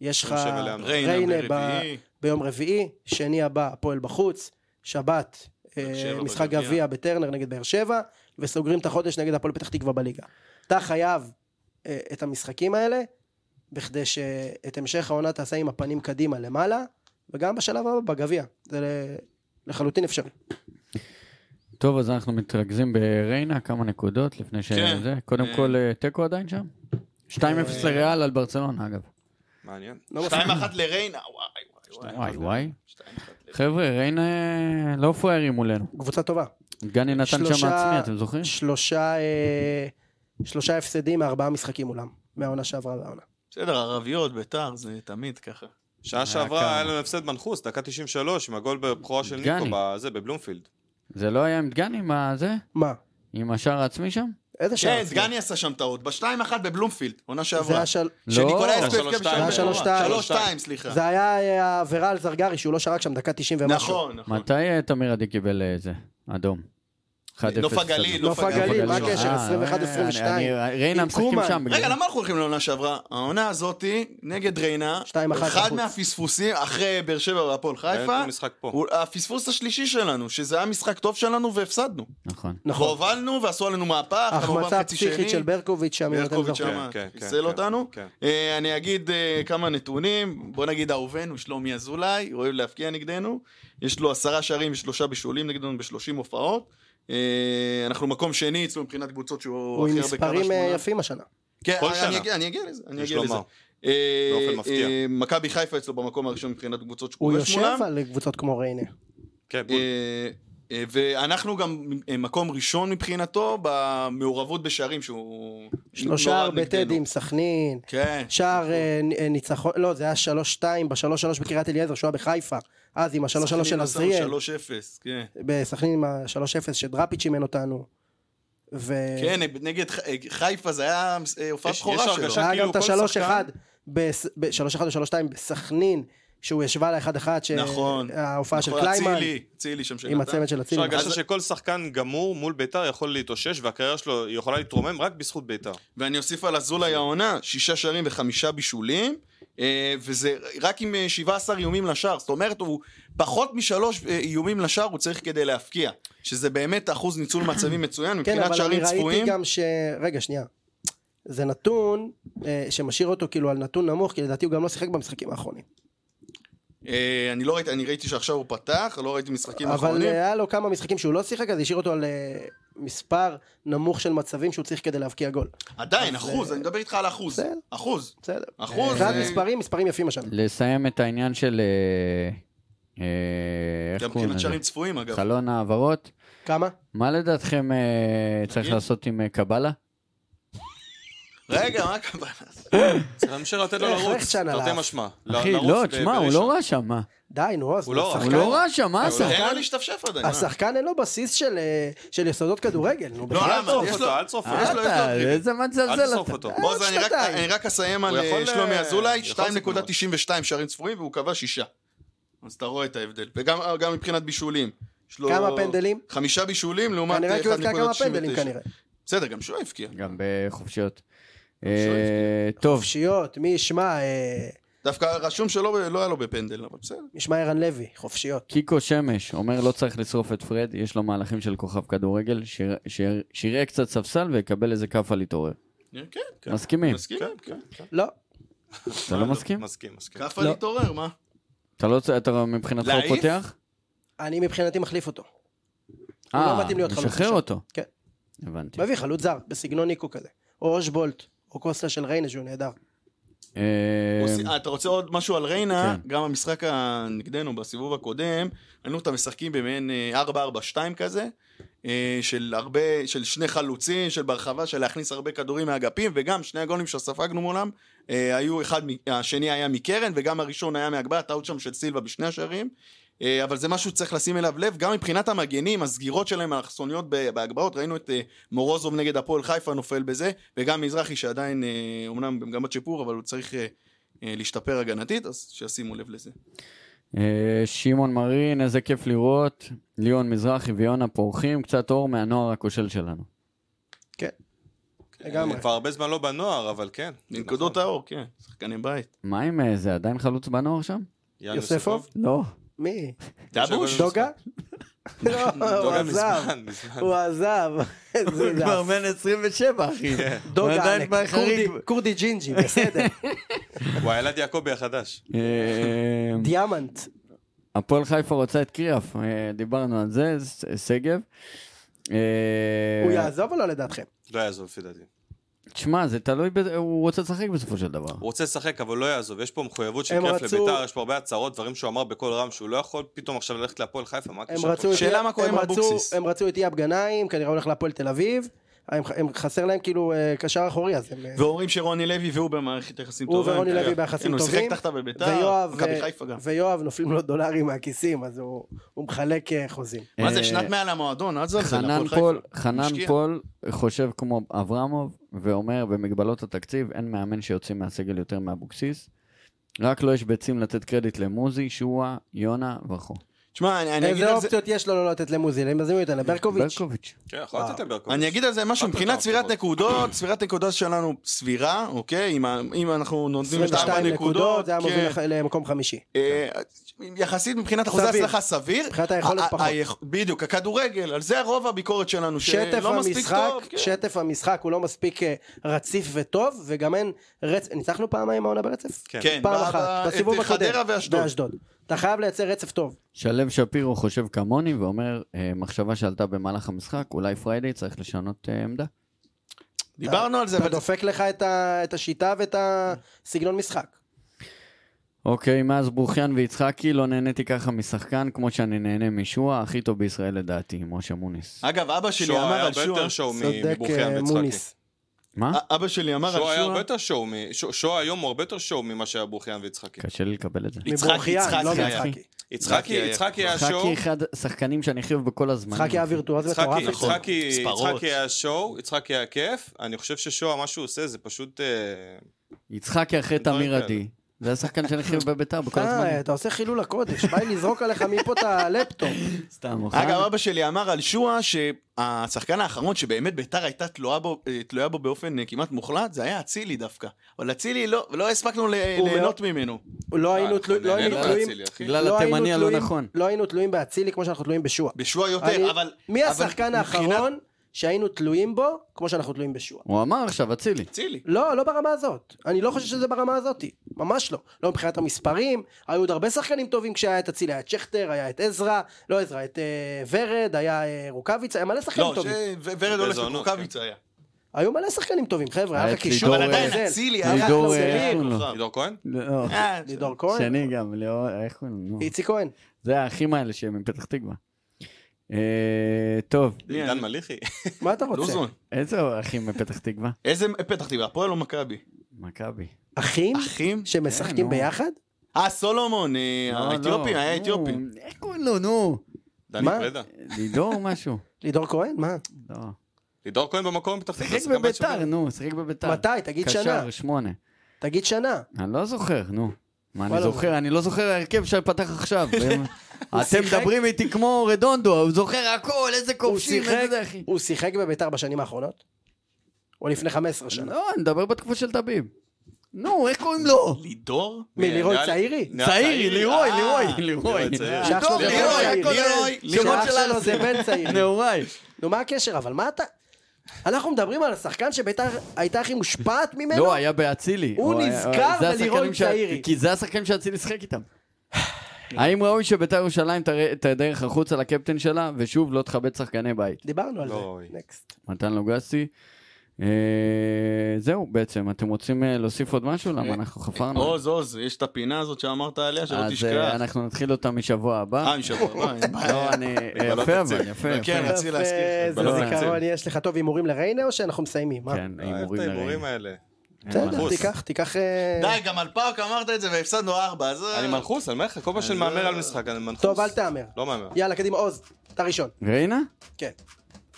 S3: יש לך
S4: נשב אליה.
S5: ריינה
S3: ריינה ב-
S5: ברביעי.
S3: ביום רביעי, שני הבא הפועל בחוץ, שבת אה,
S5: שבע
S3: משחק
S5: בגביע.
S3: גביע בטרנר נגד באר שבע, וסוגרים את החודש נגד הפועל פתח תקווה בליגה. אתה חייב אה, את המשחקים האלה, בכדי שאת המשך העונה תעשה עם הפנים קדימה למעלה, וגם בשלב הבא בגביע. זה ל- לחלוטין אפשרי.
S2: טוב, אז אנחנו מתרכזים בריינה, כמה נקודות לפני שזה. קודם
S5: אה.
S2: כל, אה, תיקו עדיין שם? 2-0 לריאל על ברצלונה, אגב.
S4: מעניין.
S3: לא
S5: 2-1
S3: מפחיד.
S5: לריינה, וואי וואי
S2: וואי, וואי.
S5: 2-1
S2: חבר'ה, ריינה לא פראיירים מולנו.
S3: קבוצה טובה.
S2: גני נתן שם
S3: שלושה-
S2: עצמי, אתם זוכרים?
S3: שלושה, אה, שלושה הפסדים מארבעה משחקים מולם, מהעונה שעברה לעונה.
S5: בסדר, ערביות, ביתר, זה תמיד ככה.
S3: כן,
S4: שעה
S2: כמה.
S4: שעברה היה לנו הפסד מנחוס, דקה 93, עם הגול בבכורה של
S2: דגני.
S4: ניקו, בזה, בבלומפילד.
S2: זה לא היה עם דגני, עם הזה?
S3: מה?
S2: עם השער העצמי שם?
S3: איזה שער?
S5: כן,
S3: עצמי?
S5: דגני עשה שם טעות, ב-2-1 בבלומפילד, עונה
S3: זה
S5: שעברה.
S3: היה של-
S5: שניקולאי
S2: לא.
S5: הספיק
S4: שלוש
S5: כן,
S4: שתיים.
S5: בשער
S3: זה היה שלוש
S5: שעברה.
S3: שתיים.
S5: שלוש שתיים, סליחה.
S3: זה היה אה, העבירה על זרגרי שהוא לא שרק שם דקה 90 ומשהו.
S5: נכון, נכון.
S2: מתי אה, תמיר עדי קיבל אה, זה? אדום. 1-0.
S5: נוף הגליל,
S3: נוף הגליל, מה הקשר?
S2: אה,
S3: 21,
S2: אה,
S3: 22.
S2: אני- אני- ריינה
S3: עם
S2: משחקים
S3: קומן.
S2: שם. בגלל
S5: רגע,
S2: זה.
S5: למה אנחנו הולכים לעונה שעברה? העונה הזאתי, נגד ריינה,
S3: 2-1
S5: אחד
S3: בחוץ.
S5: מהפספוסים, אחרי באר שבע והפועל חיפה,
S4: היה משחק פה.
S5: הוא הפספוס השלישי שלנו, שזה היה משחק טוב שלנו והפסדנו.
S2: נכון.
S3: נכון.
S5: והובלנו ועשו עלינו מהפך,
S3: החמצה פסיכית של ברקוביץ' שם, אם אתם
S5: ברקוביץ'
S3: זוכרים.
S5: שם
S4: כן, כן,
S5: חיסל
S4: כן,
S5: אותנו.
S4: כן.
S5: אה, אני אגיד אה, כמה נתונים, בוא נגיד אהובנו שלומי אזולאי, אוהב להפקיע נגדנו, יש לו עשרה שערים ושלושה בישולים נגדנו בשלושים הופעות. אה, אנחנו מקום שני אצלו מבחינת קבוצות שהוא
S3: הוא עם
S5: הכי הרבה קרה
S3: מספרים אה,
S5: שמונה.
S3: יפים השנה.
S5: כן,
S4: כל
S5: אני
S4: שנה.
S5: אגיע- אני אגיע לזה, אני
S4: יש
S5: אגיע לזה.
S4: לומר.
S5: אה,
S4: באופן מפתיע.
S5: אה, מכבי חיפה אצלו במקום הראשון מבחינת קבוצות שהוא
S3: הוא
S5: כובש מולם.
S3: יושב על קבוצות כמו
S5: לא,
S3: ריינה.
S4: כן, בול.
S5: אה, אה, ואנחנו גם אה, מקום ראשון מבחינתו במעורבות בשערים שהוא...
S3: שלושה
S5: נורא
S3: הרבה
S5: נגדנו.
S3: טדים, סכנין.
S5: כן.
S3: שער אה, נ- אה, ניצחון, לא, זה היה 3-2 ב-3-3 בקריית אליעזר, שהוא היה בחיפה. אז עם ה-3-3 של עזריאל.
S5: 3-0, כן.
S3: בסכנין עם ה-3-0 שדראפיץ' אימן אותנו. ו...
S5: כן, נגד ח- אה, חיפה זה היה אה, הופעת
S4: יש- יש
S5: בכורה שלו.
S4: הרגשה
S3: היה
S4: כאילו
S3: גם את
S4: כל שחקן-
S3: ה-3-1, בס- ב- 3-1 או 3-2 בסכנין, שהוא ישבה ל-1-1,
S5: נכון.
S3: שההופעה של
S5: נכון,
S3: קליימן,
S5: אצילי, אצילי שם שנתן.
S3: עם הצמד של
S4: יש
S3: אצילי.
S4: הרגשה שכל שחקן גמור מול ביתר יכול להתאושש, והקריירה שלו יכולה להתרומם רק בזכות ביתר.
S5: ואני אוסיף על אזולאי העונה, שישה שערים וחמישה בישולים, אה, וזה רק עם אה, 17 איומים לשער, זאת אומרת הוא פחות משלוש אה, איומים לשער הוא צריך כדי להפקיע, שזה באמת אחוז ניצול מצבים מצוין,
S3: כן,
S5: מבחינת
S3: אבל אני
S5: שערים
S3: ראיתי
S5: צפויים.
S3: גם ש... רגע, שנייה. זה נתון אה, שמשאיר אותו כאילו על נתון נמוך, כי לדעתי הוא גם לא שיחק במשחקים האחרונים.
S5: אה, אני לא ראיתי, אני ראיתי שעכשיו הוא פתח, לא ראיתי משחקים
S3: אבל
S5: אחרונים.
S3: אה, היה לו כמה משחקים שהוא לא שיחק, אז השאיר אותו על אה, מספר נמוך של מצבים שהוא צריך כדי להבקיע גול.
S5: עדיין,
S3: אז,
S5: אחוז,
S3: אה,
S5: אני מדבר איתך על אחוז.
S3: בסדר.
S5: אחוז.
S3: בסדר.
S5: אחוז.
S3: מבחינת
S5: אה,
S3: מספרים, מספרים יפים השנה.
S2: לסיים את העניין של... אה, אה, איך קוראים
S4: נכון,
S5: גם מבחינת
S2: לזה?
S5: שערים צפויים אגב.
S2: חלון העברות.
S3: כמה?
S2: מה לדעתכם אה, צריך
S5: תגיד.
S2: לעשות עם אה, קבלה?
S5: רגע, מה הכוונה?
S3: אה,
S4: צריך להמשיך לתת לו
S3: איך- איך
S4: לרוץ,
S3: שנה
S4: תרתי
S3: לאף?
S4: משמע.
S2: אחי,
S4: לרוץ
S2: לא,
S4: ב-
S2: תשמע, הוא
S4: בראשון.
S2: לא רע שם, מה?
S3: די, נו, אז
S4: הוא לא-
S2: הוא
S3: השחקן-
S2: לא רע שם,
S5: אה,
S2: מה
S4: אבל
S2: עשה?
S5: אין לו להשתפשף עדיין. מה?
S3: אה, השחקן אין לו בסיס של, אה, של יסודות כדורגל, נו,
S5: לא,
S3: בחייאת.
S4: אל
S5: למה?
S4: תשרוף
S5: יש
S4: אותו,
S5: לו-
S4: אל תשרוף
S5: אה,
S4: אותו.
S5: יש לו- יש לו
S2: אתה,
S5: דריבל.
S2: איזה מזלזל
S4: אל תשרוף
S2: אתה.
S4: אותו.
S3: אה,
S5: בוא, אז
S3: עוד
S5: אני רק-
S3: שנתיים.
S5: אני רק אסיים על
S4: הוא
S5: אה,
S4: יכול,
S5: שלומי
S4: אה,
S5: אזולאי,
S4: יכול לעשות
S5: 2.92 שערים צפויים והוא קבע שישה. אז אתה רואה את ההבדל. וגם אה, גם מבחינת בישולים. יש לו
S3: כמה פנדלים?
S5: חמישה בישולים לעומת אה,
S3: כנראה כי הוא יתקע כמה
S5: 1.99.
S3: פנדלים כנראה.
S5: בסדר, גם שהוא הבקיע.
S2: גם בחופשיות.
S5: שואל,
S2: אה,
S3: כן.
S2: טוב,
S3: חופשיות, מי ישמע? אה,
S5: דווקא רשום שלא לא היה לו בפנדל, אבל בסדר.
S3: מי ישמע ערן לוי, חופשיות.
S2: קיקו שמש אומר לא צריך לשרוף את פרד, יש לו מהלכים של כוכב כדורגל, שיר- שיר- שיראה קצת ספסל ויקבל איזה כאפה להתעורר.
S5: אה, כן, כן.
S2: מסכימים?
S5: מסכים?
S4: כן, כן, כן.
S3: לא,
S2: אתה לא מסכים?
S4: מסכים, מסכים.
S5: כאפה
S3: לא.
S5: להתעורר, מה?
S2: אתה לא צ- אתה מבחינתך הוא
S5: להעיף?
S2: פותח?
S3: אני מבחינתי מחליף אותו. הוא לא
S2: אה,
S3: מתאים להיות חלוץ
S2: משחרר
S3: עכשיו.
S2: אותו.
S3: כן.
S2: הבנתי.
S3: מביא חלוץ זר, בסגנון ניקו כזה. או אושבולט, או קוסטה של ריינה שהוא נהדר.
S2: אה,
S5: עושים- אה, אתה רוצה עוד משהו על ריינה?
S2: כן.
S5: גם המשחק נגדנו בסיבוב הקודם, היינו את המשחקים במעין אה, 4-4-2 כזה, אה, של הרבה, של שני חלוצים, של ברחבה, של להכניס הרבה כדורים מהאגפים, וגם שני הגולים שספגנו מולם, אה, היו אחד, מ- השני היה מקרן, וגם הראשון היה מהגבהה, טעות שם של סילבה בשני השערים. אה, אבל זה משהו שצריך לשים אליו לב, גם מבחינת המגנים, הסגירות שלהם, האלכסוניות ב- בהגבהות, ראינו את אה, מורוזוב נגד הפועל חיפה נופל בזה, וגם מזרחי שעדיין, אה, אומנם במגמת שיפור, אבל הוא צריך אה, אה, להשתפר הגנתית, אז שישימו לב לזה.
S2: אה, שמעון מרין, איזה כיף לראות. ליאון מזרחי ויונה פורחים, קצת אור מהנוער הכושל שלנו.
S5: כן,
S3: לגמרי.
S4: כבר הרבה זמן לא בנוער, אבל כן. זה
S5: לנקודות
S4: נכון.
S5: האור, כן, שחקני בית.
S2: מה עם אה, זה עדיין חלוץ בנוער שם?
S4: יאן
S3: יוספוב?
S2: לא.
S3: מי?
S5: דבוש?
S3: דוגה? לא, הוא
S4: דוגה
S3: עזב.
S4: מזמן, מזמן.
S3: הוא עזב. זה- זה
S2: כבר בן 27, אחי.
S3: דוגה
S2: עדיין
S3: עלק.
S2: בחריג.
S3: כורדי- כורדי ג'ינג'י, בסדר.
S4: הוא הילד יעקבי החדש.
S2: אה,
S3: דיאמנט.
S2: הפועל חיפה רוצה את קריאף, אה, דיברנו על זה, ס- שגב. אה,
S3: הוא יעזוב או לא לדעתכם?
S4: לא יעזוב לפי דעתי.
S2: תשמע, זה תלוי, בזה, הוא רוצה לשחק בסופו של דבר.
S4: הוא רוצה לשחק, אבל לא יעזוב. יש פה מחויבות של
S3: הם
S4: כיף
S3: רצו-
S4: לביתר, יש פה הרבה הצהרות, דברים שהוא אמר בקול רם, שהוא לא יכול פתאום עכשיו ללכת להפועל חיפה, מה
S3: הם
S4: הקשר?
S3: רצו את
S5: שאלה
S3: אי-
S5: מה קורה עם
S3: הם רצו-
S5: אבוקסיס.
S3: הם רצו את אייב גנאים, כנראה הולך להפועל תל אביב. הם- הם- חסר להם כאילו אה, קשר אחורי, אז הם... אה,
S5: ואומרים שרוני לוי והוא במערכת יחסים
S3: הוא
S5: טובה.
S3: ורוני
S5: כן.
S3: לוי ביחסים
S5: כן, הוא
S3: טובים,
S5: שיחק תחתיו בביתר,
S3: ויואב,
S5: מכבי
S3: אה,
S5: חיפה גם.
S3: ויואב נופלים לו דולרים מהכיסים, אז הוא הוא מחלק אה, חוזים.
S5: מה זה,
S2: אה,
S5: שנת מעל המועדון, אל תזלזל,
S2: חנן
S5: הפועל חיפה.
S2: פול, חנן
S5: משקיע.
S2: פול חושב כמו אברמוב, ואומר במגבלות התקציב אין מאמן שיוצא מהסגל יותר מאבוקסיס. רק לא יש ביצים לתת קרדיט למוזי, שואה, יונה וכו.
S5: תשמע, אני- אני אגיד
S3: איזה
S5: על זה...
S3: אופציות יש לו לא לתת למוזי? הם יזמינו את לברקוביץ'.
S2: ברקוביץ'.
S4: כן, יכול
S3: אה,
S4: לתת לברקוביץ'.
S5: אני אגיד על זה משהו, מבחינת צבירת נקודות, צבירת נקודות שלנו סבירה, אוקיי? אם ה- אם אנחנו נותנים את ארבע
S3: 22 נקודות,
S5: נקודות,
S3: זה היה
S5: כן.
S3: מוביל לח- למקום חמישי.
S5: אה, יחסית מבחינת אחוזי
S3: סביר.
S5: הצלחה סביר.
S3: מבחינת היכולת
S5: ה- ה-
S3: פחות.
S5: היכ- בדיוק, הכדורגל, על זה רוב הביקורת שלנו,
S3: שטף
S5: שלא מספיק
S3: המשחק,
S5: טוב. כן.
S3: שטף המשחק הוא לא מספיק אה, רציף וטוב, וגם אין רצף, ניצחנו פעמיים העונה ברצף?
S4: כן.
S5: כן,
S3: פעם
S5: ב- ב-
S3: אחת, בסיבוב
S5: את חדרה
S3: הקודם,
S5: ואשדוד.
S3: אתה חייב לייצר רצף טוב.
S2: שלו שפירו חושב כמוני ואומר, אה, מחשבה שעלתה במהלך המשחק, אולי פריידי צריך לשנות אה, עמדה.
S5: דיברנו על זה,
S3: אתה
S5: אבל
S3: דופק לך את ה- את השיטה ואת הסגנון משחק.
S2: אוקיי, מאז ברוכיאן ויצחקי לא נהניתי ככה משחקן כמו שאני נהנה משואה, הכי טוב בישראל לדעתי, משה מוניס.
S5: אגב, אבא שלי
S4: שואה
S5: אמר
S4: היה
S5: על אה?
S4: הרבה
S5: שואה,
S4: יותר שואו
S3: צודק
S4: מבוכיאן
S3: אה,
S4: ויצחקי.
S3: מוניס.
S2: מה?
S5: א- אבא שלי אמר
S4: שואה
S5: על
S4: היה הרבה
S5: שואה,
S4: יותר שואו, מ- ש- שואה היום הוא הרבה יותר שואו ממה שהיה בוכיאן
S5: כן.
S4: ויצחקי.
S2: קשה לי לקבל את זה.
S5: יצחקי,
S3: מבוכיאן,
S5: יצחקי
S3: לא
S5: היה.
S3: מיצחקי.
S4: יצחקי יצחקי היה שואו,
S2: יצחקי אחד השחקנים שאני הכי אוהב בכל הזמן.
S3: יצחקי היה וירטואוז מטורף.
S4: יצחקי-
S5: נכון.
S4: יצחקי
S5: ספרות.
S4: יצחקי היה שואו, יצחקי היה כיף, אני חושב ששואה, מה שהוא עושה זה פשוט... אה,
S2: יצחקי אחרי
S4: דברים
S2: תמיר
S4: כאלה.
S2: עדי. זה השחקן שאני הכי אוהב בביתר בכל הזמן.
S3: אה, אתה עושה חילול הקודש, בא לי לזרוק עליך מפה את הלפטופ.
S2: סתם, אוקיי. אוכל.
S5: אגב, אבא שלי אמר על שואה שהשחקן האחרון שבאמת ביתר הייתה תלויה בו, אה, תלויה בו באופן אה, כמעט מוחלט, זה היה אצילי דווקא. אבל אצילי לא, לא הספקנו ל-
S3: הוא
S5: ליהנות ממנו. אה,
S3: לא היינו תלו-
S4: אנחנו
S3: לא
S4: נהנינו
S3: היינו תלויים...
S4: מאצילי, אחי.
S2: בגלל
S3: לא היינו
S2: התימני הלא
S3: תלויים-
S2: נכון.
S3: לא היינו תלויים באצילי כמו שאנחנו תלויים בשועה.
S5: בשועה
S3: אני-
S5: יותר, אבל...
S3: מי
S5: אבל
S3: השחקן
S5: מבחינת-
S3: האחרון שהיינו תלויים בו כמו שאנחנו תלויים בשועה?
S2: הוא אמר עכשיו, אצילי.
S5: אצילי.
S3: לא, לא ברמה הזאת. אני לא חושב שזה ברמה הזאת. ממש לא. לא מבחינת המספרים, היו עוד הרבה שחקנים טובים כשהיה את אצילי, היה את שכטר, היה את עזרא, לא עזרא, את אה, ורד, היה אה, רוקאביצה, היה מלא שחקנים
S5: לא,
S3: טובים.
S5: זה- ו- ורד הולך
S4: עונות,
S5: לקרוקאביץ היה.
S3: היו מלא שחקנים טובים, חבר'ה,
S2: היה
S3: היה לך
S2: את
S3: קישור.
S2: לידור,
S5: אבל עדיין
S3: ברזל.
S5: אה, אצילי היה...
S2: לידור,
S3: אחלה
S2: אה,
S3: סליר.
S2: איך קוראים לו?
S5: כוכב.
S4: עידור כהן?
S2: לא,
S5: אה,
S3: לידור כהן,
S2: שני גם, ליאור, איך קוראים לו? נו.
S3: איציק כהן.
S2: זה האחים האלה שהם מפתח תקווה. אה, טוב,
S5: מי
S4: עידן
S5: אני?
S4: מליחי?
S3: מה אתה רוצה?
S5: לוזון.
S2: איזה אחים מפתח תקווה?
S5: אה, איזה אה, פתח תקווה, הפועל או מכבי?
S2: מכבי.
S3: אחים
S5: אחים?
S2: כן,
S3: שמשחקים
S2: נו.
S3: ביחד?
S5: אה, סולומון, אה,
S2: לא,
S5: האתיופי,
S2: לא.
S5: היה
S2: נו,
S5: אתיופי.
S2: איך קוראים לו, נו?
S4: דני
S3: מה?
S4: פרדה.
S2: לידור משהו.
S3: לידור כהן? מה?
S2: לא.
S4: עידור כהן במקום פתח תקווה.
S2: שיחק
S4: זה גם בית
S2: בביתר,
S4: שומר.
S2: נו, שיחק בביתר.
S3: מתי? תגיד שנה.
S2: קשר שמונה.
S3: תגיד שנה.
S2: אני לא זוכר, נו. מה אני
S3: וואלה,
S2: זוכר? אני לא זוכר ההרכב שפתח עכשיו. אתם
S3: שיחק-
S2: מדברים איתי כמו רדונדו, הוא זוכר הכל, איזה
S3: הוא
S2: כובשים,
S3: שיחק-
S2: איזה זה, אחי.
S3: הוא שיחק בביתר בשנים האחרונות? או לפני 15 שנה?
S2: לא, אני מדבר בתקופה של טביב. נו, איך קוראים לו?
S5: לידור?
S3: מי, לירוי
S4: אה, נראה לי-
S3: צעירי?
S4: נראה
S2: צעירי, לירוי,
S5: אה,
S2: לירוי, לירוי.
S4: לירוי צעיר.
S3: שאח שלו
S2: טוב,
S3: זה בן
S2: לירוי,
S3: צעיר.
S2: הכל
S5: לירוי,
S2: זה- שמות
S3: שאח
S2: לא. של
S3: שלו זה
S2: ארסנל.
S3: בן צעיר.
S2: נעוריי.
S3: נו, מה הקשר? אבל מה אתה... אנחנו מדברים על השחקן שביתר הייתה הכי מושפעת ממנו?
S2: לא, היה באצילי.
S3: הוא
S2: היה-
S3: נזכר
S2: זה השחקנים
S3: בלירוי
S2: שה-
S3: צעירי.
S2: כי זה השחקנים שאצילי שיחק איתם. האם ראוי שביתר ירושלים תראה את הדרך החוצה לקפטן שלה, ושוב לא תכבד שחקני בית?
S3: דיברנו על
S4: לא,
S3: זה. נקסט.
S2: מתן לוגסי. אה, זהו בעצם, אתם רוצים אה, להוסיף עוד משהו? למה אנחנו חפרנו?
S5: עוז, עוז, יש את הפינה הזאת שאמרת עליה, שלא
S2: נכון. אז אה,
S5: תשכח.
S2: אנחנו נתחיל אותה משבוע הבא.
S5: אה, משבוע הבא, אין בעיה.
S2: לא, אני... אה,
S4: מגבלות
S2: יפה
S4: תקציב.
S2: אבל, יפה, יפה.
S5: כן, רציתי להזכיר לך.
S3: איזה
S2: בלון
S3: זיכרון
S4: עצל.
S3: יש לך. טוב, הימורים לריינה או שאנחנו מסיימים? מה?
S2: לא, כן,
S4: אוהב
S2: הימורים
S4: את אה, ההימורים
S2: לרעים.
S4: האלה.
S3: בסדר,
S4: מלחוץ.
S3: תיקח, תיקח... אה,
S5: די, גם על פארק אמרת את זה והפסדנו ארבע, אז... אה,
S4: אני מנחוס, אני לא- אומר לך, כל פעם שאני מהמר על משחק, אני מנחוס.
S3: טוב, אל תהמר.
S4: לא מהמר.
S3: יאללה, קדימה, עוז, אתה ראשון.
S2: ריינה?
S3: כן.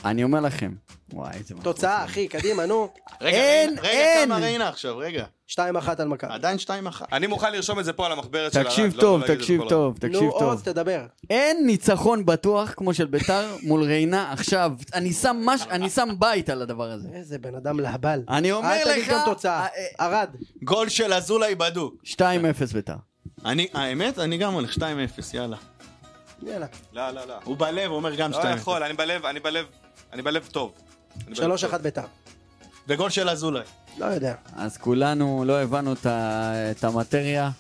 S2: אני אומר לכם. וואי, איזה... מלכות.
S3: תוצאה, אחי, קדימה, נו.
S5: רגע,
S2: אין,
S5: רגע,
S2: אין.
S5: רגע, כמה ריינה עכשיו, רגע.
S3: 2-1 על מכבי.
S5: עדיין שתיים אחת.
S4: אני מוכן לרשום את זה פה על המחברת של
S2: תקשיב
S4: ערד, לא
S2: טוב,
S4: יכול להגיד את
S2: תקשיב
S4: כל הרעיון.
S2: טוב, תקשיב
S3: נו,
S2: טוב.
S3: עוז, תדבר.
S2: אין ניצחון בטוח כמו של ביתר מול ריינה עכשיו. אני שם מש... אני שם בית על הדבר הזה.
S3: איזה בן אדם להבל.
S2: אני אומר
S3: אל תגיד
S2: לך-
S3: גם תוצאה.
S2: אה,
S3: ערד,
S5: גול של אזולאי בדוק.
S2: 2-0 ביתר.
S5: אני, האמת, אני גם הולך 2-0, יאללה.
S3: יאללה.
S4: לא, לא, לא.
S5: הוא בלב אומר גם 2-0.
S4: לא יכול, אני בלב, אני בלב, אני בלב טוב. אני בלב
S3: 3-1
S4: טוב.
S3: ביתר.
S5: וגול של אזולאי.
S3: לא יודע.
S2: אז כולנו לא הבנו את, ה... את המטריה,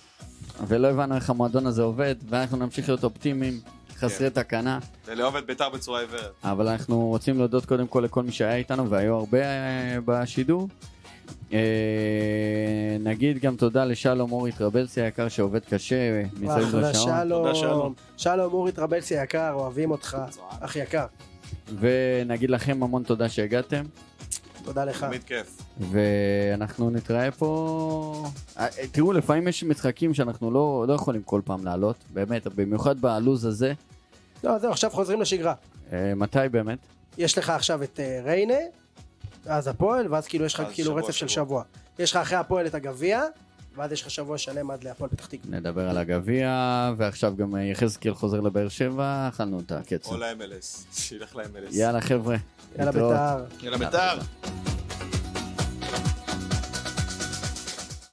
S2: ולא הבנו איך המועדון הזה עובד, ואנחנו נמשיך להיות אופטימיים, חסרי תקנה,
S4: ולאהוב את בית"ר בצורה עיוורת.
S2: אבל אנחנו רוצים להודות קודם כל לכל מי שהיה איתנו, והיו הרבה אה, בשידור. אה, נגיד גם תודה לשלום אורי טרבלסי היקר שעובד קשה מסביב
S3: אחלה,
S2: לשעון.
S3: שלום.
S5: תודה, שלום.
S3: שלום אורי טרבלסי היקר, אוהבים אותך. אח יקר,
S2: ונגיד לכם המון תודה שהגעתם,
S3: תודה לך.
S4: תמיד כיף.
S2: ואנחנו נתראה פה... אה, אה, תראו, לפעמים יש משחקים שאנחנו לא, לא יכולים כל פעם לעלות, באמת, במיוחד בלוז הזה.
S3: לא, זהו, עכשיו חוזרים לשגרה.
S2: אה, מתי באמת?
S3: יש לך עכשיו את אה, ריינה, אז הפועל, ואז כאילו יש לך
S4: אז
S3: כאילו
S4: שבוע,
S3: רצף של
S4: שבוע.
S3: שבוע. יש לך אחרי הפועל את הגביע, ואז יש לך שבוע שלם עד להפועל פתח תקווה.
S2: נדבר על הגביע, ועכשיו גם אה, יחזקאל חוזר לבאר שבע, אכלנו את הקצב.
S4: או ל-MLS. שילך ל-MLS.
S2: יאללה חבר'ה,
S3: יאללה
S2: להתראות.
S3: בית"ר.
S5: יאללה בית"ר.